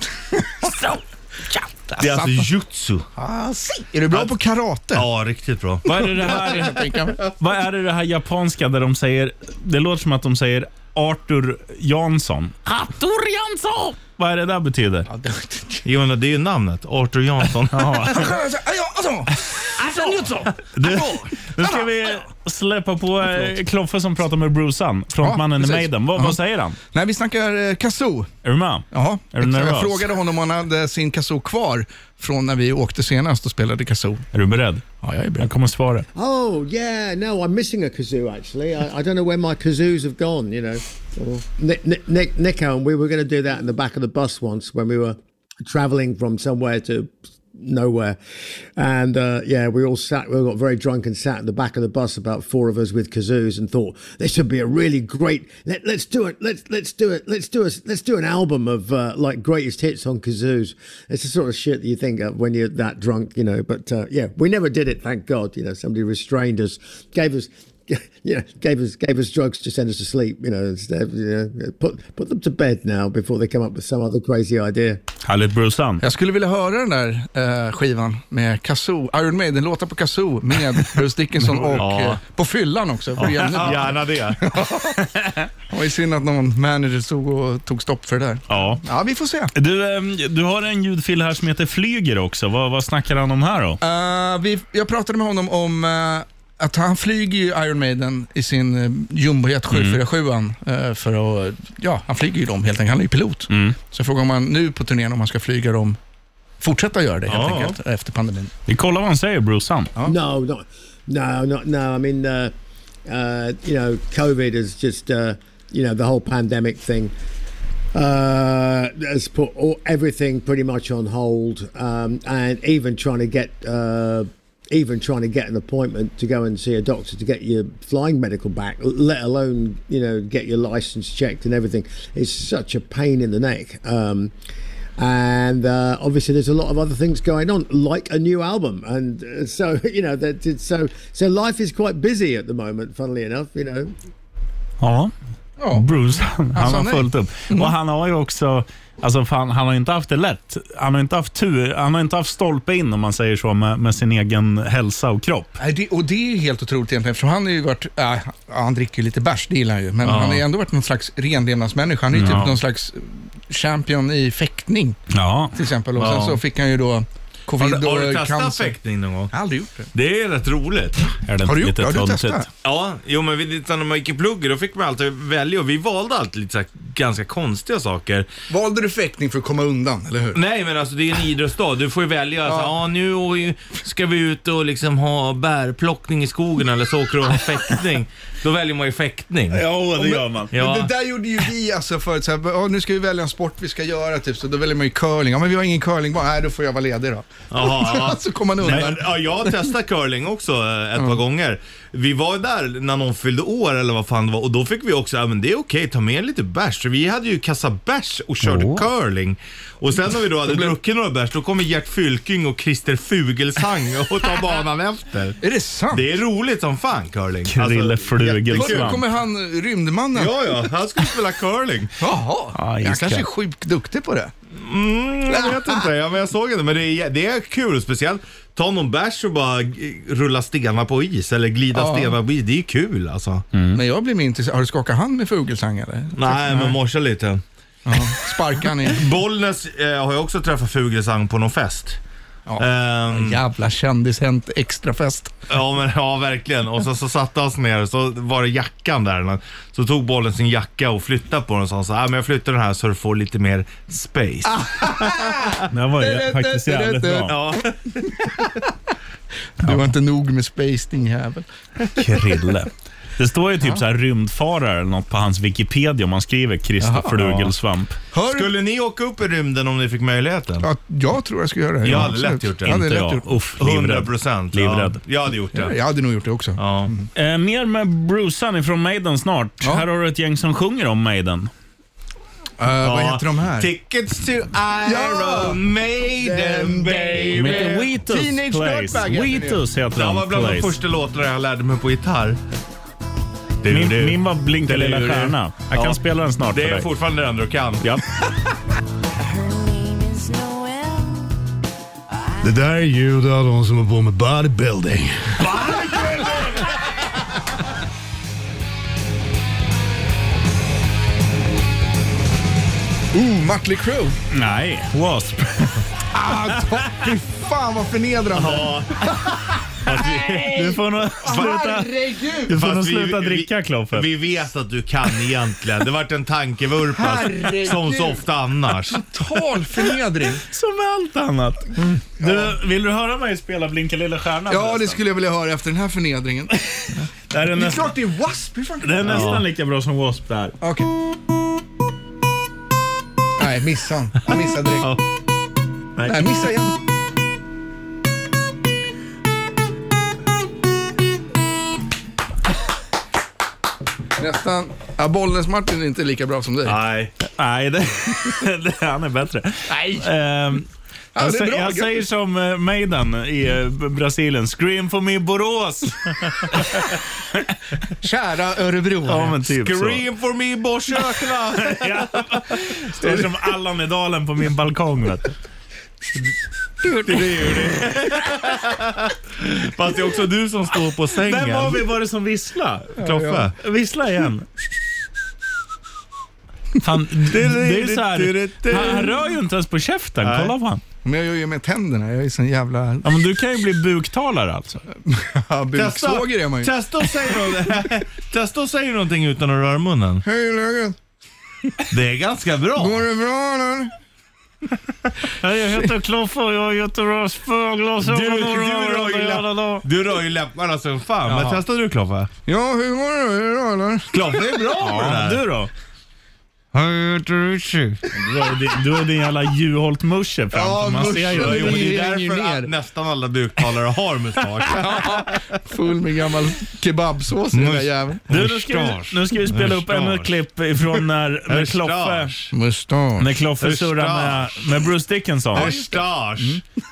Speaker 3: Det är alltså jutsu.
Speaker 4: Ah, si. Är du bra på karate?
Speaker 3: Ja, riktigt bra.
Speaker 2: Vad är, det det här, vad är det det här japanska där de säger, det låter som att de säger Arthur Jansson. Arthur Jansson! Vad är det där betyder?
Speaker 3: Jo, men det är ju namnet. Arthur Jansson.
Speaker 2: Du, nu ska vi släppa på eh, Kloffe som pratar med Brucean, frontmannen i
Speaker 4: precis.
Speaker 2: Maiden. Vad,
Speaker 4: Ja.
Speaker 2: vad säger han?
Speaker 4: Nej, vi snackar eh, kazoo.
Speaker 2: Är du med?
Speaker 4: Ja,
Speaker 2: Är du nervös?
Speaker 4: jag frågade honom om han hade sin kazoo kvar från när vi åkte senast och spelade kazoo.
Speaker 2: Är du beredd?
Speaker 4: Ja, jag är beredd.
Speaker 2: Jag kommer svara.
Speaker 8: Oh yeah, no, I'm missing a kazoo actually. I, I don't know where my kazoos have gone. You know, Or- Nick, Nick, Nick, Nico and we were going to do that in the back of the bus once when we were travelling from somewhere to nowhere, and uh, yeah, we all sat. We all got very drunk and sat in the back of the bus, about four of us with kazoos, and thought this would be a really great. Let, let's do it. Let's let's do it. Let's do us. Let's do an album of uh, like greatest hits on kazoos. It's the sort of shit that you think of when you're that drunk, you know. But uh, yeah, we never did it. Thank God. You know, somebody restrained us, gave us. You know, gave us gave us drugs to send us to sleep. You know, instead, you know, put put them to bed now before they come up with some other crazy idea.
Speaker 2: Härligt Brucean.
Speaker 4: Jag skulle vilja höra den där eh, skivan med Kazoo. Iron Maiden-låtar på Kazoo med Bruce Dickinson och
Speaker 3: Ja.
Speaker 4: eh, på fyllan också.
Speaker 3: Ja,
Speaker 4: För jävligt bra.
Speaker 3: Gärna det.
Speaker 4: Det var ju synd att någon manager tog, och tog stopp för det där.
Speaker 2: Ja.
Speaker 4: Ja, vi får se.
Speaker 2: Du, ehm, du har en ljudfil här som heter Flyger också. Vad, vad snackar han om här då?
Speaker 4: Eh, vi, jag pratade med honom om eh, att han flyger ju Iron Maiden i sin uh, jumbojet
Speaker 3: Mm.
Speaker 4: 747 eh, för att, ja, han flyger ju dem helt enkelt. Han är ju pilot.
Speaker 3: Mm.
Speaker 4: Så jag frågade om han nu på turnén om han ska flyga dem, fortsätta göra det helt
Speaker 2: Ja.
Speaker 4: enkelt efter pandemin.
Speaker 2: Vi kollar vad han säger, Brucean.
Speaker 8: No, not no, not no. I mean, uh, uh, you know, COVID is just uh, you know the whole pandemic thing uh, has put all, everything pretty much on hold, um, and even trying to get uh, even trying to get an appointment to go and see a doctor to get your flying medical back, let alone you know get your license checked and everything, is such a pain in the neck. Um, and uh, obviously there's a lot of other things going on like a new album and uh, so you know that it's so so life is quite busy at the moment funnily enough you know
Speaker 2: Ja. Bruce, han,
Speaker 4: Alltså,
Speaker 8: sa
Speaker 2: har
Speaker 8: nej.
Speaker 2: fullt upp.
Speaker 4: Mm.
Speaker 2: Och han har ju också, alltså fan, han har inte haft det lätt. Han har inte haft tur, han har inte haft stolpe in om man säger så med, med sin egen hälsa och kropp.
Speaker 4: Nej, det, och det är ju helt otroligt egentligen, för han har ju varit, äh, han dricker ju lite bärs, det gillar han ju, men
Speaker 2: Ja.
Speaker 4: han har ju ändå varit någon slags renlevnadsmänniska. Han är ju
Speaker 2: Ja.
Speaker 4: typ någon slags champion i fäktning
Speaker 2: Ja.
Speaker 4: till exempel. Och sen
Speaker 3: Ja.
Speaker 4: så fick han ju då covid
Speaker 3: Har du- har du
Speaker 4: och
Speaker 3: testat
Speaker 4: cancer.
Speaker 3: fäktning någon gång?
Speaker 4: Aldrig gjort det.
Speaker 3: Det är rätt roligt.
Speaker 2: Är det
Speaker 4: Har du gjort det? Har du testat?
Speaker 3: Ja, jo men vi, lite när man gick i plugget då fick man alltid välja och vi valde alltid lite så här, ganska konstiga saker.
Speaker 4: Valde du fäktning för att komma undan, eller hur?
Speaker 3: Nej men alltså det är en idrottsdag, du får ju välja. Ja. Så, ja, nu och- ska vi ut och liksom ha bärplockning i skogen eller så åker du och har fäktning. Då väljer man ju fäktning.
Speaker 4: men- Men
Speaker 3: Ja.
Speaker 4: det där gjorde ju vi alltså förut. Så här, "Ja, nu ska vi välja en sport vi ska göra, typ, så då väljer man ju curling. Ja, men vi har ingen curling, bara, nej då får jag vara ledig då.
Speaker 3: Jaha,
Speaker 4: så kom man undan.
Speaker 3: Nej, ja, jag har testat curling också eh, ett par gånger. Vi var ju där när någon fyllde år eller vad fan det var och då fick vi också, ja men det är okej, ta med lite bärs. Så vi hade ju kassa bärs och körde curling. Och sen när vi då hade druckit några bärs, då kommer Gert Fylking och Christer Fugelsang och tar banan efter.
Speaker 4: Är det sant?
Speaker 3: Det är roligt som fan curling. Alltså,
Speaker 2: Krille
Speaker 4: Var-
Speaker 3: jättekul.
Speaker 4: kommer han, eh, rymdmannen?
Speaker 3: Ja, ja, han skulle spela curling.
Speaker 4: Jaha,
Speaker 2: Ah,
Speaker 4: han
Speaker 2: just
Speaker 4: kanske
Speaker 2: det.
Speaker 4: är sjukt duktig på det.
Speaker 3: Mm, jag vet inte, ja, men jag såg det. Men det är, det är kul, speciellt ta någon bärs och bara eh, rulla stenar på is eller glida
Speaker 4: Ja. Mm.
Speaker 3: stenar på is. Det är kul alltså.
Speaker 4: Men jag blir mer intresserad. Har du skakat hand med Fuglesang eller?
Speaker 3: Nej, men morsa lite.
Speaker 4: Ja, sparkar ni?
Speaker 3: Bollnäs eh, har jag också träffat Fuglesang på någon fest.
Speaker 4: Ja.
Speaker 3: Ehm,
Speaker 4: Jävla kändishänt extrafest.
Speaker 3: Ja, men, ja verkligen. Och så, så satte han sig ner så var det jackan där. Så tog bollen sin jacka och flyttade på den och sa så här, "Ah, men jag flyttar den här så du får lite mer space.
Speaker 2: Det var ju faktiskt jävligt bra.
Speaker 3: Ja.
Speaker 4: Du var inte nog med space, din jävel.
Speaker 2: Krille. Det står ju typ
Speaker 4: Ja.
Speaker 2: så här rymdfarare eller något på hans Wikipedia om man skriver Christer
Speaker 3: Jaha.
Speaker 2: Flugelsvamp.
Speaker 3: Skulle ni åka upp i rymden om ni fick möjligheten?
Speaker 4: Ja, jag tror jag skulle göra det.
Speaker 3: Jag
Speaker 4: Ja,
Speaker 3: hade lätt
Speaker 4: absolut.
Speaker 3: gjort det.
Speaker 4: Jag hade lätt gjort det.
Speaker 2: Uff, livrädd.
Speaker 3: 100 procent.
Speaker 2: Livrädd.
Speaker 3: Ja. Jag hade gjort det.
Speaker 4: Jag hade nog gjort det också.
Speaker 2: Eh, mer med Brucean från Maiden snart. Här har du ett gäng som sjunger om Maiden.
Speaker 4: Eh, vad heter de här?
Speaker 3: Tickets to Iron Maiden baby.
Speaker 2: Med The Wheatus Teenage Place. Dirtbag heter det. Wheatus heter
Speaker 3: Det
Speaker 2: den
Speaker 3: var bland de
Speaker 2: place.
Speaker 3: första låtarna jag lärde mig på gitarr.
Speaker 2: Min, min var Blinka lilla
Speaker 3: Delirium.
Speaker 2: stjärna. Jag
Speaker 3: Ja.
Speaker 2: kan spela den snart
Speaker 3: Det
Speaker 2: för
Speaker 3: är
Speaker 2: dig.
Speaker 3: fortfarande det enda du kan.
Speaker 2: Ja.
Speaker 6: Det där är ljud av de som har på med bodybuilding.
Speaker 4: Ooh, Oh, Mötley Crüe.
Speaker 2: Nej, Wasp.
Speaker 4: Ah, ta- fy fan vad förnedrande.
Speaker 2: Du får nog sluta,
Speaker 4: Herregud.
Speaker 2: du får nog
Speaker 3: Fast vi-
Speaker 2: sluta
Speaker 3: vi-
Speaker 2: dricka Kloffe.
Speaker 3: Vi vet att du kan egentligen. Det vart en tankevurpa
Speaker 4: Herregud.
Speaker 3: som så ofta annars.
Speaker 4: Total förnedring.
Speaker 2: Som med allt annat.
Speaker 3: Mm.
Speaker 2: Du, vill du höra mig spela Blinka lilla stjärna?
Speaker 4: Ja,
Speaker 2: förresten?
Speaker 4: det skulle jag vilja höra efter den här förnedringen.
Speaker 2: det här är
Speaker 4: Det är
Speaker 2: nästan,
Speaker 4: klart det är W.A.S.P. Hur fan kan
Speaker 2: det är
Speaker 4: det vara?
Speaker 2: nästan lika bra som Wasp där.
Speaker 4: Okej. Nej, missa han. Han missade direkt. Nej, missa igen. Nästan. Ja, Bollnäs Martin är inte lika bra som dig.
Speaker 2: Nej. Nej, det, det, han är bättre. Nej.
Speaker 4: det är
Speaker 2: jag sä-
Speaker 4: bra,
Speaker 2: jag
Speaker 4: grattis.
Speaker 2: säger som eh, Maiden i eh, B- Brasilien. Scream for me Borås!
Speaker 4: Kära Örebro.
Speaker 2: Ja, men typ så.
Speaker 3: Scream for me Borsökla!
Speaker 2: Står som Allan i dalen på min balkong. Vet. du.
Speaker 3: Fast det är också du som står på sängen.
Speaker 2: Vem var vi var det som visslade?
Speaker 3: Kloffe.
Speaker 2: Vissla igen. Fan, det, det är så här, han, han rör ju inte ens på käften.
Speaker 4: Nej.
Speaker 2: Kolla på han.
Speaker 4: Men jag gör ju med tänderna. Jag är sån jävla...
Speaker 2: Ja, men du kan ju bli buktalare alltså.
Speaker 4: Ja, buksåger är man ju.
Speaker 3: testa och säg något- Testa och säg någonting utan att röra munnen.
Speaker 4: Hej läget?
Speaker 3: Det är ganska bra.
Speaker 4: Går det bra eller?
Speaker 2: Jag heter Kloffe och jag har Göteborgs
Speaker 3: Du,
Speaker 2: spöglasögon.
Speaker 3: du, rör ju läpp, du rör ju läpparna som fan.
Speaker 2: Jaha.
Speaker 3: Men testade du Kloffe?
Speaker 4: Ja, hur går det då? Är det bra eller?
Speaker 3: Kloffe är bra på det
Speaker 2: Ja,
Speaker 3: där.
Speaker 2: du då? Du har din- Du har din jävla Juholt-musche framför. Man ser ju.
Speaker 3: Jo, men det är
Speaker 4: ringer
Speaker 3: därför
Speaker 4: ner.
Speaker 3: att nästan alla buktalare har mustasch.
Speaker 4: Full med gammal kebabsås i den där jäveln.
Speaker 2: Du, nu ska, vi, nu ska vi spela upp ännu ett klipp ifrån när, när Kloffe,
Speaker 4: Mustasch.
Speaker 2: när Kloffe surrar med, med Bruce Dickinson.
Speaker 3: Mustasch.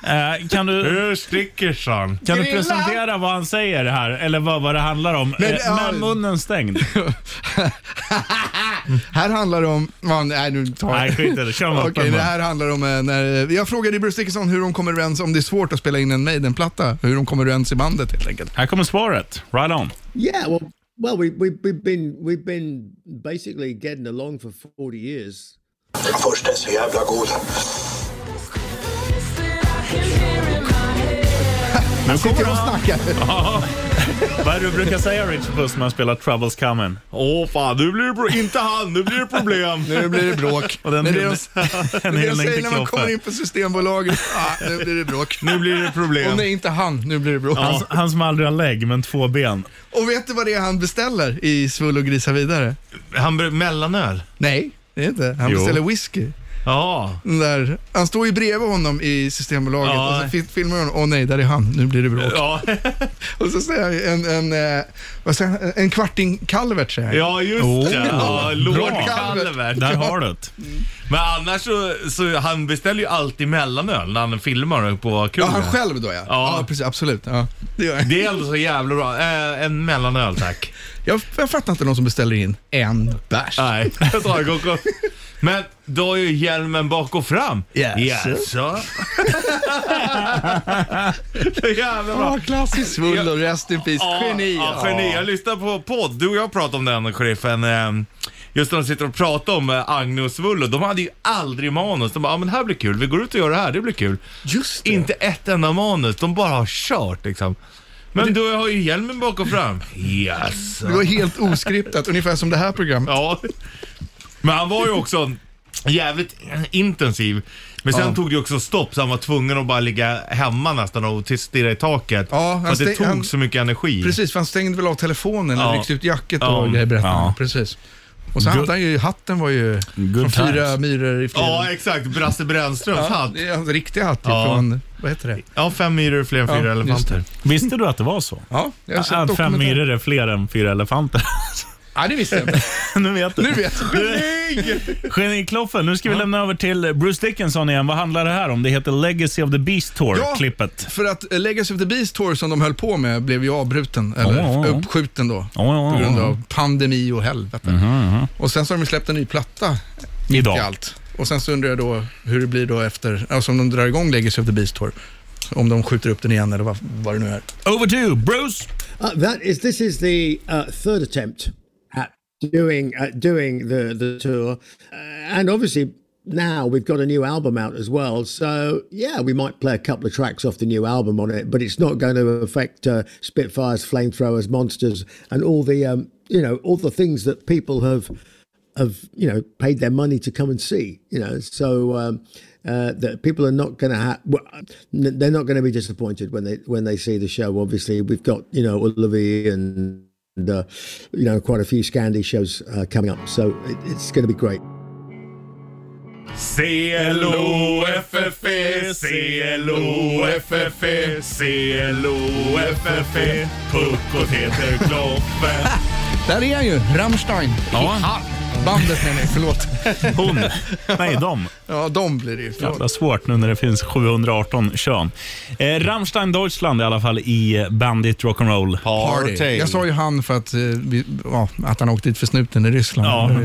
Speaker 2: Eh, kan du,
Speaker 3: Hur stickersan?
Speaker 2: kan du
Speaker 4: Grilla!
Speaker 2: presentera vad han säger här, eller vad, vad det handlar om?
Speaker 4: Men,
Speaker 2: Eh,
Speaker 4: ja.
Speaker 2: med munnen stängd.
Speaker 4: Här handlar det om... Ja, nej, nu tar jag...
Speaker 2: Nej, skit i det. Kör med
Speaker 4: Okej,
Speaker 2: öppen
Speaker 4: det
Speaker 2: mun.
Speaker 4: här handlar om eh, när... Jag frågade Bruce Dickinson hur de kommer överens om det är svårt att spela in en Maiden-platta. Hur de kommer överens i bandet helt enkelt.
Speaker 2: Här kommer svaret. Right on.
Speaker 8: Yeah, well, well, we, we we've been we've been basically getting along for forty years.
Speaker 11: Först är så jävla god.
Speaker 2: Nu kommer
Speaker 4: Sitter och
Speaker 2: de.
Speaker 4: snackar.
Speaker 2: Ja. Vad är det du brukar säga Richard Puss när man spelar Troubles Coming?
Speaker 3: Åh fan, nu blir det pro- inte han, nu blir det problem.
Speaker 4: Nu blir det bråk.
Speaker 2: Och den
Speaker 4: Men det är
Speaker 2: hyllning-
Speaker 4: Det
Speaker 2: en
Speaker 4: är det de
Speaker 2: hyllning
Speaker 4: säger
Speaker 2: till
Speaker 4: när man kommer
Speaker 2: Kloffe.
Speaker 4: in på Systembolaget. Ah, nu blir det bråk.
Speaker 3: Nu blir det
Speaker 4: Och
Speaker 3: problem.
Speaker 4: nej, inte han. Nu blir det bråk. Alltså,
Speaker 2: Han, han som aldrig har lägg, men två ben.
Speaker 4: Och vet du vad det är han beställer i Svull och grisa vidare?
Speaker 3: Han blir mellanöl.
Speaker 4: Nej, det är inte. Han
Speaker 2: Jo.
Speaker 4: beställer whisky.
Speaker 3: Ja.
Speaker 4: Den där, han står ju bredvid honom i Systembolaget
Speaker 3: Ja.
Speaker 4: och så fi- filmar honom. Åh nej, där är han. Nu blir det bråk.
Speaker 3: Ja,
Speaker 4: Och så säger han en, en, eh, vad säger han? en kvarting kalvert. Säger han.
Speaker 3: ja just det. Ja, Lord
Speaker 2: Bra.
Speaker 3: Calvert.
Speaker 2: Där har du det.
Speaker 3: Men annars så, så han beställer ju alltid mellanöl när han filmar på
Speaker 4: Ja,
Speaker 3: krogen.
Speaker 4: han själv då ja.
Speaker 3: Ja.
Speaker 4: Ja, precis. Absolut. Ja, det gör jag.
Speaker 3: Det är ändå så jävla bra. Eh, en mellanöl tack.
Speaker 4: Jag, jag fattar inte någon som beställer in en bärs.
Speaker 3: Nej, jag tar en Coca. Men då är ju hjälmen bak och fram.
Speaker 4: Yes.
Speaker 3: Jaså? Det är jävla bra.
Speaker 4: Ja, klassisk svull och rest in peace. Geni.
Speaker 3: Ja, geni. Jag lyssnade på podd. Du och jag pratade om den, sheriffen. eh, Just när de sitter och pratar om eh, Agne och Svullo. De hade ju aldrig manus. De bara, ja ah, men det här blir kul. Vi går ut och gör det här. Det blir kul.
Speaker 4: Just det.
Speaker 3: Inte ett enda manus. De bara har kört liksom. Men du har ju hjälmen bak och fram. Yes.
Speaker 4: Det var helt oskriptat, ungefär som det här programmet.
Speaker 3: Ja. Men han var ju också Jävligt intensiv. Men sen
Speaker 4: Ja.
Speaker 3: tog det ju också stopp så han var tvungen att bara ligga hemma nästan och t- stirra i taket.
Speaker 4: han
Speaker 3: för att det
Speaker 4: stäng-
Speaker 3: tog
Speaker 4: han-
Speaker 3: så mycket energi.
Speaker 4: Precis, för han stängde väl av telefonen
Speaker 3: Ja.
Speaker 4: och ryckte ut jacket
Speaker 3: Ja.
Speaker 4: och grejer berättade han.
Speaker 3: Ja.
Speaker 4: Precis. Och sen
Speaker 3: Good-
Speaker 4: hade han ju, hatten var ju från fyra
Speaker 3: times.
Speaker 4: myror i fjällen.
Speaker 3: Ja, exakt. Brasse Brännströms
Speaker 4: Ja,
Speaker 3: hatt.
Speaker 4: Det är en riktig hatt
Speaker 3: Ja.
Speaker 4: från, vad heter det?
Speaker 3: Ja, fem myror fler än fyra
Speaker 4: Ja, just
Speaker 3: elefanter.
Speaker 2: Visste du att det var så?
Speaker 4: Ja, jag
Speaker 3: Äh,
Speaker 4: har sett
Speaker 2: Att fem
Speaker 4: dokumentär.
Speaker 2: myror är fler än fyra elefanter.
Speaker 4: Nej, det visste jag inte.
Speaker 2: nu vet du.
Speaker 4: Nu vet jag.
Speaker 2: Genikloffen, nu ska vi lämna över till Bruce Dickinson igen. Vad handlar det här om? Det heter Legacy of the Beast
Speaker 4: Ja.
Speaker 2: Tour-klippet.
Speaker 4: För att eh, Legacy of the Beast Tour som de höll på med blev ju avbruten, eller
Speaker 2: Ja, ja, ja.
Speaker 4: uppskjuten då.
Speaker 2: ja, ja. Mhm,
Speaker 4: På grund av pandemi och helvete. Och sen så har de ju släppt en ny platta mitt
Speaker 2: Idag.
Speaker 4: i allt. Och sen så undrar jag då hur det blir då efter, alltså om de drar igång Legacy of the Beast Tour. Om de skjuter upp den igen eller vad, vad det nu är.
Speaker 2: Over to you, Bruce.
Speaker 8: Uh, that is. This is the uh, third attempt at doing at doing the the tour, uh, and obviously now we've got a new album out as well. So yeah, we might play a couple of tracks off the new album on it, but it's not going to affect uh, Spitfires, flamethrowers, monsters, and all the um, you know all the things that people have have you know paid their money to come and see you know so um, uh, that people are not going to have well, n- they're not going to be disappointed when they when they see the show obviously we've got you know Olivier and, and uh, you know quite a few Scandi shows uh, coming up so it, it's going to be great
Speaker 3: C-L-O-F-F-E, C-L-O-F-F-E, C-L-O-F-F-E, E. Puckot heter Kloppe.
Speaker 4: Där är han ju, Rammstein.
Speaker 2: Ja.
Speaker 4: Ah, Bandet menar jag, förlåt.
Speaker 2: Hon. Nej, de.
Speaker 4: Ja, de blir det ju. Förlåt.
Speaker 2: Jävla svårt nu när det finns 718 kön. Eh, Rammstein Deutschland i alla fall i Bandit Rock'n'Roll.
Speaker 4: Party. Jag sa ju han för att, eh, vi, ja, att han åkte dit för snuten i Ryssland. Eh,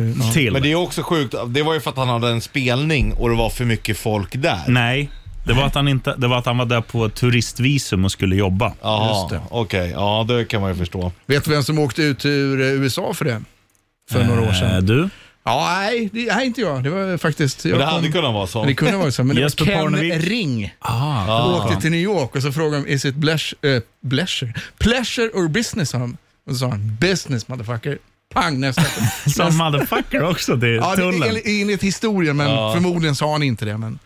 Speaker 3: Men det är också sjukt, det var ju för att han hade en spelning och det var för mycket folk där.
Speaker 2: Nej, det var, att han inte, det var att han var där på turistvisum och skulle jobba.
Speaker 3: Jaha, okej. Ja, det kan man ju förstå.
Speaker 4: Vet du vem som åkte ut ur eh, USA för det? För några år sedan.
Speaker 2: Eh, Du?
Speaker 4: Ja, nej, det, nej, inte jag. Det var faktiskt... Jag
Speaker 3: Men det hade kunnat vara så.
Speaker 4: Det kunde vara så, men det var
Speaker 2: Jesper
Speaker 4: Ken
Speaker 2: Parnevik.
Speaker 4: Ring.
Speaker 2: Ah,
Speaker 4: Han
Speaker 2: ah.
Speaker 4: åkte till New York och så frågade de, is it pleasure, eh, pleasure? pleasure or business? sa de. Och så sa han, business motherfucker. Pang, nästa.
Speaker 2: Som motherfucker också till
Speaker 4: ja, det
Speaker 2: tullen.
Speaker 4: är enligt- enligt historien, men
Speaker 2: Ja.
Speaker 4: förmodligen sa han inte det. Men,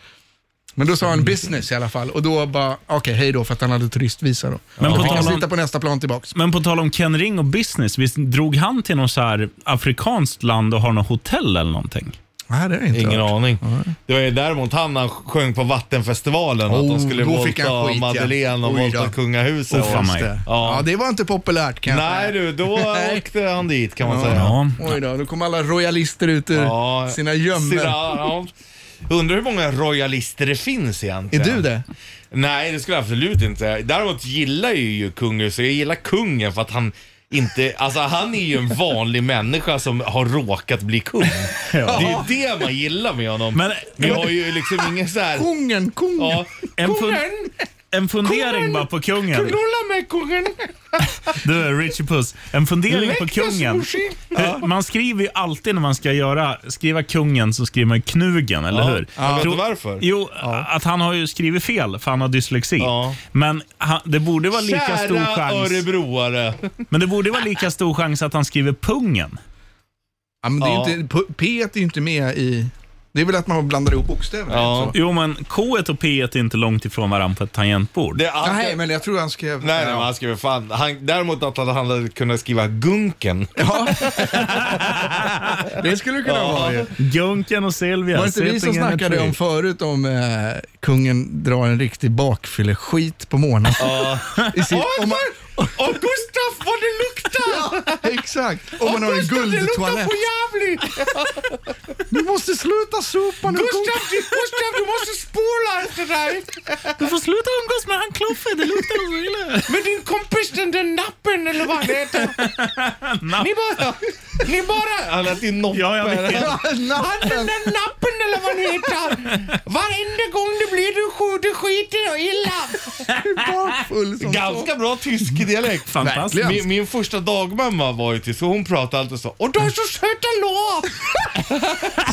Speaker 4: men då sa han business i alla fall och då bara, okej, hej då, för att han hade turistvisa då.
Speaker 2: Men
Speaker 4: Men
Speaker 2: på
Speaker 4: på fick han
Speaker 2: tal om-
Speaker 4: sitta på nästa plan tillbaka.
Speaker 2: Men på tal om Ken Ring och business, visst drog han till något så här afrikanskt land och har något hotell eller någonting?
Speaker 4: Nej, det är inte
Speaker 3: Ingen
Speaker 4: hört.
Speaker 3: aning. Det var ju däremot han när han sjöng på Vattenfestivalen, att de
Speaker 4: Oh,
Speaker 3: skulle
Speaker 4: då fick han
Speaker 3: våldta
Speaker 4: skit, ja.
Speaker 3: Madeleine och
Speaker 4: Oj
Speaker 3: våldta
Speaker 4: då.
Speaker 3: kungahuset.
Speaker 4: Oh, fan
Speaker 3: Och-
Speaker 4: mig. Ja. det var inte populärt kanske.
Speaker 3: Nej du, då åkte han dit kan man säga.
Speaker 4: Oj då, då kom alla royalister ut ur sina gömmor.
Speaker 3: Sina- ja. Undrar hur många royalister det finns egentligen.
Speaker 4: Är du det?
Speaker 3: Nej, det skulle jag absolut inte säga. Däremot gillar jag ju kungen, så jag gillar kungen för att han inte, alltså han är ju en vanlig människa som har råkat bli kung. Det är ju det man gillar med honom.
Speaker 2: Men-
Speaker 3: Vi har ju liksom ingen så här...
Speaker 4: Kungen, kungen,
Speaker 3: Ja.
Speaker 2: En, fun- en fundering
Speaker 3: Kungen!
Speaker 2: bara på kungen.
Speaker 3: Knulla mig kungen!
Speaker 2: Du, Richie Puss. En fundering på
Speaker 3: Läckra
Speaker 2: kungen.
Speaker 3: sushi.
Speaker 2: Ja. Man skriver ju alltid när man ska göra, skriva kungen så skriver man knugen, eller
Speaker 3: Ja.
Speaker 2: hur?
Speaker 3: Ja. Vet du
Speaker 2: Tro-
Speaker 3: varför?
Speaker 2: Jo, att han har ju skrivit fel för han har dyslexi. Men han, det borde vara lika
Speaker 3: Kära
Speaker 2: stor chans.
Speaker 3: örebroare.
Speaker 2: Men det borde vara lika stor chans att han skriver pungen.
Speaker 4: Ja, men det är
Speaker 2: Ja.
Speaker 4: ju inte, P- P är ju inte med i... Det är väl att man blandar ihop alltså. bokstäver?
Speaker 2: Ja.
Speaker 4: Så.
Speaker 2: Jo, men K och P är inte långt ifrån varandra på ett tangentbord.
Speaker 3: Det är alltid-
Speaker 4: Nej, men jag tror han skrev...
Speaker 3: Nej, nej, men han skrev fan. Han, däremot att han hade kunnat skriva Gunken.
Speaker 4: Det skulle det kunna
Speaker 3: Ja.
Speaker 4: vara ju.
Speaker 2: Gunken och Silvia.
Speaker 4: Var det inte vi som
Speaker 2: Sittingen är
Speaker 4: snackade
Speaker 2: tre.
Speaker 4: om förut om eh, kungen drar en riktig bakfylleskit på månaden?
Speaker 3: Ja.
Speaker 4: I sin,
Speaker 3: Oj,
Speaker 4: om man,
Speaker 3: Och Gustaf, vad det luktar!
Speaker 4: exakt, om man har en
Speaker 3: Det luktar
Speaker 4: guldtoalett.
Speaker 3: på jävligt!
Speaker 4: Du måste sluta sopa nu.
Speaker 3: Gustaf, du, Gustaf, du måste spola efter dig!
Speaker 2: Du får sluta umgås med han Kloffe, det luktar så illa.
Speaker 3: Med din kompis den där nappen eller vad han heter. Ni bara... Ni bara... Han lät ju noppen.
Speaker 2: Ja, jag vet.
Speaker 3: Han den där nappen eller vad han heter. Varenda gång det blir du, sk- du skiter och illa.
Speaker 4: Bakfull som
Speaker 3: Ganska bra tysk dialekt.
Speaker 2: Fantastiskt.
Speaker 3: Min, min första dagmamma var ju tysk och hon pratade alltid så. Och du har så söta lår!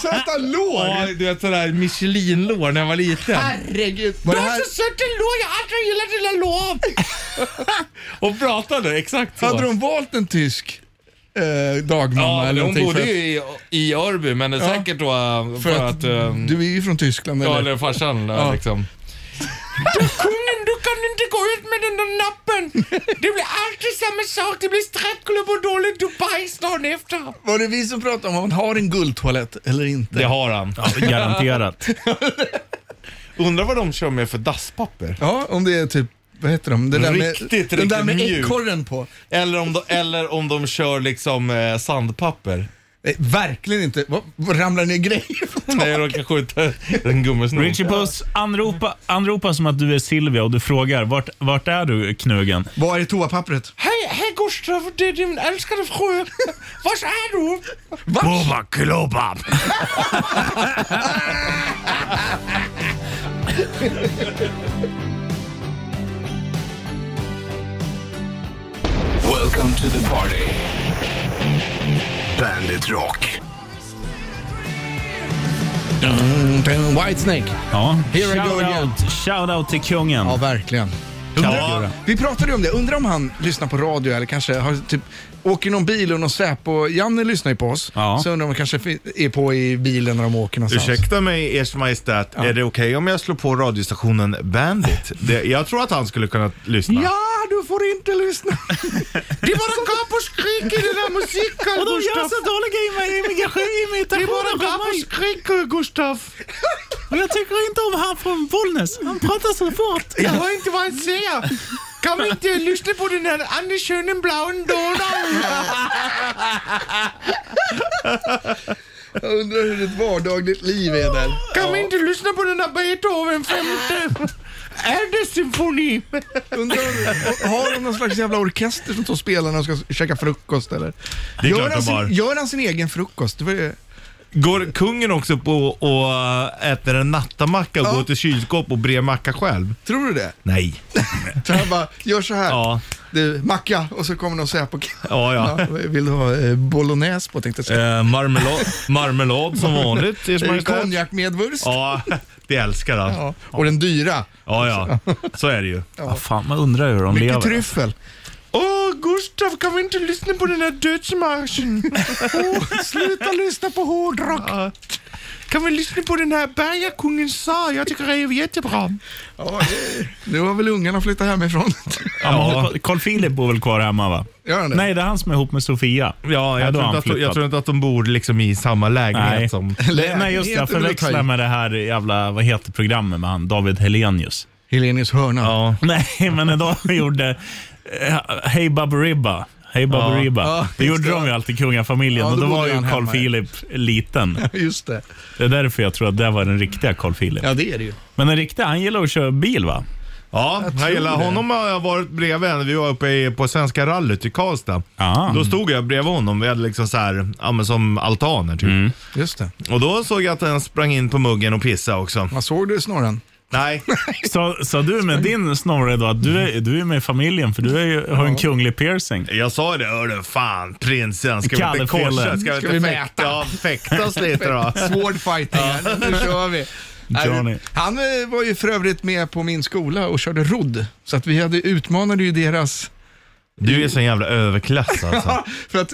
Speaker 4: Söta
Speaker 3: Ja,
Speaker 4: lår!
Speaker 3: du vet sådär Michelin-lår när jag var liten.
Speaker 4: Herregud.
Speaker 3: Du
Speaker 4: Var det
Speaker 3: har
Speaker 4: här,
Speaker 3: så söta lår, jag har aldrig gillat dina lår! Hon pratade exakt så.
Speaker 4: hade de valt en tysk? eh, dagmamma
Speaker 18: Ja,
Speaker 4: eller
Speaker 18: hon
Speaker 4: någonting.
Speaker 18: bodde
Speaker 4: för
Speaker 18: ju
Speaker 4: att-
Speaker 18: i, i Örby, men
Speaker 4: Ja.
Speaker 18: säkert då eh,
Speaker 4: för att,
Speaker 18: ehm,
Speaker 4: du är ju från Tyskland
Speaker 18: Ja,
Speaker 4: eller?
Speaker 18: eller farsan
Speaker 4: Ja.
Speaker 18: ja. liksom.
Speaker 19: Kungen, du kan inte gå ut med den där nappen! Det blir alltid samma sak, det blir strettklubb och dåligt Dubais dagen efter.
Speaker 4: Var det vi som pratade om om han har en guldtoalett eller inte?
Speaker 18: Det har han.
Speaker 2: garanterat.
Speaker 18: Undrar vad de kör med för dasspapper?
Speaker 4: Ja, om det är typ, vad heter de? Det där med,
Speaker 18: riktigt, riktigt
Speaker 4: den där med
Speaker 18: mjuk.
Speaker 4: ekorren på.
Speaker 18: Eller om de, eller om de kör liksom eh, sandpapper.
Speaker 4: Eh, verkligen inte. ramlar ner grejer från
Speaker 18: Nej, jag råkar skjuta en gummisnodd.
Speaker 2: Richie Puss, anropa, anropa som att du är Silvia och du frågar vart, vart är du knugen?
Speaker 4: Var är toapappret?
Speaker 19: Hej, hej Gustav, det är din älskade fru. Var är du?
Speaker 2: Boba Klobab!
Speaker 1: Welcome to the party. Bandit Rock.
Speaker 4: White Snake.
Speaker 2: Ja,
Speaker 4: Here I go
Speaker 2: shout
Speaker 4: again.
Speaker 2: out, shout out till kungen.
Speaker 4: Ja, verkligen. Undrar, vi pratade ju om det. Undrar om han lyssnar på radio eller kanske har typ, åker i någon bil och någon Säpo. Janne lyssnar ju på oss. Så undrar om han kanske fi- är på i bilen när de åker någonstans.
Speaker 3: Ursäkta mig, Ers Majestät. Är det okej om jag slår på radiostationen Bandit? Det, jag tror att han skulle kunna lyssna.
Speaker 19: Ja,
Speaker 4: du får inte lyssna.
Speaker 19: Det är bara gap och skrik i den där musiken,
Speaker 2: Och de gör
Speaker 19: Gustav.
Speaker 2: så dåliga imi- imigration-
Speaker 19: Det
Speaker 2: imitationer
Speaker 19: är bara
Speaker 2: av
Speaker 19: gap och
Speaker 2: mig.
Speaker 19: skrik, Gustav.
Speaker 2: Och jag tycker inte om han från Bollnäs. Han pratar så fort.
Speaker 19: Jag hör inte vad han säger. Kan vi inte lyssna på den här Anders schönen blauen
Speaker 4: Jag undrar hur ditt vardagligt liv är där.
Speaker 19: Kan vi inte lyssna på den här Beethoven femte? Är det symfoni?
Speaker 4: Undrar om- Har de någon slags jävla orkester som tar och spelar när de ska käka frukost eller?
Speaker 18: Det är
Speaker 4: gör,
Speaker 18: klart
Speaker 4: han
Speaker 18: de har.
Speaker 4: sin, gör han sin egen frukost? Det var ju...
Speaker 3: Går kungen också på och äh, äter en nattamacka och går till kylskåp och brer macka själv?
Speaker 4: Tror du det?
Speaker 3: Nej.
Speaker 4: Så han bara, gör så här.
Speaker 3: Ja.
Speaker 4: Du, macka och så kommer någon säga på
Speaker 3: Ja, ja.
Speaker 4: Vill du ha eh, bolognese på tänkte jag säga.
Speaker 3: Eh, marmelad, marmelad som vanligt, Ers
Speaker 4: Eh,
Speaker 3: Majestät.
Speaker 4: Konjak med wurst.
Speaker 3: Ja, det älskar han.
Speaker 4: Ja, Och den dyra.
Speaker 3: Ja, ja. Så är det ju.
Speaker 4: Ja.
Speaker 2: fan, man undrar hur de
Speaker 4: Mycket
Speaker 2: lever.
Speaker 4: tryffel.
Speaker 19: Åh, Gustav, kan vi inte lyssna på den här dödsmarschen? Åh, sluta lyssna på hårdrock. Kan vi lyssna på den här Bergakungen sa? Jag tycker det är jättebra.
Speaker 4: Ja, nu har väl ungarna flyttat hemifrån.
Speaker 2: Ja, men Carl Philip bor väl kvar hemma va?
Speaker 4: Gör han det?
Speaker 2: Nej, det är han som är ihop med Sofia.
Speaker 3: Ja, jag,
Speaker 2: då
Speaker 3: tror inte
Speaker 2: har han
Speaker 3: att, de- jag
Speaker 2: flyttat.
Speaker 3: tror inte att de bor liksom i samma lägenhet
Speaker 2: Nej.
Speaker 3: som...
Speaker 2: Nej, just det. Jag förväxlar med det här jävla, vad heter programmet med han, David Helenius.
Speaker 4: Helenius hörna.
Speaker 3: Ja.
Speaker 2: Nej, men när de gjorde eh, Hey Baberiba. Hey Baberiba.
Speaker 4: Ja,
Speaker 2: det
Speaker 4: just
Speaker 2: gjorde
Speaker 4: det.
Speaker 2: de ju alltid kungafamiljen
Speaker 4: Ja,
Speaker 2: och
Speaker 4: då
Speaker 2: då var
Speaker 4: bodde
Speaker 2: ju
Speaker 4: han
Speaker 2: Carl
Speaker 4: hemma, ja.
Speaker 2: Philip liten.
Speaker 4: Just det.
Speaker 2: Det är därför jag tror att det var den riktiga Carl Philip.
Speaker 4: Ja, det är det ju.
Speaker 2: Men den riktiga, han gillar att köra bil va?
Speaker 3: Ja,
Speaker 4: Jag
Speaker 3: jag
Speaker 4: tror
Speaker 3: gillar
Speaker 4: det.
Speaker 3: honom har jag varit bredvid. en. Vi var uppe i, på Svenska rallyt i Karlstad.
Speaker 4: Ah.
Speaker 3: Då stod jag bredvid honom. Vi hade liksom så här, ja men som altaner typ.
Speaker 4: Mm. Just det.
Speaker 3: Och då såg jag att han sprang in på muggen och pissade också.
Speaker 4: Vad såg du snorren?
Speaker 3: Nej.
Speaker 2: Sa, sa du med din snorre då att du är, du är med i familjen för du är, ju- har en kunglig piercing?
Speaker 3: Jag sa ju det, hörru fan prinsen, ska vi inte
Speaker 2: Kallefelen.
Speaker 3: korsa? Ska vi
Speaker 2: Ska
Speaker 3: inte
Speaker 2: vi
Speaker 3: fäkta? Ja, fäktas lite då.
Speaker 4: Sword fighting här. Nu kör vi. Nej,
Speaker 2: Johnny.
Speaker 4: Han eh, var ju för övrigt med på min skola och körde rodd. Så att vi hade utmanade ju deras...
Speaker 3: Du är sån jävla överklass alltså.
Speaker 4: för att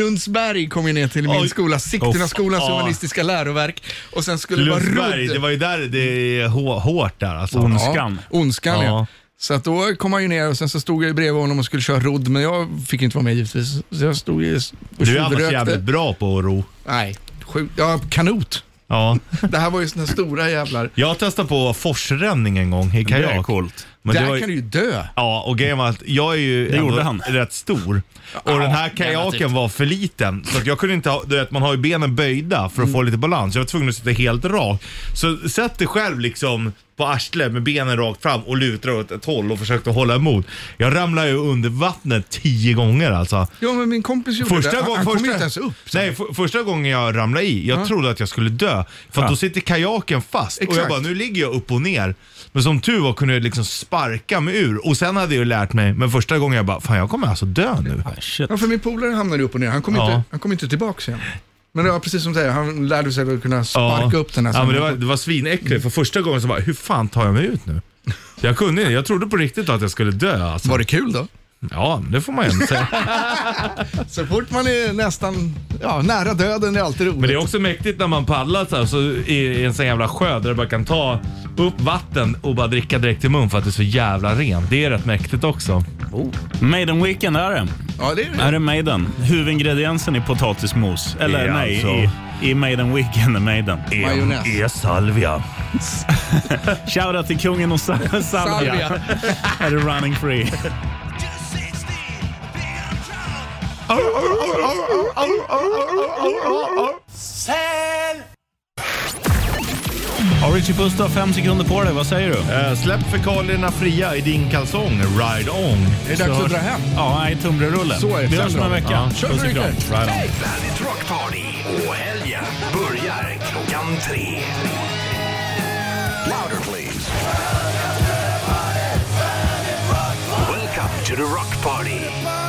Speaker 4: Lundsberg kom ju ner till min
Speaker 3: Oj.
Speaker 4: skola, Sigtunaskolans
Speaker 3: Oh, ja.
Speaker 4: humanistiska läroverk. Och sen skulle det vara
Speaker 3: Lundsberg,
Speaker 4: rodd.
Speaker 3: det var ju där det är hå- hårt där alltså.
Speaker 4: Ja, ondskan ja.
Speaker 3: Ja.
Speaker 4: Så att då kom han ju ner och sen så stod jag ju bredvid honom och skulle köra rodd, men jag fick inte vara med givetvis. Så jag stod ju och
Speaker 3: Du är annars
Speaker 4: tjuvrökte.
Speaker 3: jävligt bra på att ro.
Speaker 4: Nej, sjukt. Ja, kanot.
Speaker 3: Ja.
Speaker 4: Det här var ju såna stora jävlar.
Speaker 3: Jag testade på forsränning en gång i
Speaker 2: Det är
Speaker 3: kajak.
Speaker 2: coolt.
Speaker 3: Men
Speaker 4: Där
Speaker 3: det var
Speaker 4: kan du ju dö.
Speaker 3: Ja, och grejen var att jag är ju
Speaker 2: Det
Speaker 3: ändå
Speaker 2: gjorde han.
Speaker 3: rätt stor. Och den här kajaken var för liten. Så att jag kunde inte ha, du vet man har ju benen böjda för att
Speaker 2: Mm.
Speaker 3: få lite balans. Jag var tvungen att sitta helt rak. Så sätt dig själv liksom på arslet med benen rakt fram och luta åt ett håll och försökte hålla emot. Jag ramlade ju under vattnet tio gånger alltså.
Speaker 4: Ja, men min kompis gjorde
Speaker 3: Första
Speaker 4: det. Han,
Speaker 3: gång-
Speaker 4: han kom
Speaker 3: första-
Speaker 4: ju inte ens upp.
Speaker 3: Nej, f- första gången jag ramlade i, jag
Speaker 4: Ja.
Speaker 3: trodde att jag skulle dö. För att
Speaker 2: Ja.
Speaker 3: då sitter kajaken fast och jag
Speaker 4: Exakt.
Speaker 3: bara, nu ligger jag upp och ner. Men som tur var kunde jag liksom sparka mig ur och sen hade jag ju lärt mig, men första gången jag bara, fan jag kommer alltså dö nu.
Speaker 4: Ja, för min polare hamnade upp och ner. Han kom,
Speaker 3: Ja.
Speaker 4: inte, han kom inte tillbaka igen. Men det var precis som du säger, han lärde sig att kunna sparka upp den här.
Speaker 3: ja, men det, var,
Speaker 4: sammanhanget.
Speaker 3: det var svinäckligt, för första gången så bara, hur fan tar jag mig ut nu? Så jag kunde inte, jag trodde på riktigt att jag skulle dö alltså.
Speaker 4: Var det kul då?
Speaker 3: Ja, det får man ju ändå säga.
Speaker 4: Så fort man är nästan ja, nära döden är det alltid roligt.
Speaker 18: Men det är också mäktigt när man paddlar så här, så i i en sån jävla sjö där du bara kan ta upp vatten och bara dricka direkt i mun för att det är så jävla rent. Det är rätt mäktigt också.
Speaker 2: Maiden Weekend är det.
Speaker 4: Ja, det är
Speaker 2: Är det Maiden? Huvudingrediensen i potatismos. Eller
Speaker 18: Det är
Speaker 2: nej,
Speaker 18: alltså-
Speaker 2: i, i Maiden Weekend är Maiden.
Speaker 18: Majonnäs. är
Speaker 2: salvia. Shoutout till kungen och sa- salvia.
Speaker 18: Salvia.
Speaker 2: är det running free?
Speaker 19: Säl!
Speaker 2: Ja, Richie Puss, du har fem sekunder på dig. Vad säger du?
Speaker 3: Eh, släpp fekalierna fria i din kalsong. Ride on.
Speaker 2: Är det dags att dra hem? Ja, nej, tunnbrödsrullen.
Speaker 3: Så är det.
Speaker 2: Vi hörs om en vecka.
Speaker 3: Ja.
Speaker 2: Puss och kram.
Speaker 3: Ride on.
Speaker 1: Bandit Rock Party och helgen börjar klockan tre. Louder please. Welcome to the Rock Party.